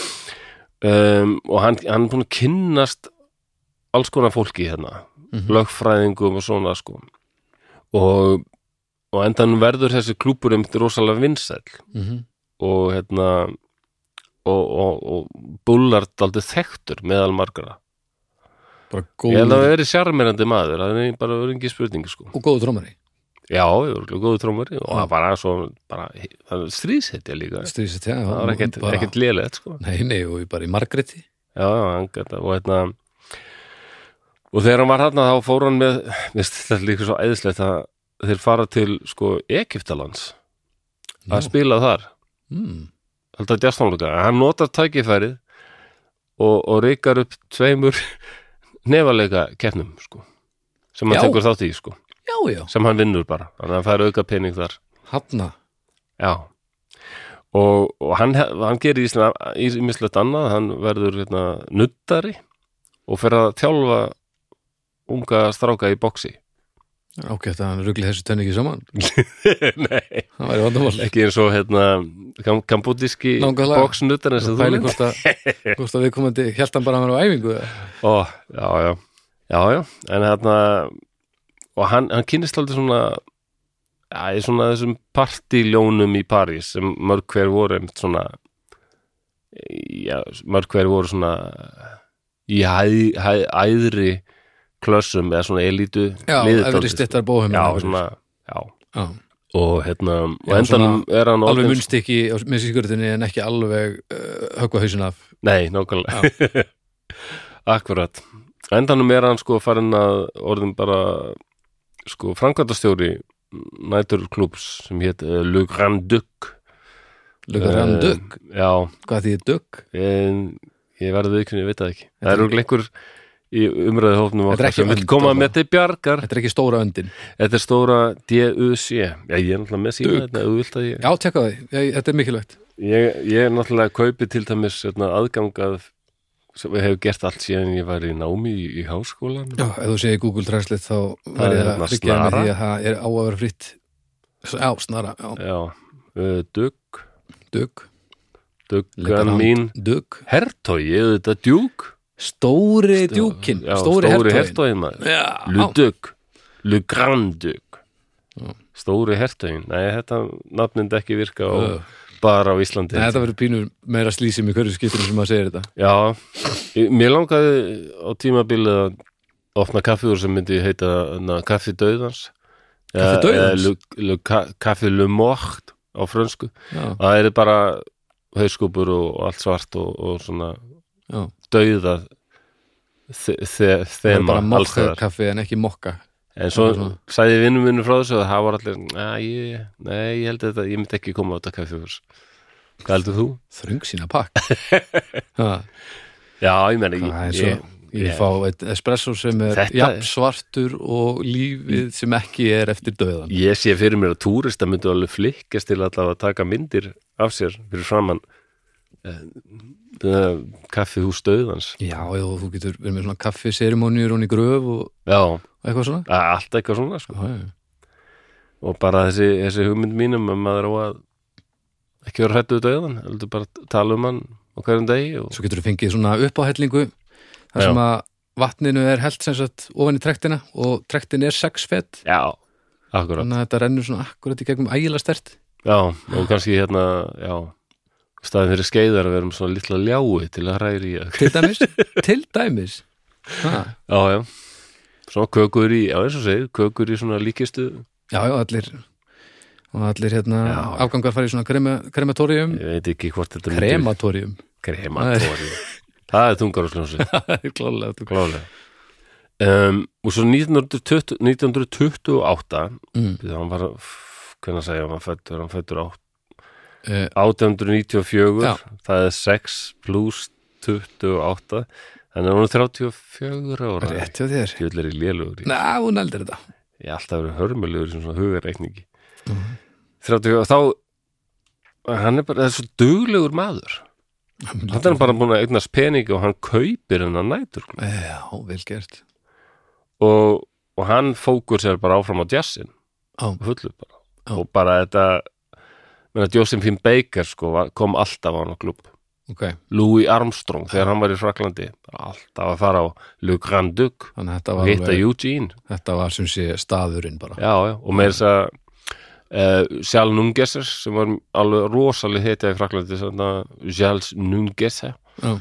um, og hann, hann er búin að kynnast alls konar fólki hérna
Mhm.
lögfræðingum og svona sko og, og endan verður þessi klúpur einmitt rosalega vinsæll
Mhm.
og hérna og, og, og bullart aldrei þekktur meðal margara
bara
ég held
góð
að það verið sjarmerandi maður það er bara verið ekki spurning sko
og góð trómari
Já, ég voru góðu trómari og
Já.
það bara svo, bara, það var stríðsetja líka
stríðsett, já,
það var ekkert,
bara-
ekkert lélegt sko.
Nei, nei, og bara í Margréti
Já, já, hann gæti og hérna og þegar hann var hérna þá fór hann með veist, þetta er líka svo æðislegt að þeir fara til sko Egiptalands
Nú.
að spila þar
mm.
held að djastónleika, hann notar tækifærið og, og reykar upp tveimur [LAUGHS] nefaleika keppnum sko sem hann
Já.
tekur þátt í sko,
Já, já,
sem hann vinnur bara þannig að hann fær auka pening þar
hafna
Já og, og hann, hann gerir ímislegt annað, hann verður hérna, nuttari og fer að þjálfa unga stráka í boksi
Ágætt að hann rugli þessu tönn ekki saman
Nei,
Það væri vandamál
ekki eins og hérna, kam kambúdíski
Nákvæmlega.
boksnuttari sem þú
Pæli
mynd
hvort að, hvort að við komandi Hjælt hann bara að vera á æfingu eða?
Ó, já, já, já, já en hérna og hann, hann kynist aldrei svona Já, í svona þessum partiljónum í París sem mörg hver voru einmitt svona já, mörg hver voru svona í hæ, hæ, æðri klössum eða svona elítu
Já,
liði
efri
dálítið, sko.
stittar bóheim
Já, svona, já
já.
og hérna, og
Já,
endanum er hann
Alveg
orðinn-
munstykki á minnskjörðinni en ekki alveg uh, höggva hausin af
Nei, nákvæmlega [LAUGHS] Akkurat Á Endanum er hann sko farin að orðin bara sko framkvæmtastjóri nætur klúbs sem hét uh, Le Grand Duc
Lukkar hann
Eh,
dögg
Já,
Hvað því dögg?
en ég verði ekki, ég veit það ekki Það er okkur leikur í umræðu hófnum
Þetta er
okkar
ekki
sem vil
önd
koma
allavega.
með til bjargar
Þetta er ekki stóra öndin
Þetta er stóra DUC Já, ég er náttúrulega með síma
Duc.
þetta ef þú vilt að ég,
Já, tekka því, ég, þetta er mikilvægt
ég, ég er náttúrulega kaupið til dæmis hérna, aðgangað sem við hefur gert allt síðan ég var í námi í, í háskólan
Já, ef þú segir Google Translate þá verði
er
það
hérna
að tryggja með
snara.
því að það er á að vera fritt Já, snara, já,
Já, uh, Dugg
dögg
Duggan mín
Dögg
Hertogi, eða þetta djúk
Stóri djúkin,
Já,
stóri hertóin
hertoginn maður
Já,
Ludug, Lugrandug
Já.
Stóri hertoginn Nei, þetta nafnind ekki virka á,
Ö.
bara á Íslandi
Nei, þetta verður pínur meira slísim í hverju skiptinu sem maður segir þetta
Já, ég- mér langaði á tímabilið að opna kaffjúr sem myndi heita na, kaffi Eh, döðans
Kaffi dauðans?
Kaffi le mort á frönsku
Já,
það er bara hauskúpur og, og allt svart og, og svona
já
dauða þe þe
Það er
þema
bara
alls
mokka
þar
kaffi en ekki mokka
en svo
Já, svona.
sagði vinnum minnum frá þessu og það var allir, "Nei, ég- nei, ég held að þetta ég myndi ekki koma á þetta kaffihús hvað heldur þú?
Þröng sína pakk
[LAUGHS]
Ha,
Já, ég menn
Það er
ég,
svo
ég,
Ég fá eitt espresso sem er
Þetta er-
jafn svartur og lífið sem ekki er eftir döðan
ég sé fyrir mér að túrista myndi alveg flikkast til allavega að taka myndir af sér fyrir eh, framann uh, kaffihús döðans
Já, já, þú getur verið með svona kaffi serimóniur hún í gröf og
Já,
og eitthvað svona
það er allt eitthvað svona sko.
Já, já.
og bara þessi, þessi hugmynd mínum um að maður á að ekki vera hrættu við döðan, heldur bara tala um hann á hverjum degi og
Svo getur þú fengið svona uppáhellingu þar
Já.
sem að vatninu er held sem sagt ofan í trektina og trektin er sex fett
já, akkurat
þannig að þetta rennur svona akkurat í gegnum ægilega stert
já, og kannski hérna, já staðin fyrir skeiðar að vera um svona litla ljái til að hræri í það
til
[LAUGHS]
dæmis, til dæmis ha.
já, já, svona kökur í já, eins og segir, kökur í svona líkistu
Já, já, allir og allir hérna
Já.
afgangar fara í svona krema, krematorium
ég veit ekki hvort þetta
krematorium,
krematóri það er tungarúsljónsi
klálega þú-
klálega um, og svo 1920, 1928
mm.
Býðu, hann var, f- hvernig að segja hann var fættur, hann fættur
Eh.
1894
Já.
það er 6 pluss 28 þannig að hún er 34 ára
Rétt hjá þér
Fjöll er í lélugur í.
Ná, hún eldir þetta
Ég er alltaf verið hörmulegur sem svona hugareikningi
Mhm.
30 og þá hann er bara, það er svo duglegur maður hann er bara búin að eignast peningi og hann kaupir hennar nætur
Já, vel gert
og, og hann fókur sér bara áfram á jazzin
Já.
fullu bara
Já.
og bara þetta menna, Josephine Baker sko, var, kom alltaf á hann á klub
Ok,
Louis Armstrong þegar hann var í Fraklandi alltaf að fara á Le Grand Duc
þannig að þetta
og
var,
hitta
alveg,
Eugene
þetta var sem sé staðurinn bara
já, já. og með þess að uh, Sjál Nungeser sem var alveg rosaleg hetja í Fraklandi Sjál Nungeser
Já.
eh,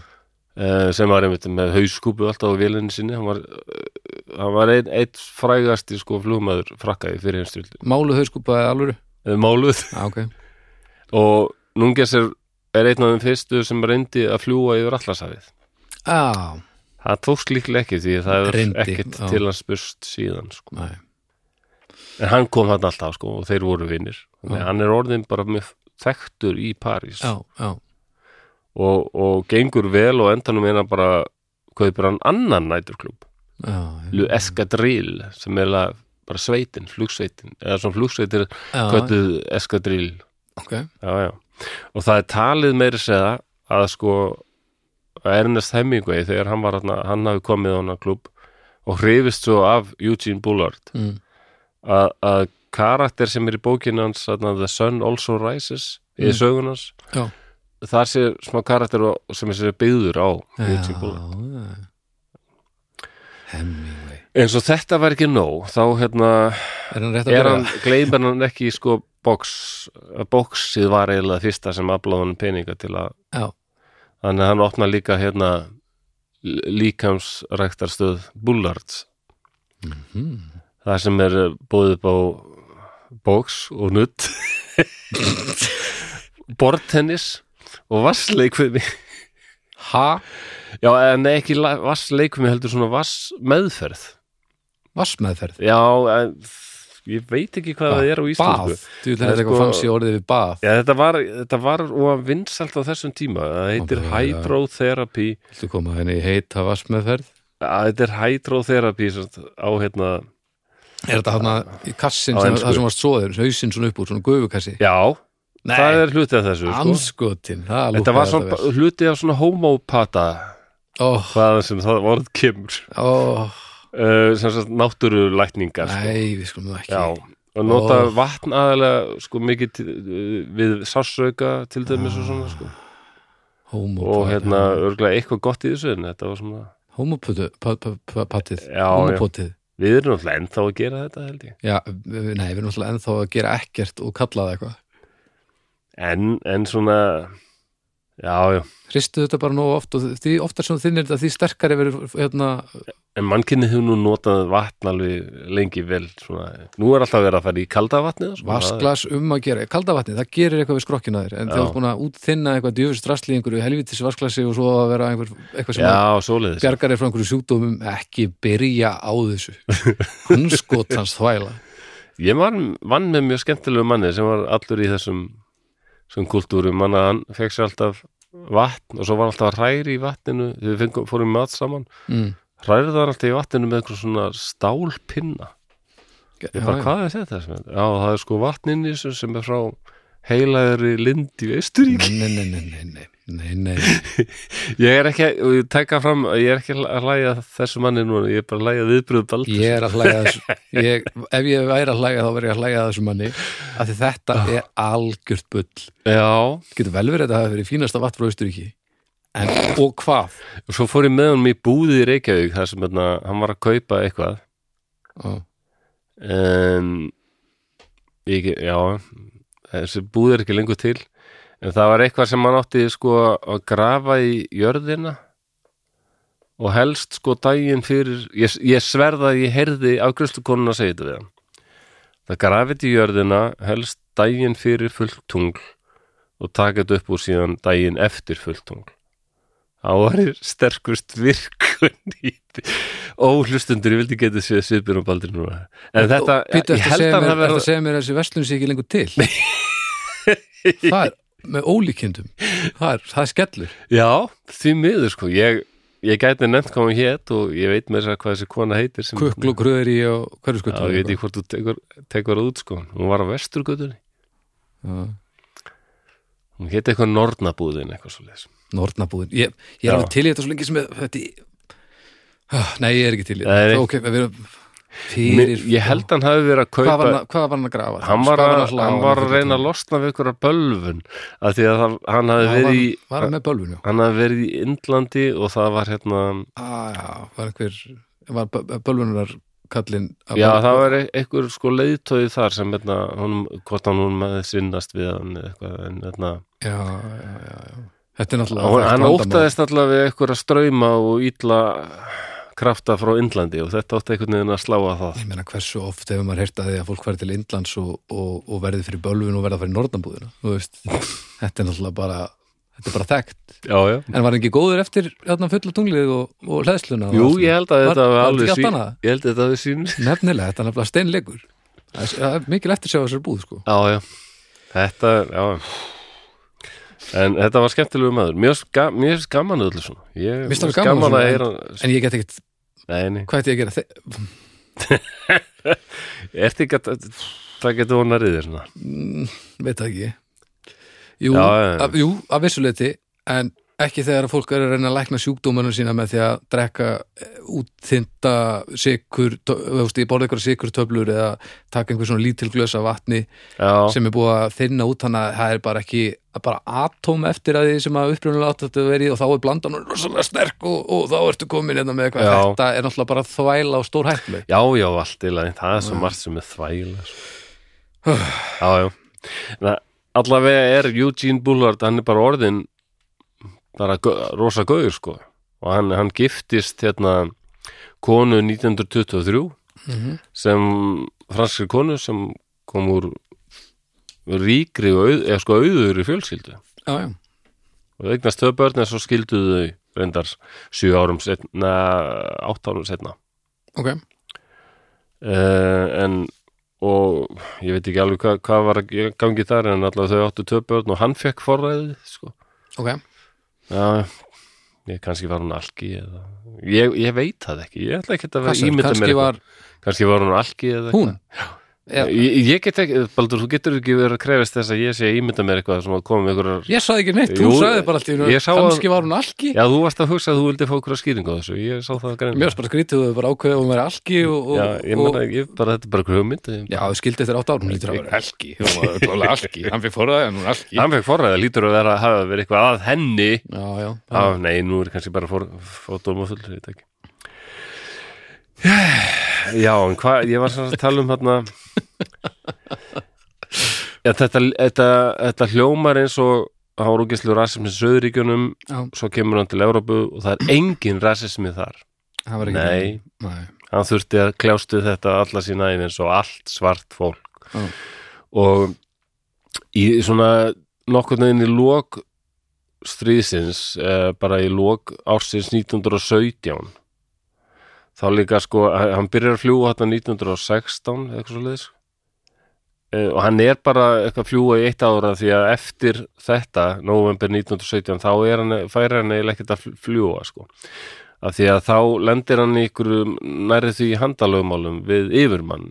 uh, sem var einmitt með hauskúpu alltaf á vélinni sinni hann var, uh, hann var einn ein frægasti sko flugmaður frakkaði fyrir heimstyrldi
Málu hauskúpa eða alvöru?
máluð [LAUGHS]
Já, ok.
og Núnges er, er einn af þeim fyrstu sem reyndi að fljúa yfir allarsafið
Já,
það tókst líklega ekki því það er
Reyndi,
ekkert
já.
til að spurst síðan sko.
næ.
en hann kom hann alltaf sko og þeir voru vinnir
Já.
hann er orðin bara með þekktur í París
Já, já.
og, og gengur vel og endanum eina bara kaupir hann annan næturklub
Já, já.
Lu Escadril sem er eiginlega bara sveitin, flugsveitin eða svona flugsveitir
Já,
kölluð Escadril
ok.
já, já. og það er talið meiri segja að sko að Ernest Hemingway þegar hann var hann, hann hafi komið á hann að klub og hrifist svo af Eugene Bullard
Mm.
að, að karakter sem er í bókinu hans þarna, The Sun Also Rises í
Mm.
sögunars
Já.
þar sé smá karakter á- sem er sér byggður á Eugene Bullard
já. Hemingway.
eins og þetta var ekki nóg þá hérna
Er hann rétt að
er
byrja?
hann, gleymir hann ekki í, sko box, boxið var eiginlega fyrsta sem aflaði hann peninga til að
Já,
þannig að hann opna líka hérna líkamsræktarstöð Bullards það sem er búið upp á box og nutt bortennis og vassleikvimi
ha?
já en ekki la- vassleikvimi heldur svona vassmeðferð
Vassmeðferð.
já en ég veit ekki hvað
Ah,
það er á
Bað.
íslensku
Þú veist, þetta er
Það er
eitthvað
sko-
fanns í orðið við bað.
Já, þetta var, þetta var og vinsalt á þessum tíma það heitir
bara-
hydrotherapy
Viltu koma henni í heita vassmeðferð?
að þetta er hydrotherapy sem sagt, á hérna,
Er þetta hann í kassin
Á
sem,
ensku.
það sem varst svoður, hausinn svona upp úr, svona gufukassi?
já
Nei.
það er hluti af þessu sko.
Anskotin, það
þetta
lúkkaði
var svona,
vel.
hluti af svona homopata
Óh,
hvaðan sem það vorð kemur
óh,
uh, sem sagt náttúrulækningar sko.
nei, við skulum nú ekki
já, og nota
Ó.
vatn aðalega sko mikið til, uh, við sársauka til dæmis og svona sko.
Ah, Homo-
og hérna örgulega eitthvað gott í þessu en þetta var svona
Homopötu- pa- pa- pa- patið
Já, já.
Homopotið
við erum náttúrulega ennþá að gera þetta held ég
Já, við- nei, við erum alltaf ennþá að gera ekkert og kalla það eitthvað
en, en svona já, já
Hristu þetta bara nóg oft og því oftar sem þinn er þetta því sterkari verið hérna
En mannkynni hefur nú notað vatn alveg lengi vel svona. Nú er alltaf verið að fara í kalda vatnið sko.
vasklas um að gera kalda vatni, það gerir eitthvað við skrokkina þér en
Já.
þegar þú ert búin að útþinna eitthvað djöfis drasli í einhverju helvitis vasklasi og svo að vera einhver, eitthvað sem að
Já, svoleiðis
bjargar er frá einhverju sjúkdómum ekki byrja á þessu [LAUGHS] hanskot hans þvæla
Ég vann, vann með mjög skemmtilegu manni sem var allur í þessum sem kultúrum, manna hann fekk sér alltaf vatn og svo var alltaf að hræri í vatninu þegar við fengum, fórum í mat saman
mm.
hræri það alltaf í vatninu með einhver svona stálpinna Ég bara, hvað er þetta? sem er?" Já, það er sko vatnin í þessu sem er frá heilaðri lind í Austuríki
Nei, nei, nei, nei, nei, nei, nei.
Ég er ekki, og ég taka fram að ég er ekki að hlæja að þessu manni núna, ég er bara að hlæja viðbröðu baldur.
Ég er að hlæja að þessu ég, Ef ég væri að hlæja þá verið ég að hlæja að þessu manni af því þetta
Ah.
er algjört bull
Já,
Getur vel verið að þetta hafi verið fínasta vatn frá Austuríki En, og hvað?
og svo fór ég með honum í búði í Reykjavík þar sem hérna, hann var að kaupa eitthvað.
Ó,
Ah. En, ég, já, þessi búði er ekki lengur til. En það var eitthvað sem hann átti sko að grafa í jörðina og helst sko daginn fyrir, ég, ég sverða að ég heyrði afgjörslukonuna að segja þetta við hann. Það grafið í jörðina helst daginn fyrir fullt tungl og taka þetta upp úr síðan daginn eftir fullt tungl. Það var sterkust virkun í því. Ó, hlustundur, ég vildi geta séð Sibir og Baldur núna. En þetta,
Býtu eftir
ég
að
held
segja mér,
að það
verið...
verða...
að segja mér að þessi verslun sé ekki lengur til Það er með ólíkindum Það er, það er skellur
Já, því miður sko, ég, ég gæti nefnt hvað hún hétt og ég veit með þess að hvað þessi kona heitir sem...
Kukl og kröðri og hverju
Já,
skutum
ég veit ekki hvort þú tekur, tekur það út sko, hún var á vesturgötunni, hún hétt eitthvað nornabúðin eitthvað svo leis.
Nornabúðin Ég, ég er
Já.
alveg til í þetta svo lengi sem er, þetta, Ah, Nei, ég er ekki til í
Nei, nei.
þetta Ok, við erum fyrir
Ég held hann hafi verið að kaupa...
hvað var, hann, að- hvað var hann að grafa?
hann var, að, hann var að reyna að losna við ykkur að bölvun að því að það, hann hafði
Hann var,
verið í
var hann með bölvun, já.
hann hafði verið í Indlandi og það var hérna
Ah, já, var einhver, var bölvunar kallinn.
já það var e- einhver sko leiðtóði þar sem hérna hún, hvort hann hún maður sinnast við hann eða eitthvað en hérna
Já, já, já, já. Þetta er náttúrulega.
hann,
þekkt
hann
vandamál.
óttaðist allavega við einhverja strauma og ítla krafta frá Indlandi og þetta átti einhvern veginn að sláa það
Ég meina hversu oft hefur maður heyrt að því að fólk verði til Indlands og, og, og verði fyrir bölvun og verði að fara í norðanbúðina þú veist, þetta er náttúrulega bara þetta er bara þekkt,
Já, já
en var ekki góður eftir hérna fulla tunglið og, og hlæðsluna og
Jú,
allt svona?
ég held að
Var-
þetta var
var
alveg
þetta ekki allt
sín
annað?
Ég held að þetta við sín
Nefnilega, þetta er nefnilega steinleikur Það er- það er mikil eftir sjá þessar búð sko
Já, já Þetta, já En þetta var skemmtilegu maður Mér finnst ga- mér finnst gaman öllu svona Ég
Mér finnst alveg gaman
gaman
svona,
að
en-
heyra
En ég get ekkit,
Nei, nei,
hvað ætti ég að gera? Þe-
ertu ekki að Það getur hún að riðir svona
mm, Veit það ekki Jú,
Já, já, já.
að, jú að vissuleiti En ekki þegar að fólk er að reyna að lækna sjúkdómanum sína með því að drekka eh, útþynda sikur, veist, ég borða eitthvað sikurtöflur eða taka einhver svona lítil glös af vatni
Já,
sem er búið að þynna út þannig að það er bara ekki bara atóm eftir að því sem að upprunalega átt þetta verið og þá er blandan og rosalega sterk og, og þá ertu komin hérna með eitthvað
Já.
þetta er náttúrulega bara þvæla og stór hættuleg
já, já, allt í lagi Það er svo margt sem er þvæla sko. Já, já Na, Allavega er Eugene Bullard Hann er bara orðin bara gau- rosa gauður sko og hann, hann giftist hérna konu 1923 sem franskir konu sem kom úr ríkri og auð, eða sko auður í fjölskyldu
Já, já,
og eignast þau börn en svo skildu þau reyndar sjö árum setna átt árum setna
ok
uh, en og ég veit ekki alveg hvað, hvað var að gangi þar en allavega þau áttu tvö börn og hann fekk forræðið sko
Ok,
Já, ég kannski var hún algi eða ég, ég veit það ekki, ég ætla ekki að vera
Passar,
ímynda mér
kannski
eitthvað.
var
kannski var hún algi eða
hún Já.
eitthvað. Ég, ég get ekki, Baldur, þú getur ekki verið að krefast þess að ég sé að ímynda mér eitthvað sem að koma með einhverjar
Ég sagði ekki neitt,
Jú,
hún sagði bara allt í
ég
hennu
sá að-
Kannski var hún alki
Já, þú varst að hugsa að þú vildi fá okkur skýringu á þessu, ég sá það að greina
Mér varst bara skrítið og bara ákveðið að hún væri alki og, og,
Já, ég
og,
meina, ég bara, þetta er bara hugmynd ég-
Já, þú skildi eftir átt ára, hún lítur að vera alki Hún
[LAUGHS]
var klálega alki, hann fyrir forðaði en hún alki
Hann fekk forræða, lítur að vera, hafa verið eitthvað að henni
Já, já,
Já, nei, nú er kannski bara fótum og full, ég veit ekki [SIGHS] Já, en hvað, ég var svona að tala um [LAUGHS] hérna Já, þetta, þetta, þetta hljómar eins og hann var úkislu rasismi í Söðuríkjunum
Já.
svo kemur hann til Evrópu og það er engin rasismi þar
hann var ekki
Nei,
Nei.
hann þurfti að kljástu þetta alla sína ævi eins og allt svart fólk
Já.
og í svona nokkurn veginn í lok stríðsins eh, bara í lok ársins 1917 þá líka sko h- hann byrjar að fljúga þarna 1916 eða eitthvað svo leiðis og hann er bara eitthvað að fljúga í eitt ára því að eftir þetta november 1917 þá er hann, færi hann eiginlega ekkert að fl- fljúga sko af því að þá lendir hann í ykkur nærið því handalögumálum við yfirmann,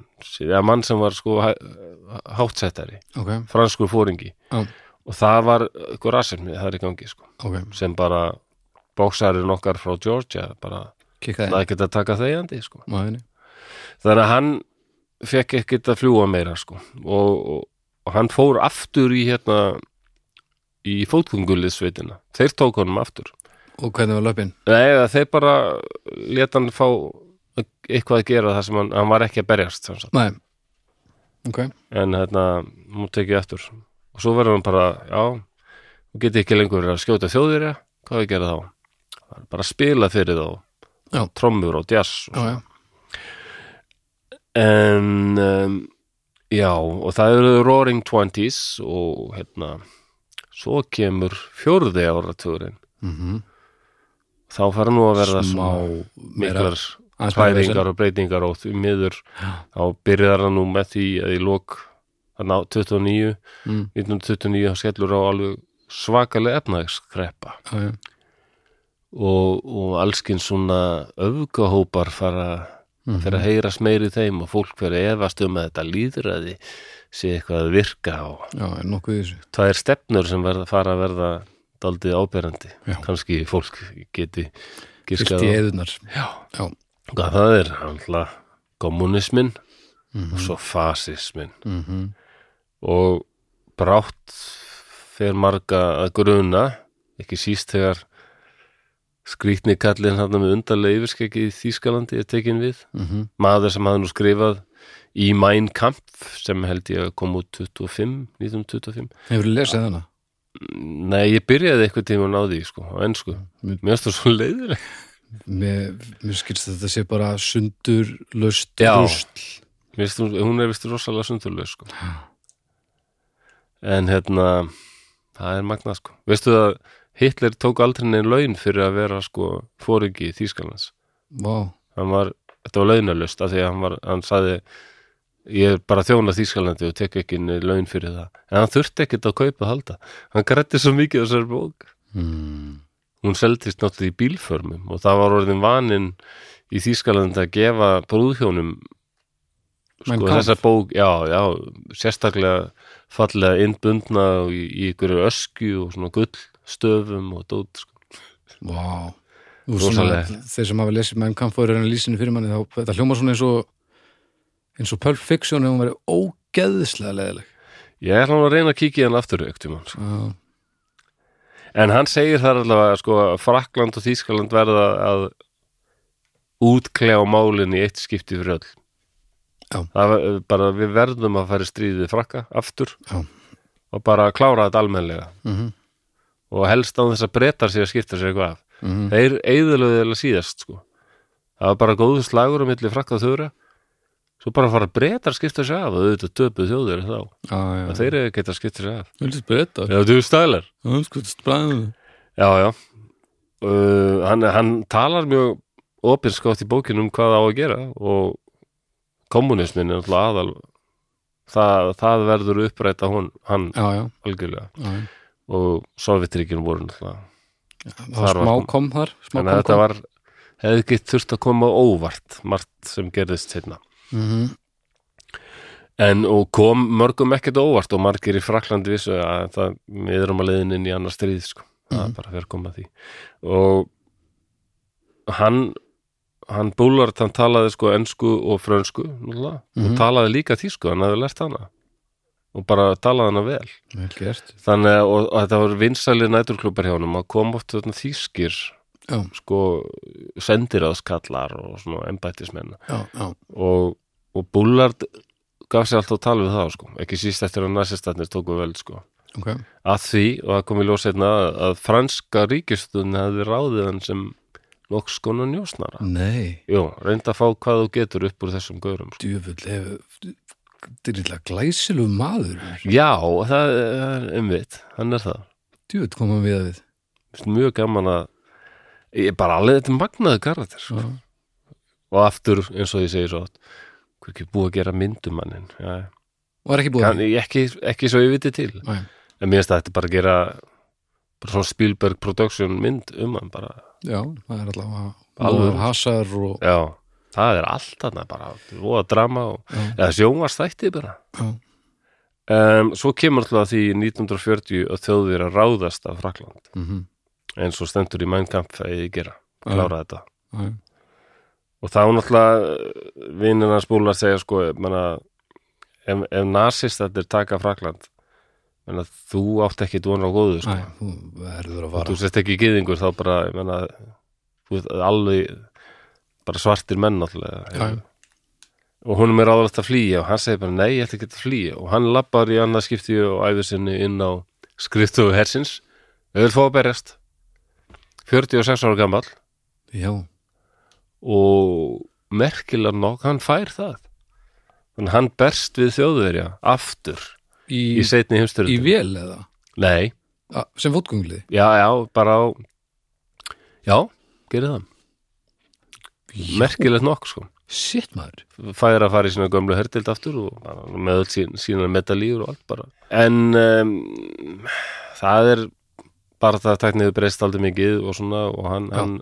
eða mann sem var sko hæ- hátsettari,
Ok,
franskur fóringi
Já.
og það var ykkur rasismi það er í gangi sko,
ok,
sem bara bóksarinn okkar frá Georgia bara,
kikkaði
það er ekki að taka þegjandi sko
Máðinni
þannig að hann fekk ekkert að fljúa meira sko og, og, og hann fór aftur í hérna í fótgungulissveitina þeir tók honum aftur
Og hvernig var löpin?
Nei, eða þeir bara leta hann fá eitthvað að gera það sem hann, hann var ekki að berjast sem sagt.
Nei Ok,
en hérna, hún tekið eftir og svo verður hann bara, já hún geti ekki lengur verið að skjóta þjóðverja hvað á ég að gera þá? Það er bara að spila fyrir þá,
Já.
trommur og djass og
já, já,
en um, já, og það eru Roaring Twenties og hérna svo kemur fjórði áratugurinn
Mhm.
þá fara nú að verða
Smá
smá
meira-
miklar
Aðeins meira
hræringar og breytingar og því miður þá byrjar hann nú með því að í lok þarna á 29
Mm.
1929 þá skellur á alveg svakalega efnaðskreppa
Já, já.
og, og allskinn svona öfgahópar fara
Mhm.
fyrir að heyrast meiri þeim og fólk fyrir að efast um að þetta líðræði sé eitthvað að virka og
já, er nokkuð í þessu
það er stefnur sem verða, fara að verða daldið áberandi
Já.
kannski fólk geti
Fyllt
giskað
í
á-
eðunar
Já.
Já,
Hvað það er alltaf kommunismin og svo fasismin
mhm,
og brátt fer marga að gruna ekki síst þegar skrýtni kallinn hann með undarlega yfirskeggi í Þýskalandi er tekin við
mhm
maður sem hafði nú skrifað í Mein Kampf sem held ég að kom út 25, 1925
Hefurðu lesið þarna?
Nei, ég byrjaði eitthvað tíma á því sko, á ennsku
Mér-
Mér finnst það svo leiðileg
mér, mér skilst að þetta sé bara sundur, löst,
Já.
rusl
Mér finnst hún, hún er vist rosalega sundurlega sko. en hérna það er magnað sko veistu að Hitler tók aldrei neinn laun fyrir að vera sko fóringi í Þýskalands
Vá,
hann var, þetta var launalust af því að hann var, hann sagði ég er bara þjóna Þýskalandi og tek ekki neinn laun fyrir það, en hann þurfti ekkert að kaupa og halda, hann grætti svo mikið á þessar bók,
hmm.
hún seldist náttúrulega í bílförmum og það var orðin vaninn í Þýskalandi að gefa brúðhjónum
Mein
sko,
Kampf.
þessa bók, já, já sérstaklega fallega innbundna og í, í ykkur ösku og svona gullstöfum og dót sko.
Vá Úr svona,
Rosalega.
þeir sem hafa lesið með kampfóður en lýsinu fyrir manni, þá þetta hljómar svona eins og eins og Pulp Fiction ef hún verið ógeðslega leðileg
ég ætla nú að reyna að kíkja í hann aftur ekkert tímann, sko.
Já,
En hann segir þar allavega sko, að Frakland og Þýskaland verða að útkljá málin í eitt skipti fyrir öll.
Já.
Það var eh, bara við verðum að fara í stríðið frakka aftur
já,
og bara klára þetta almennlega
mhm,
og helst á þess að breytar sér að skipta sér eitthvað af.
mhm
Þeir eigðulegðilega síðast sko. Það var bara góðu slagur um milli frakka og þurra svo bara fara breytar að skipta sér af og auðvitað töpuð þjóðir þá.
Já, já,
Þeir eru geta að skipta sér af.
Vildi breyta
Já, þú stælar.
Það er sko splæðið
Já, já uh, hann, hann talar mjög opinskátt í bókinu um hvað á að gera og kommunismin er alltaf aðal það, það verður uppræta hún, hann
Já, já,
algjörlega
já, já.
og Sovjetríkin voru náttúrulega
Það var
var-
smá kom þar smá
þannig að
kom
þetta
kom
var hefði ekki þurft að koma á óvart margt sem gerðist hérna
Mhm,
en og kom mörgum ekkert á óvart og margir í Fraklandi vissu að það, við erum að leiðin inn í annar stríð sko. það er bara fyrir að koma að því og hann hann búlart, hann talaði sko ensku og frönsku náttúrulega,
Mhm.
og talaði líka þýsku, hann hafði lært hana og bara talaði hana vel
Vel gert
þannig að, og, og þetta var vinsæli næturklubbar hjá honum að kom oft þarna þýskir
Já,
sko sendiráðskallar og svona embættismenn
já, já,
og, og Bullard gaf sér alltaf að tala við það sko. ekki síst eftir að næsistatnir tóku vel sko.
ok
að því, og það kom í ljós einna að, að franska ríkistunni hefði ráðið hann sem nokks konar njósnara
Nei,
Jú, reynda að fá hvað þú getur upp úr þessum gaurum sko.
djöfull eh, hefur Dyrilla glæsilegu maður
Já, það er umvitt hann er það,
Djöfull komum við að við
Mér finnst mjög gaman að ég er bara alveg þetta magnaðu karakter sko.
Já,
og aftur, eins og ég segi svo oft, hver ekki búið að gera myndumannin Já,
Var ekki búið
kann, ekki, ekki svo ég viti til
Nei,
en mér finnst að þetta bara að gera bara svona Spielberg production mynd um hann bara,
Já, það er allavega
Alveg.
Alveg hasar og
já, það er allt þarna bara, voða drama og,
Já,
eða sjónvast þætti bara
já,
um, svo kemur alltaf því 1940 að þjóðir að ráðast af Frakland
mhm
eins og stendur í mænkamp það eigi að gera, klára þetta
já, já.
og þá náttúrulega vinninn hans búlar segja sko menna, ef, ef nasist þetta er taka Frakland menna, þú átt ekki dvonar á góðu sko.
Æ, þú verður að
þú
vara
sett ekki gýðingur þá bara ég menna, þú veist, alveg bara svartir menn náttúrulega
Já,
og honum er áðurlega að flýja og hann segir bara nei, ég ætla ekki að flýja og hann lappar í annað skipti og æfur sinni inn á skriftofu hersins við vil fá að berjast 46 ára gamall
Já,
og merkilega nokk, hann fær það þannig að hann berst við þjóðverja aftur
í,
í seinni
í
heimstyrjöldinni
vél eða
nei,
A, Sem fótgönglið
já, já, bara á já, gerir það merkilegt nokk sko
Sitt maður
fæðir að fara í sína gömlu hertild aftur og bara með öll sín, sína medalíur og allt bara en um, það er bara það tækniðu breyst aldrei mikið og svona og hann,
Já.
hann,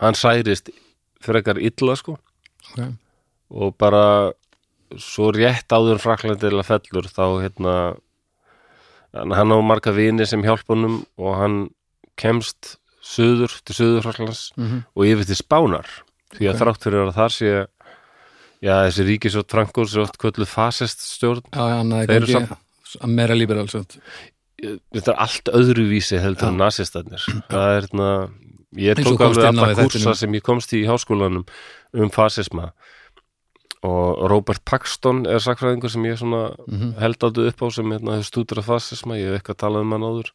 hann særist frekar illa sko
okay.
og bara svo rétt áður en fraklandilega fellur þá hérna hann- hann á marga vini sem hjálpa honum og hann kemst suður til suður fraklands
Mhm.
og yfir til spánar því að
Ok.
þrátt fyrir að þar sé já þessi ríkisjótt frangur sér oft kvöldu fasist stjórn
Já, já, annað
Þeir eru
ekki Að meira líberal samt
eh, þetta er allt öðruvísi heldur en nasistarnir það er hérna ég
Eins og
tók
komst
alveg
inn á
alla
í þættinum.
kursa sem ég komst í í háskólanum um fasisma og Robert Paxton er sakfræðingur sem ég svona
Mhm.
held aldrei upp á sem hérna, hefur stúdur af fasisma, ég hef eitthvað talað um hann áður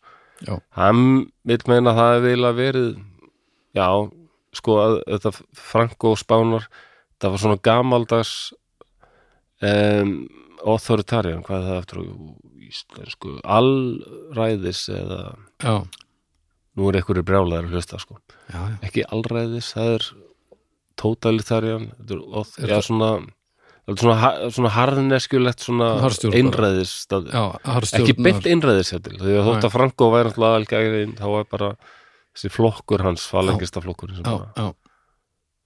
Já.
hann vil meina að það hefur eiginlega verið já, sko að þetta Franco Spánar það var svona gamaldags um, authoritarian hvað er það aftur á íslensku allræðis eða
já,
nú er einhverju brjálæðar að hlusta sko
já, já.
ekki allræðis, það er totalitarian þetta er, auth-
Er
já,
það-
svona, það er svona, ha- svona harðneskjulegt svona
Harðstjórn bara.
einræðis það,
já það eru
ekki beint
stjórnar-
einræðis hérna til, því að þótt
Nei.
að Franko væri náttúrulega aðalgæðin þá var bara þessi flokkur hans falengista flokkur sem
já,
bara,
já,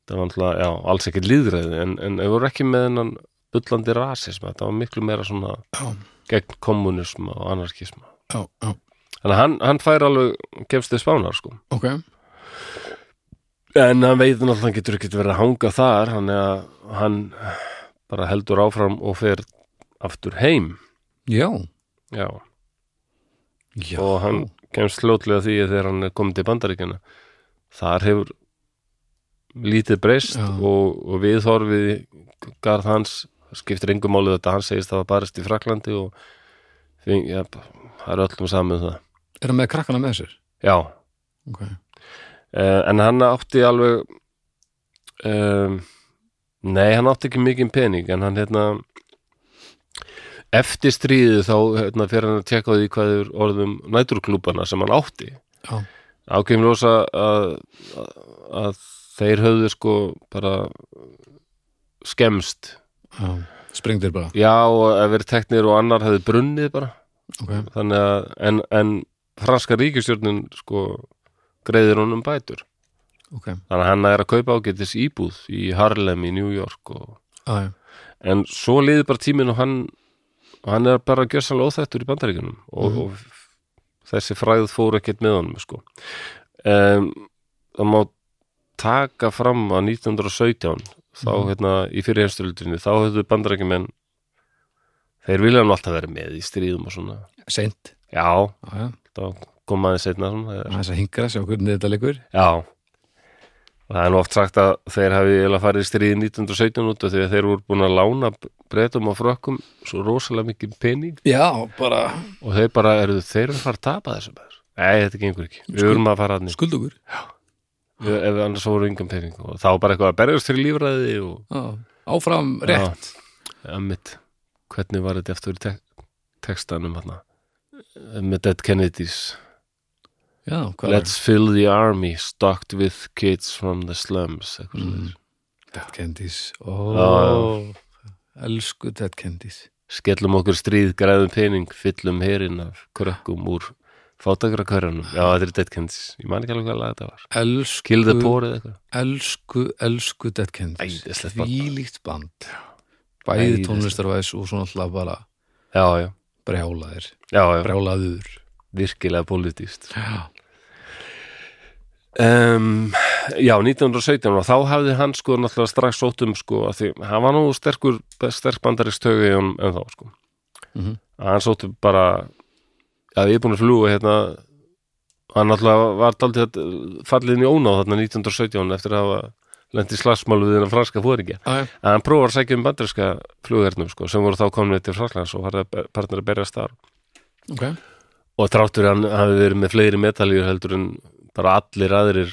það var náttúrulega, já, alls ekki líðræði en, en þau voru ekki með hennan bullandi rasisma, þetta var miklu meira svona
já,
gegn kommunisma og anarkisma
já, já,
þannig að hann, hann fær alveg kemst þið spánar sko
ok
En hann veit náttúrulega hann getur ekkert verið að hanga þar hann, að, hann bara heldur áfram og fer aftur heim
já,
já.
já,
og hann kemst fljótlega að því að þegar hann er komið til bandaríkjana þar hefur lítið breyst
Já.
og, og viðhorfið garð hans skiptir engum málið þetta hann segist það var barist í Fraklandi og því, ja, það er öllum saman um það
er hann með krakkana með sér
já,
ok,
uh, en hann átti alveg um, nei, hann átti ekki mikið pening en hann hérna eftir stríðið þá hérna, fyrir hann að tjekka á því hvað er orðum næturklúbana sem hann átti
já,
ákveðum ljósa að, að, að þeir höfðu sko bara skemst
já, sprengdir bara
já og ef verið teknir og annar hefði brunnið bara
ok,
þannig að en, en franska ríkistjórnin sko greiðir honum bætur
ok,
Þannig að hann er að kaupa ágætis íbúð í Harlem í New York og...
já, já,
en svo liði bara tíminn og hann hann er bara gjössanlega óþættur í bandaríkunum og,
Mhm.
og þessi fræð fór ekkert með honum sko. um, það má taka fram að 1917 þá
Mhm.
hérna í fyrir heimstöldinni þá höfðu bandaríkumenn þeir vilja hann alltaf verið með í stríðum og svona
seint
já,
já, já,
þá komaði setna svona, þegar-
þess að hingra sjá hvernig þetta leikur
Já og það er nú oft sagt að þeir hafi eiginlega farið í stríði 1917 út af því að þeir voru búin að lána breytum og frökkum svo rosalega mikið pening
já, bara
og þeir bara eru þeir eru að fara að tapa þessu maður Nei, þetta gengur ekki, við
Skuld-
erum að fara að nýtt
skuldugur
ef annars voru yngan pening og þá bara eitthvað að berjast fyrir lífræði og
já, áfram rétt
ömmit, hvernig var þetta eftir í tek textanum hann með Dead Kennedys
já, hvað
Let's fill the army stocked with kids from the slums eitthvað mm.
Mm. Ted Candies
Já,
oh, Elsku Ted Candies
skellum okkur stríð, græðum pening fyllum herin af krökkum úr fátakrakörunum, já þetta er deadkins ég man ekki alveg hvað lag þetta var
Elsku,
kill the poor eða eitthvað
elsku, elsku Ted Candies
Æðislegt band.
Þvílíkt band
Æðislegt.
Bæði tónlistarvæðis og svona alltaf bara
já, já,
brjálaðir
já, já,
Brjálaður
virkilega politíst
Já,
um, já, 1917 og þá hafði hann sko náttúrulega strax sótt um sko að því, hann var nú sterkur sterk bandarist högu í honum en þá sko
Mhm.
að hann sótt um bara að ég er búin að fljúga hérna hann náttúrulega var daldið fallið inn í ónáð þarna 1917 eftir að hafa lendi slagsmálu við hennar franska
já,
fóringja að hann prófar að sækja um bandarinska flugverðnum sko, sem voru þá komin til Fraklands og farið að ber- farnir að berjast þar
ok
og tráttur hann hafi verið með fleiri metalíur heldur en bara allir aðrir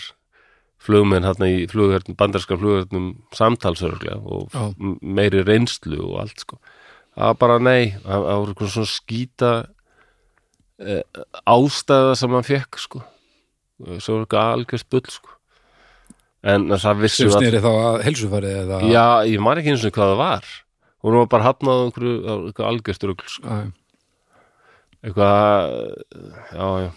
flugmenn hann í flugverðnum bandarinska flugverðnum samtalsörglega og
Já.
m- meiri reynslu og allt sko að bara nei, að að voru eitthvað svona skýta e, ástæða sem hann fekk sko svo var eitthvað algjörst bull sko en það vissu
Sem
allir-
snýri þá að helsufærið eða
Já, ég man ekki eins og hvað það var hún var bara hafnað á einhverju, á einhverju algjörst rugl, sko.
Æ,
eitthvað já, já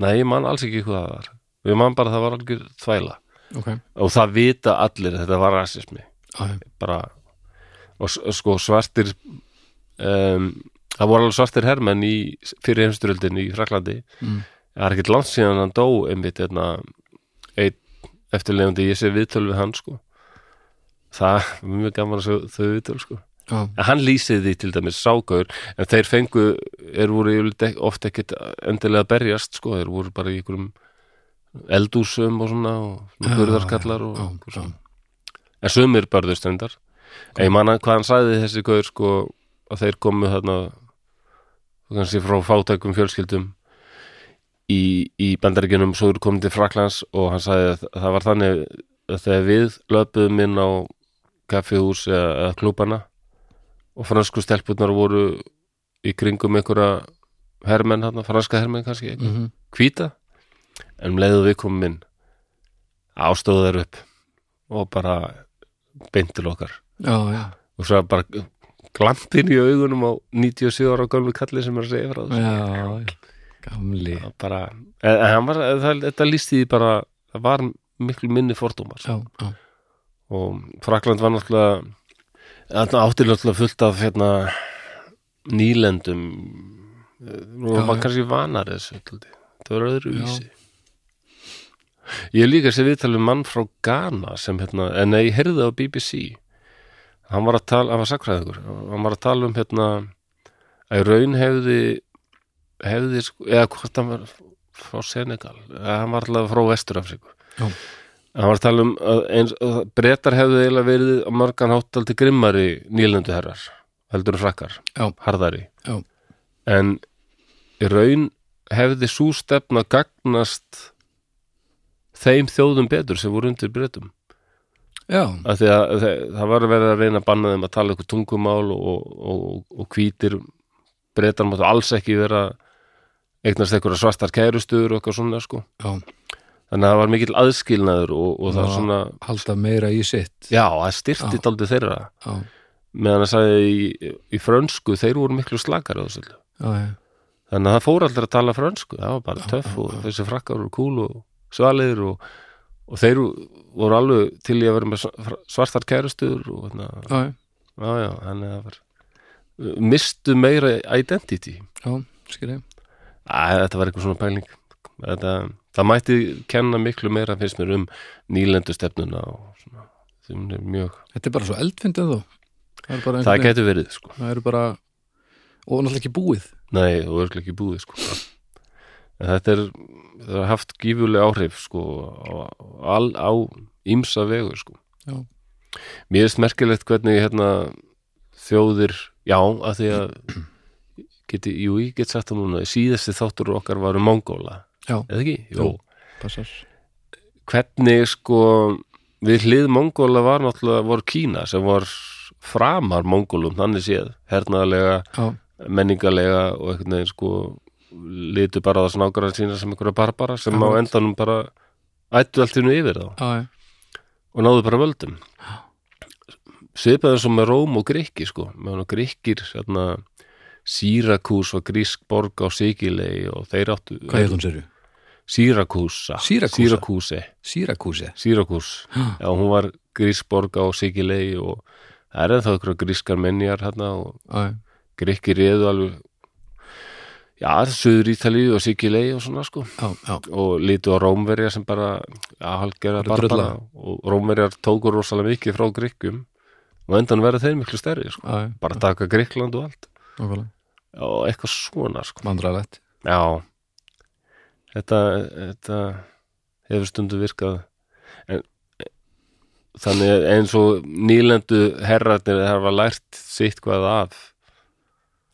nei, ég man alls ekki hvað það var ég man bara að það var algjör þvæla
Ok,
og það vita allir að þetta var rasismi
Æ,
bara og s- sko svartir um, það voru alveg svartir hermenn í fyrir heimsturöldin í Fraklandi
Mm.
það er ekkert langt síðan hann dó einmitt hérna einn eftirlegandi ég sé viðtöl við hann sko það er mjög gaman að sjá þau viðtöl sko
já,
En hann lýsið því til dæmis ságaur en þeir fengu, er voru yfirleitt ek- oft ekkit endilega að berjast sko, þeir voru bara í einhverjum eldúsum og svona og
Já,
hurðarkallar og
já,
einhver
já.
svona. en sumir börðust endar en ég manna hvað hann sagði þessi gaur sko að þeir komu þarna kannski frá fátækum fjölskyldum í, í bandaríkjunum svo er komin til Fraklands og hann sagði að það var þannig að þegar við löpuðum inn á kaffihús eða, eða klúbana og fransku stelpurnar voru í kringum einhverja hermenn hann, franska hermenn kannski mm
Mhm.
hvíta en um leiðu við komum inn ástóðu þær upp og bara beint til okkar
já, já,
og svo bara glampin í augunum á 97 ára gömlu kalli sem er að segja frá þessu
já, gamli
Það bara, en, en hann var, það, þetta lísti því bara það var miklu minni fordómar
já, já,
og Frakland var náttúrulega þarna átti náttúrulega fullt af hérna, nýlendum Eh, og
Já,
var
já.
kannski vanar þessu dálítið. þetta var öðru vísi ég er líka sér viðtalið mann frá Ghana sem hérna, en ég heyrði á BBC hann var að tala, hann var sakræðingur hann var að tala um hérna að í raun hefði hefði, sko, eða hvort hann var frá Senegal, eða hann var allavega frá Vestur-Afríku
Já.
hann var að tala um að eins að brettar hefði eiginlega verið á margan hátt aldrei grimmari nýlendu herrar, heldur en frakkar
Já.
harðari
Já.
en í raun hefði svo stefna gagnast þeim þjóðum betur sem voru undir brettum
já,
að því að það, það var verið að reyna að banna þeim að tala eitthvað tungumál og, og, og hvítir breytar máttu alls ekki vera eignast eitthvað svartar kærustuður og eitthvað svona sko.
já
þannig að það var mikill aðskilnaður og, og það
Já.
svona,
halda meira í sitt
já, það styrti
Já.
daldið þeirra,
já,
meðan að sagði í, í frönsku, þeir voru miklu slakar á þessu öllu.
já, já,
þannig að það fór allir að tala frönsku það var bara töff og þessi frakkar voru kúl og svalir og, og þeir voru alveg til í að vera með sva- svartar kærustuður og þannig að
já, já,
Já, já, þannig að það var mistu meira identity
já skilja,
Æ, þetta var eitthvað svona pæling þetta, það mætti kenna miklu meira finnst mér um nýlendu stefnuna og svona, þeim er mjög
þetta er bara svo eldfindið þó það er bara einhvern
það
veginn-
getur verið, sko
það eru bara og náttúrulega ekki búið
nei, og örglega ekki búið, sko en þetta er, það er haft gífuleg áhrif, sko á, al, á ímsa vegu, sko
Já.
mér er smerkilegt hvernig hérna þjóðir, já, að því að geti, jú, ég get sagt það núna síðasti þáttur okkar var um Mongóla
Já.
eða ekki?
Jú. passar,
hvernig sko við hlið Mongóla var náttúrulega voru Kína sem var framar Mongólum þannig séð, hernaðarlega
já,
menningarlega og einhvern veginn sko litu bara á það snákara sína sem einhverja barbara sem á
Akkurat.
endanum bara ættu allt innu yfir þá
já, já,
og náðu bara völdum svipaði svo með Róm og Grikki sko, með hann og Grikkir hérna, Sýrakús var grísk borg á Sikilei og þeir áttu
hvað hefði hún sérju?
Sýrakúsa
Sýrakúsa?
Sýrakúsi
Sýrakúsi,
Sýrakús Já, hún var grísborg á Sikilei og það er ennþá ykkur grískar menjar hérna og
já, já,
gríkki réðu alveg já, söður Ítalíu og Sikilei og svona sko
já, já,
og litu á Rómverja sem bara já, halgera
Bara drulla.
barbara og Rómverjar tóku rosalega mikið frá gríkjum og endan verða þeir miklu stærri sko.
já, já,
bara taka Gríkland og allt
nákvæmlega
og eitthvað svona sko
mandralegt,
Já þetta, þetta hefur stundu virkað en, þannig eins og nýlendu herrarnir hafa lært sitt hvað af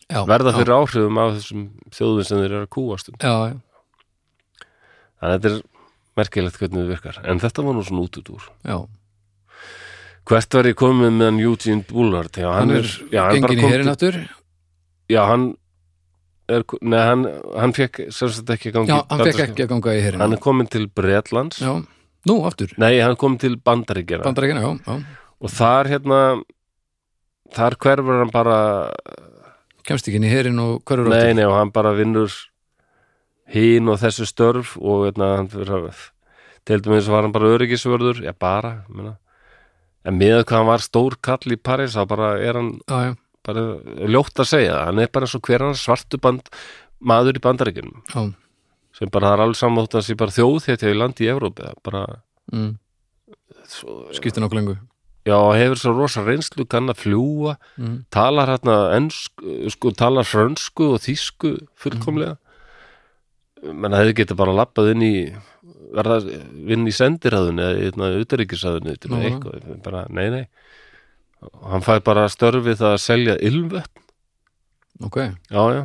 já,
verða
já,
fyrir áhrifum af þessum þjóðum sem þeir eru að kúast um.
já, já,
þannig að þetta er merkilegt hvernig það virkar en þetta var nú svona út út úr
já,
hvert var ég komið með hann Eugene Bullard já, hann,
hann er
er, já, hann bara
gengin í
kom
herin
til,
aftur
já, hann er, nei, hann, hann fekk sem sagt ekki gangi
já, hann fekk ekki að ganga í herin
hann er komin til Bretlands
já, nú aftur
Nei, hann kom til Bandaríkjana
bandarækina, já, já,
og þar hérna þar hverfur hann bara
kemst ekki inn í herin og hverfur
nei, nei, og hann bara vinnur hín og þessu störf og hérna, hann fyrir að til dæmis var hann bara öryggisvörður já, bara, ég meina en með hvað hann var stór kall í París þá bara er hann
já, já,
bara ljótt að segja, hann er bara svo hver hann svartu band, maður í Bandaríkjunum
já,
sem bara það er alveg sammátt að sé bara þjóð þetta í landi í Evrópi það bara,
mm,
svo,
skiptir nokkuð lengu
já, hefur svo rosa reynslu kann að fljúa
mm,
talar hérna ensk, sko, talar frönsku og þýsku fullkomlega menn að þeir geta bara lappað inn í verða inn í sendirhæðunni eða hérna, utanríkisræðunni til
Nú,
Nóra. eitthvað, bara, nei, nei hann fær bara störfið það að selja ylvötn,
ok,
já, já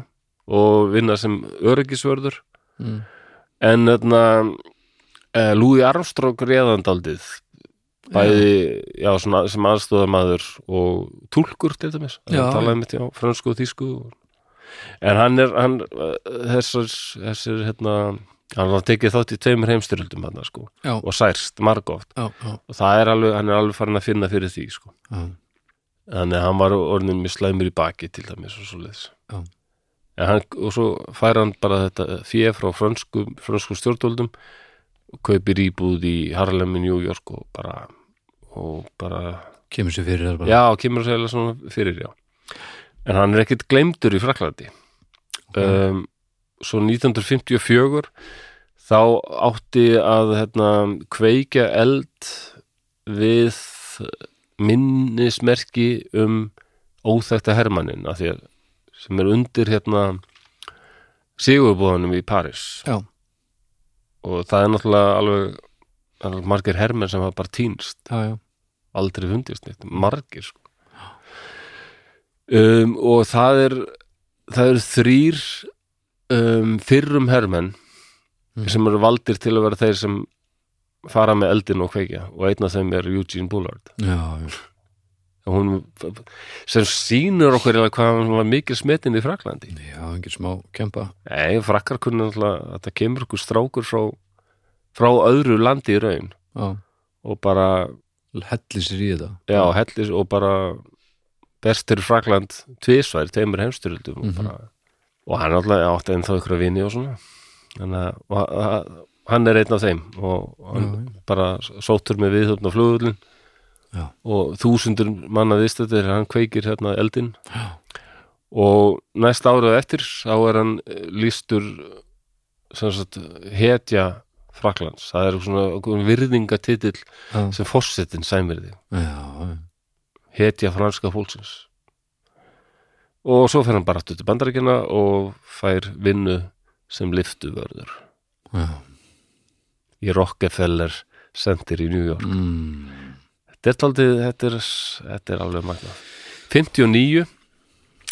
og vinna sem öryggisvörður
mm,
en öðna, uh, Louis Armstrong reðandaldið bæði, já, svona, sem aðstóðamaður og túlkur til dæmis
Já,
hann
já.
talaði mitt, já, fransku og þýsku en hann er hann, uh, þessar, þessir, hérna hann var tekið þátt í tveimur heimstyröldum hann, sko,
Já.
og særst margótt
já, já,
og það er alveg, hann er alveg farin að finna fyrir því, sko
já.
þannig að hann var orðin með slæmur í baki til dæmis og svo leiðis
Já.
hann, og svo fær hann bara þetta fjö frá frönsku, frönsku stjórnvöldum og kaupir íbúð í Harlem í New York og bara og bara,
kemur sér fyrir þar bara
já, kemur sér svona fyrir, já en hann er ekkert gleymdur í Fraklandi um, svo 1954 þá átti að hérna, kveikja eld við minnismerki um óþækta hermannin að því að sem er undir hérna sigurbúðanum í Paris
Já.
og það er náttúrulega alveg, alveg margir hermenn sem hafa bara týnst
já, já,
aldrei fundist neitt, margir sko. um, og það er það eru þrýr um, fyrrum hermenn
Mm.
sem eru valdir til að vera þeir sem fara með eldin og kveikja og einn af þeim er Eugene Bullard
já, já.
Og hún, sem sýnur okkur eiginlega hvað hann var mikil smetin í Fraklandi
já engin smá kempa
Nei, frakkar kunni alltaf að það kemur okkur strákur frá, frá öðru landi í raun
já.
og bara
helli sér í þetta
Já, hellis og bara bestur Frakland tvisværi, tveimur heimstyrjöldum
Mhm.
mm bara og hann alltaf átti ennþá ykkur að vinni og svona þannig að og ha- hann er einn af þeim og hann
Já,
bara sóttur með viðhjóðn á flugullin
Já.
og þúsundur manna viðstættir hann kveikir hérna eldin
Já.
og næsta árað eftir þá er hann eh, lýstur sem sagt hetja Fraklands, það er svona virðingatitill
já,
sem fórsetin sæmirði
já, já.
hetja franska fólksins og svo fer hann bara aftur til bandaríkina og fær vinnu sem liftuvörður
já.
í Rockefeller Center í New York
Mm.
þetta er, taldið, þetta er, þetta er alveg magna 59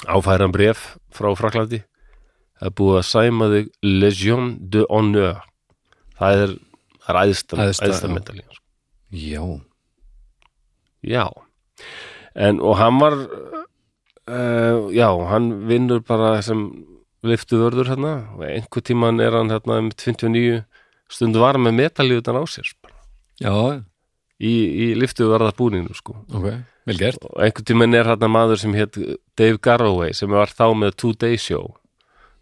áfæran bref frá Fraklandi það er búið að sæma þig Legion de Honneur það er, það er æðsta,
Æðsta,
æðsta,
já.
æðsta medalín sko.
já.
Já, en og hann var uh, já, hann vinnur bara sem liftuðörður hérna og einhver tíman er hann hérna um 29 stund var hann með metalíu utan á sér bara,
já, já.
í, í liftuðörðarbúninginu sko
ok, vel gert
og einhver tíman er hérna maður sem hétt Dave Garroway sem var þá með Two Day Show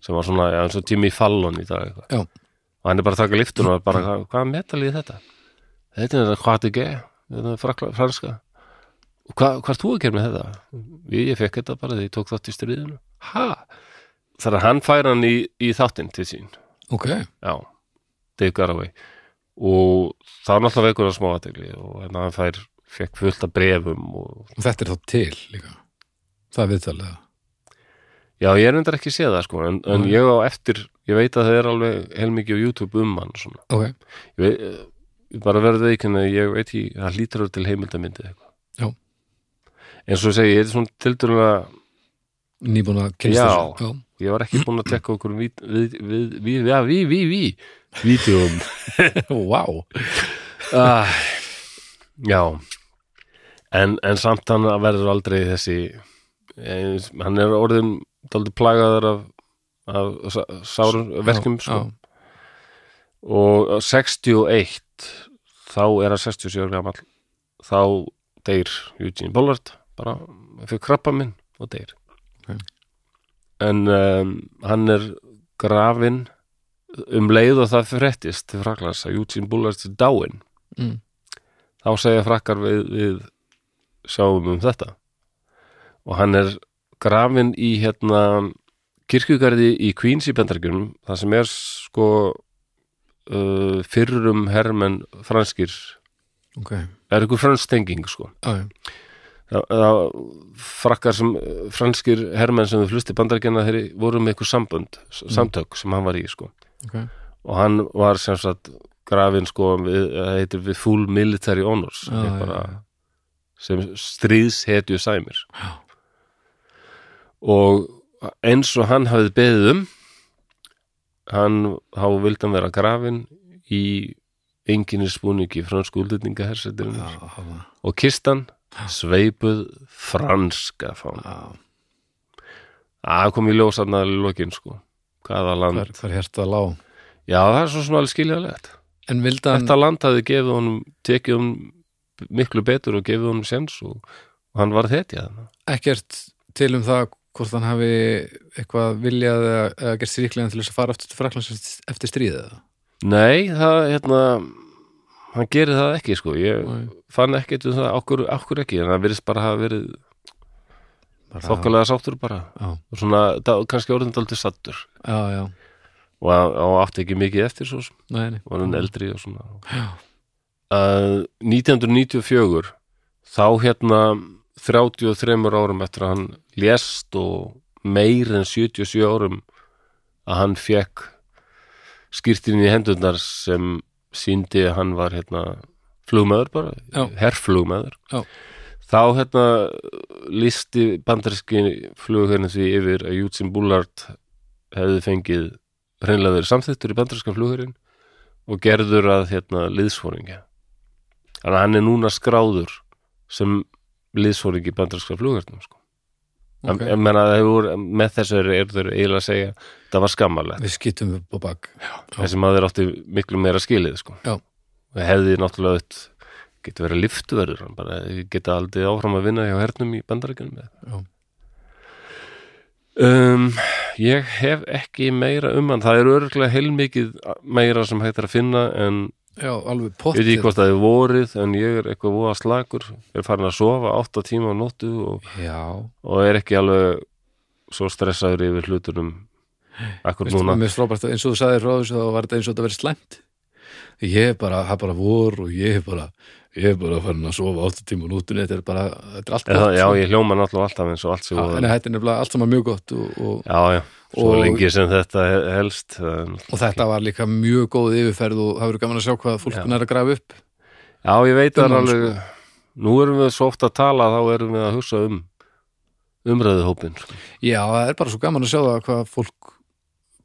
sem var svona, já, eins og Jimmy Fallon í dag eitthvað.
Já.
og hann er bara að taka liftuna og er bara, hvað, hvað metalíu er þetta? Þetta er þetta hvað þetta er, þetta er frakla- franska og hva, hvað er þú að gera með þetta? Ég, ég fekk þetta bara því ég tók þátt í stríðinu ha? Þar að hann fær hann í, í þáttinn til sín
ok,
já, Dave Garraway og það er náttúrulega veikur að smá aðtegli og hérna hann fær fekk fullt af brefum og
og þetta er þá til líka það er viðtalið
já, ég er endar ekki séð það sko en, en
Mm.
ég á eftir, ég veit að það er alveg heilmikið á YouTube um hann svona
ok,
ég veit, eh, ég bara verðið ekki en ég veit ekki, það lítur til heimildamyndið eitthvað
Já.
en svo segi, ég er svona tildurlega
nýbúin að kynast
Já.
þessu. já,
ég var ekki búin að tekka okkur við, við, við, við, já, við, við, við
[LAUGHS]
vídeum
wow
ah, já en, en samt hann verður aldrei þessi eh, hann er orðin daldi plagaðar af, af sá- sárum verkjum sko.
já,
og 61 þá er hann 67 ára gamall þá deyr Eugene Bullard bara fyrir krabba minn og deyr
Ok.
en um, hann er grafin um leið og það fréttist til fraklans að Eugene Bullard er dáin
Mm.
þá segja frakkar við, við sjáum um þetta og hann er grafin í hérna kirkjugarði í Queens í Bendargjörnum það sem er sko uh, fyrrum hermenn franskir
ok, já,
það er ykkur fransk tenging sko
já,
það, það frakkar sem eh, franskir hermenn sem þau flusti bandarkjana þeir voru með ykkur sambönd, s- samtök sem hann var í sko
Mm. ok
og hann var sem sagt grafin sko við, það heitir við full military honors
Já,
ah,
já,
bara,
já.
sem stríðshetju sæmir
Já.
og eins og hann hafið beðið um hann þá vildi hann vera grafin í enginni spúningi fransku útlýtninga hersetirinn
já, hana,
og kistan sveipuð franska fána
já,
það kom í ljós hann að lokin sko hvaða land,
hver, hver hérta lá
já það er svo sem alveg skiljaðlegt
en vildi hann
þetta land hafði gefið honum tekið honum miklu betur og gefið honum sens og, og hann var þetta
ekkert til um það hvort hann hafi eitthvað viljað eða, eða gert sýriklegan til þess að fara aftur til Fraklands eftir- eftir stríðið eða?
nei, það hérna hann gerir það ekki sko ég
Nei.
fann ekkert um það, okkur, okkur ekki en það virðist bara hafa verið
Bara-
þokkalega sáttur bara
Já,
og svona, da- kannski orðin daldið sattur
já, já,
og, og átti ekki mikið eftir svo sem,
nei, nei
var hann eldri og svona
Já,
uh, 1994 þá hérna 33 árum eftir að hann lést og meir en 77 árum að hann fekk skýrtinni í hendurnar sem síndi að hann var hérna flugmaður bara,
Já.
herrflugmaður
Já.
þá hérna listi bandarski flugherinn því yfir að Jútsin Bullard hefði fengið hreinlega verið samþýttur í bandarskan flugherinn og gerður að hérna liðsfóringja þannig að hann er núna skráður sem liðsfóringi bandarska flugherrnum sko.
ok,
okay. menna, hefur, með þessu eru er þeir eiginlega að segja það var skammalegt,
við skýtum upp og bak
þessi maður átti miklu meira skilið sko.
Já.
og hefði náttúrulega öll getur verið lyftuverður, hann bara geta aldrei áfram að vinna hjá hernum í bandaríkjunum
Já.
um, ég hef ekki meira um hann, það er örgulega heilmikið meira sem hægt er að finna en
Já, alveg
Ég veit ekki
pottir
hvort það er vorið en ég er eitthvað voða slakur er farin að sofa 8 tíma á nóttu og,
Já,
og er ekki alveg svo stressaður yfir hlutunum akkur
Veistu,
núna
mér er frábært að eins og þú sagðir frá þessu þá var þetta eins og þetta verið slæmt ég er bara, það er bara vor og ég er bara ég er bara farin að sofa átta tíma og nútunni, þetta er bara, þetta er allt
Eða,
gott
Já,
sko.
ég hljóma náttúrulega alltaf eins og allt
Já,
sem
en
voða
þetta er nefnilega allt saman mjög gott og, og,
Já, já, svo
Og-
lengi sem þetta he- helst það er náttúrulega-
og þetta var líka mjög góð yfirferð og það verður gaman að sjá hvað fólk
Já.
er að grafa upp
Já, ég veit það er
Þennan,
alveg Nú erum við svo oft að tala þá erum við að hugsa um umræðuhópin sko.
já, það er bara svo gaman að sjá það hvað fólk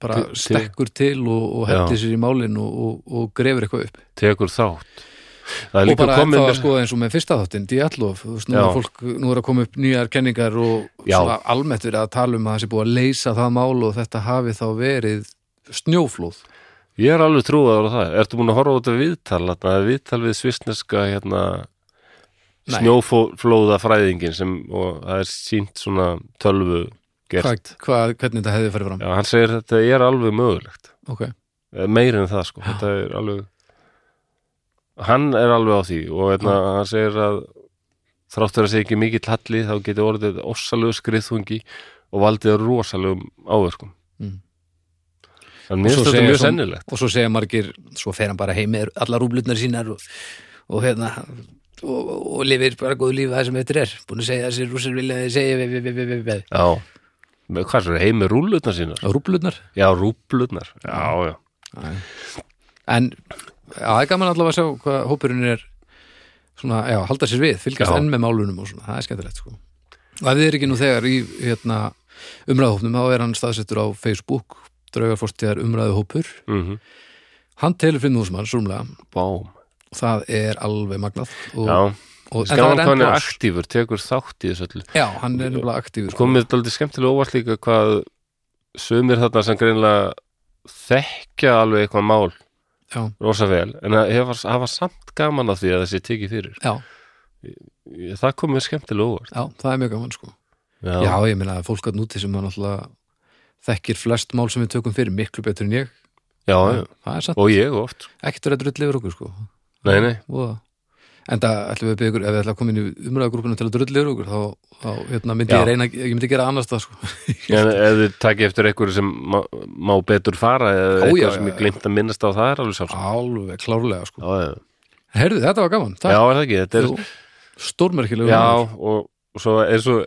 bara
Til- til-
stekkur til og, og heldur sér í málin og, og, og grefur eitthvað upp
tekur þátt Það er
og
líka
bara
komin
ennþá að
með-
skoða eins og með fyrsta þáttinn Diallof, þú veist, nú er,
Já.
fólk, nú er að koma upp nýjar kenningar og
Já.
svona almennt verið að tala um að það sé búið að leysa það mál og þetta hafi þá verið snjóflóð
Ég er alveg trúaður á það. Ertu múin að horfa á þetta viðtal? Þarna er viðtal við svissneska hérna,
Nei.
snjóflóða fræðingin sem, og það er sínt svona tölvu gert.
hvað, hvað, hvernig þetta hefði farið fram
Já, hann segir þetta er alveg mögulegt.
ok,
Eh, Meir en það, sko. Þetta er alveg... Hann er alveg á því og hérna, hann segir að þráttur að segja ekki mikill halli þá geti orðið ossalegu skriðþungi og valdið rosalegum áverkum.
Mm. Og
En mér
svo
finnst þetta
segir
mjög
svo-
sennilegt.
og svo segja margir svo fer hann bara heim með allar rúblutnar sínar og, og hérna og, og lifir bara góðu lífi það sem þetta er búin að segja þessi rússar vilja að þið segja við, við, við, við, við.
Já, með hvað svo heim með rúllutnar sínar?
rúblutnar
Já, rúblutnar, já, já
en já, það er gaman allavega að sjá hvað hópurinn er svona, já, halda sér við, fylgjast
Já.
enn með málunum og svona, það er skemmtilegt sko og ef þið er ekki nú þegar í hérna, umræðuhópnum, þá er hann staðsettur á Facebook, draugarfórstíðar umræðuhópur
mm
hann telur fyrir núsmann, súmlega
Bám
og það er alveg magnað og,
Já,
og, en það
skáðan
er
hvað hann
enn
er
plás
aktífur, tekur þátt í þessu öllu
já, hann er nefnilega aktífur sko.
Komið þetta aldrei skemmtilega óvart líka hvað sömur þarna sem greinlega þekkja alveg eitthvað mál
Já.
rosa vel, en að hefa, hafa samt gaman að því að þessi tekið fyrir
já,
Ég- Það komið skemmtilega óvart
já, það er mjög gaman sko
Já,
já, ég meina að fólk að núti sem hann alltaf þekkir flest mál sem við tökum fyrir miklu betur en ég,
já, já.
það er satt
og ég oft
ekkert verið að drulli yfir okkur sko
Nei, nei,
og en það ætlum við að byggja ykkur ef við ætlum að koma inn í umræðagrúpuna til að drulli yfir okkur þá, þá hérna, myndi
Já.
ég reyna ég myndi gera annars það sko
en ef þið takið eftir einhverju sem má, má betur fara eða
Ó,
eitthvað
já,
sem
já,
ég glimt að minnast á það er alveg sjálfsagt
alveg klárlega sko
Já, já, já.
herðu þetta var gaman,
Já,
takk
er það ekki, þetta er
stórmerkilegu
Já, og, og svo er svo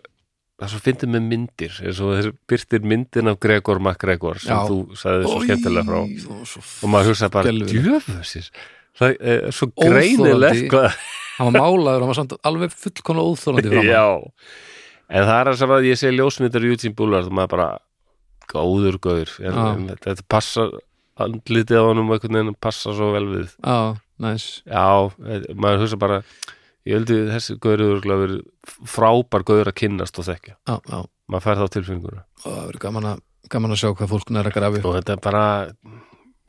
það er svo fyndið með myndir er svo þessi byrtir myndin af Gregor MacGregor sem
Já.
þú sagði svo skemmtilega frá og
frá
maður hugsaði bara,
Skelfilegt.
djöfusir það er eh, svo
Óþolandi.
greinilegt hvað,
hann var málaður, hann var samt alveg fullkomlega
[LAUGHS]
óþólandi fram
já en það er að sem að ég segi ljósmyndar í Eugene Bullard og maður bara, góður gaur en,
Já.
en þetta, þetta passar andlitið á honum og einhvern veginn passar svo vel við
á, næs
já, eh, maður hugsa bara ég heldur þessi gaurið verið frábær gaur að kynnast og þekka
á, á.
maður fær þá tilfinninguna
og það verður gaman, að- gaman að sjá hvað fólk næra grafi
og þetta er bara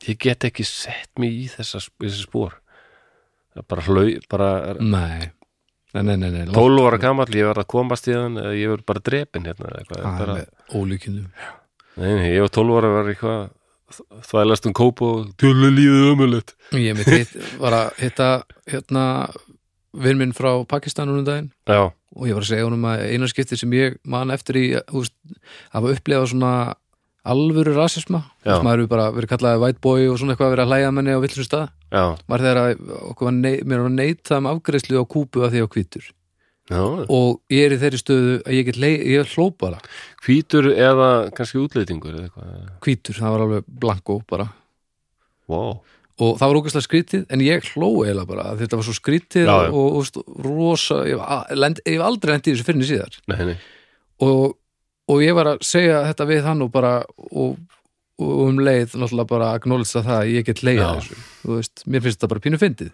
ég get ekki sett mig í þessa, þessi spór það er bara hlau bara
nei, nei, nei, nei, nei. langt
12 ára gamall, ég verð að komast í þann ég verð bara drepin hérna eða eitthvað,
að
bara,
með ólíkindum
nei, nei, ég var 12 ára var eitthvað þvælast um kóp og tjölu lífið ömulegt
ég mitt hitt, var að hitta hérna vinn minn frá Pakistan núna um daginn
já,
og ég var að segja honum að eina skipti sem ég man eftir í þú veist, hafa upplifað svona alvöru rasisma
Já.
Þess maður hefur bara verið kallaði white boy og svona eitthvað að vera að hlæja að menni á villum stað
já,
var þegar að okkur var ney, mér var neitað um afgreiðslu á kúpu að því á hvítur
já
og ég er í þeirri stöðu að ég get lei, ég hló bara
hvítur eða kannski útleitingur eða eitthvað
hvítur, það var alveg blanko bara
wow.
og það var ógæslega skrítið en ég hló eiginlega bara að þetta var svo skrítið
Já, já.
og, og veist, rosa ég hef a- lend- ég hef aldrei lent í þessu fyrir síðar
nei, nei.
og, og ég var að segja þetta við hann og bara og, og um leið náttúrulega bara að acknowledge það að ég get leiða
Já.
þessu þú veist, mér finnst þetta bara pínu fyndið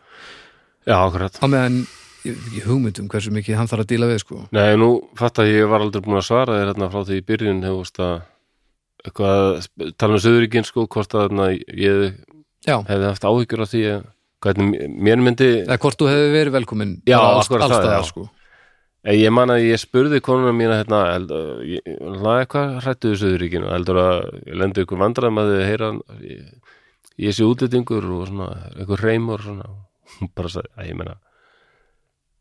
já, akkurat
á meðan ég hef ekki hugmynd um hversu mikið hann þarf að díla við sko
nei, nú fatt að ég var aldrei búin að svara þér hérna frá því í byrjun hefust að eitthvað, að tala um söðuríkinn sko hvort að hérna, ég
já,
hefði haft áhyggjur af því að hvernig mér myndi
eða hvort þú hefur verið velkomin
Já,
bara alls,
akkurat
alls
það,
staðar,
já.
sko
Eh, Ég man að ég spurði konuna mína hérna, held- ég- hlaði eitthvað hrættuðu söðuríkinu, heldur að ég lendi ykkur vandræðum að þið heyra ég, ég sé útlýtingur og svona eitthvað reymur og svona hún bara sagði, að ég meina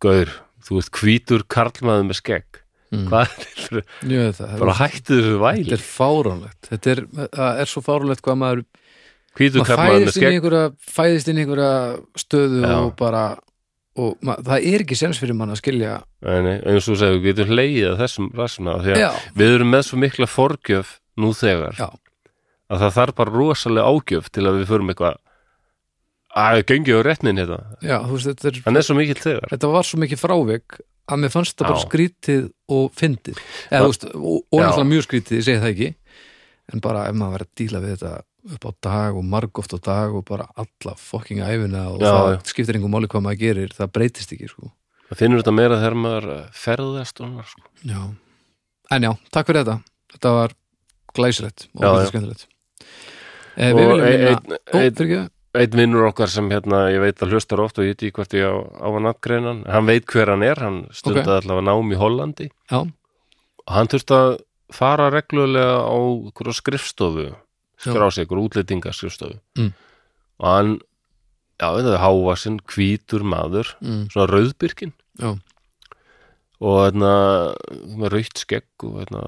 Gaur, þú ert hvítur karlmaður með skegg
Mm.
hvað [LAUGHS] er þetta? fyrir-
Jú, það,
Bara hættu þessu
þetta
væli
er fáránlegt þetta er, það er svo fáránlegt hvað maður
Hvítur
maður
karlmaður með
fæðist inn, í
skegg
einhverja, fæðist inn í einhverja stöðu
Já.
og bara og mað, það er ekki sens fyrir mann að skilja
Nei, nei, eins og þú segir, við getum hlegið að þessum rasma því að
Já.
við erum með svo mikla forgjöf nú þegar
Já.
að það þarf bara rosalega ágjöf til að við förum eitthvað að gengið á rétnin hérna
já, þú veist, þetta er
hann er svo mikill þegar
þetta var svo mikið frávik að mér fannst það bara
Já.
skrítið og fyndið eða,
Það-
þú veist, og, og
Já.
náttúrulega mjög skrítið, ég segi það ekki en bara ef maður verið að díla við þetta upp á dag og margóft á dag og bara alla fokking æfina og
Já,
það
já.
skiptir engum máli hvað maður gerir það breytist ekki sko.
það finnur þetta meira þegar maður eh, ferðast og maður sko
já. en já, takk fyrir þetta þetta var glæsilegt og
Já,
þetta
já.
skemmtilegt eh, við
og
viljum
ein-
minna
einn
ó,
ein,
fyrir ekki
ein vinnur okkar sem hérna ég veit að hlustar oft og ég veit í hvert ég á, á hann afgreinan hann veit hver hann er, hann stundaði allavega nám í Hollandi
Já.
og hann þurfti að fara reglulega á hverju skrifstofu skrá sig, ykkur útlendinga skrifstofu
Mm.
og hann já, þetta er hávasinn, hvítur maður
mm,
svona rauðbyrkin
Já.
og þarna með rautt skegg og þarna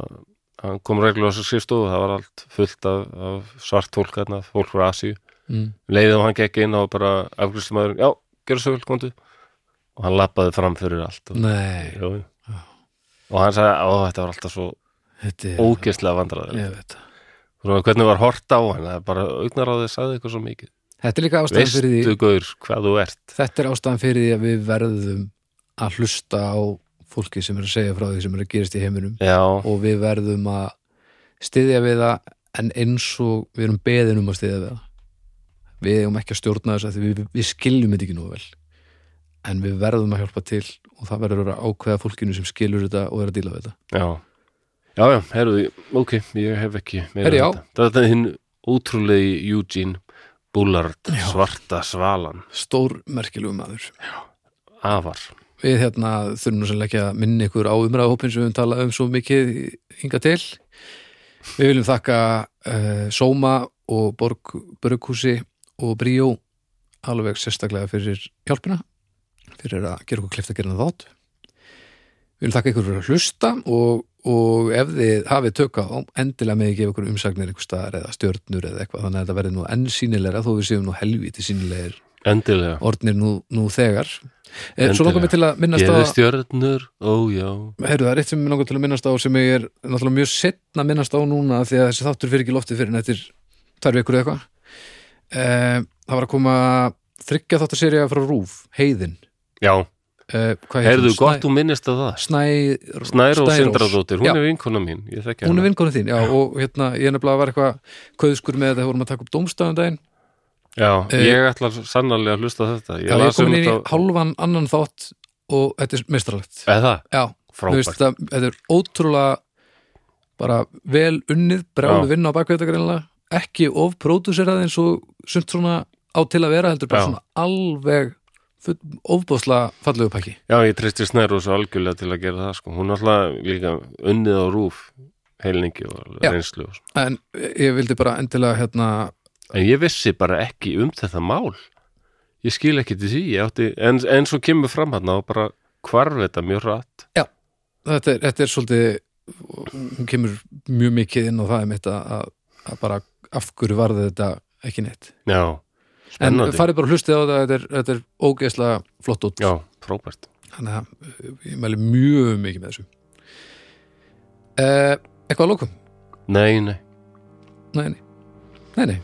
hann kom reglulega á þessu skrifstofu það var allt fullt af, af svart fólk þarna, fólk frá Asíu
mm,
leiðið og hann gekk inn og bara afgriðstumæður, já, gerðu svo vel, komdu og hann lappaði fram fyrir allt og,
nei,
Jú, jú. og hann sagði, ó, þetta var alltaf svo
þetta er
ógeðslega vandræðilega
ég veit það.
Svona, hvernig var hort á hann, það er bara augnaráðið sagði eitthvað svo mikið,
þetta er líka ástæðan fyrir því
veistu gaur hvað þú ert
Þetta er ástæðan fyrir því að við verðum að hlusta á fólki sem er að segja frá því sem er að gerast í heiminum
já,
og við verðum að styðja við það en eins og við erum beðin um að styðja við það við eigum ekki að stjórna þess að við, við skiljum þetta ekki nú vel en við verðum að hjálpa til og það verður að ákveða fólkinu sem skilur þetta og er að díla við þetta
já já, já, herruði, ok, ég hef ekki meira
Herri, já.
þetta, þetta er hinn ótrúlegi Eugene Bullard svarta svalan,
Stór merkilegu maður
afar
Við hérna þurfum nú sannleikja að minna ykkur á umræðahópin sem við höfum talað um svo mikið hinga til. Við viljum þakka uh, Sóma og Borg Brugghúsi og Bríó alveg sérstaklega fyrir hjálpina, fyrir að gera okkur klift að gera þátt. Við viljum þakka ykkur fyrir að hlusta og, og ef þið hafið tökka á endilega með að gefa ykkur umsagnir ykkur staðar eða stjörnur eða eitthvað þannig að þetta verði nú enn sínilegra þó við séum nú helviti sínilegir
endilega,
orðnir nú, nú þegar. Eh, Svo
Endilega.
langar mig til að minnast
geðu
á
stjörnur ó já,
Heyrðu, það er eitt sem ég langar til að minnast á sem ég er náttúrulega mjög setna að minnast á núna af því að þessi þáttur fyrir ekki í loftið fyrir en eftir tvær vikur eða eitthvað Eh, e, Það var að koma þryggja þáttarserja frá Rúf, Heiðin
já
uh, hvað heitir
Heyrðu,
hún?
gott þú minnist að það
Snæ... Snær...
Snæru og
Snærós.
Sindradóttir,
Já.
hún er vinkona mín Ég þekki
hún er
hana
vinkonu þín, já, og hérna ég er nefnilega var eitthvað köðskur með þetta, vorum að taka upp dómstæðan daginn
Já,
Eh,
ég ætla sannarlega að hlusta á þetta um
já, ég er komin inn í
þetta á-
hálfan annan þátt og þetta er mestralegt
Eða,
já, mér finnst
frábært
þetta, þetta er ótrúlega bara vel unnið
Já.
brjálu vinna á bakveita greinlega ekki of pródúserað eins og sumt svona á til að vera heldur bara
Já.
svona alveg full, ofbúðslega fallegu pakki
Já, ég treysti Snæru svo algjörlega til að gera það sko. Hún er alltaf líka unnið á rúf heilningi og
Já.
reynslu og svo.
en ég vildi bara endilega hérna,
En ég vissi bara ekki um þetta mál Ég skil ekki til því ég átti, en, en svo kemur fram hann og bara hvarf þetta mjög rætt
þetta er, þetta er svolítið hún kemur mjög mikið inn á það mitt að, að- að bara af hverju varði þetta ekki neitt
Já,
en
spennandi
farið bara og hlustið á þetta þetta er, þetta er ógeðslega flott út
Já, frábært
þannig að uh, ég mæli mjög mikið með þessu eh, eitthvað að lókum?
Nei, nei,
Nei, nei, nei, nei,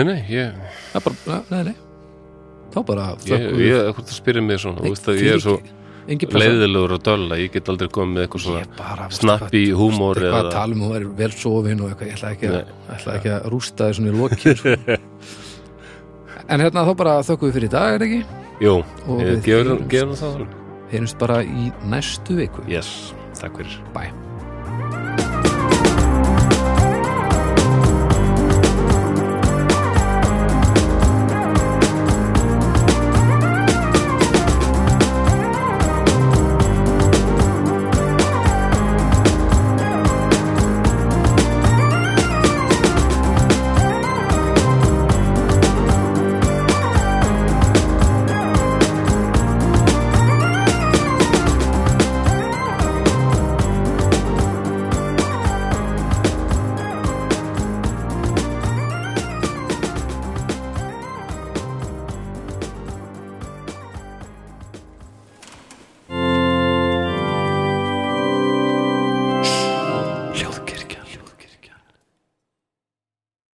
nei, nei, ég
það er bara, nei, nei, nei. þá bara
Ég, ég, hvort það spyrir mig svona,
Nei,
þú veist að ég er svo
engin pressa.
leiðilegur og dölla, ég get aldrei komið með eitthvað svona
Ég bara, veistu
snappi
hvað-
húmor
eitthvað að
eða,
tala um hún væri vel sofin og eitthvað, ég ætla ekki, að,
Nei.
ætla ekki að rústa þér svona í lokin sko.
[LAUGHS]
en hérna þá bara þökkum við fyrir í dag er ekki,
jú,
Og
ég
við
gefur
heyrumst.
gefur það þannig.
heyrjumst bara í næstu viku
Yes, takk fyrir.
bye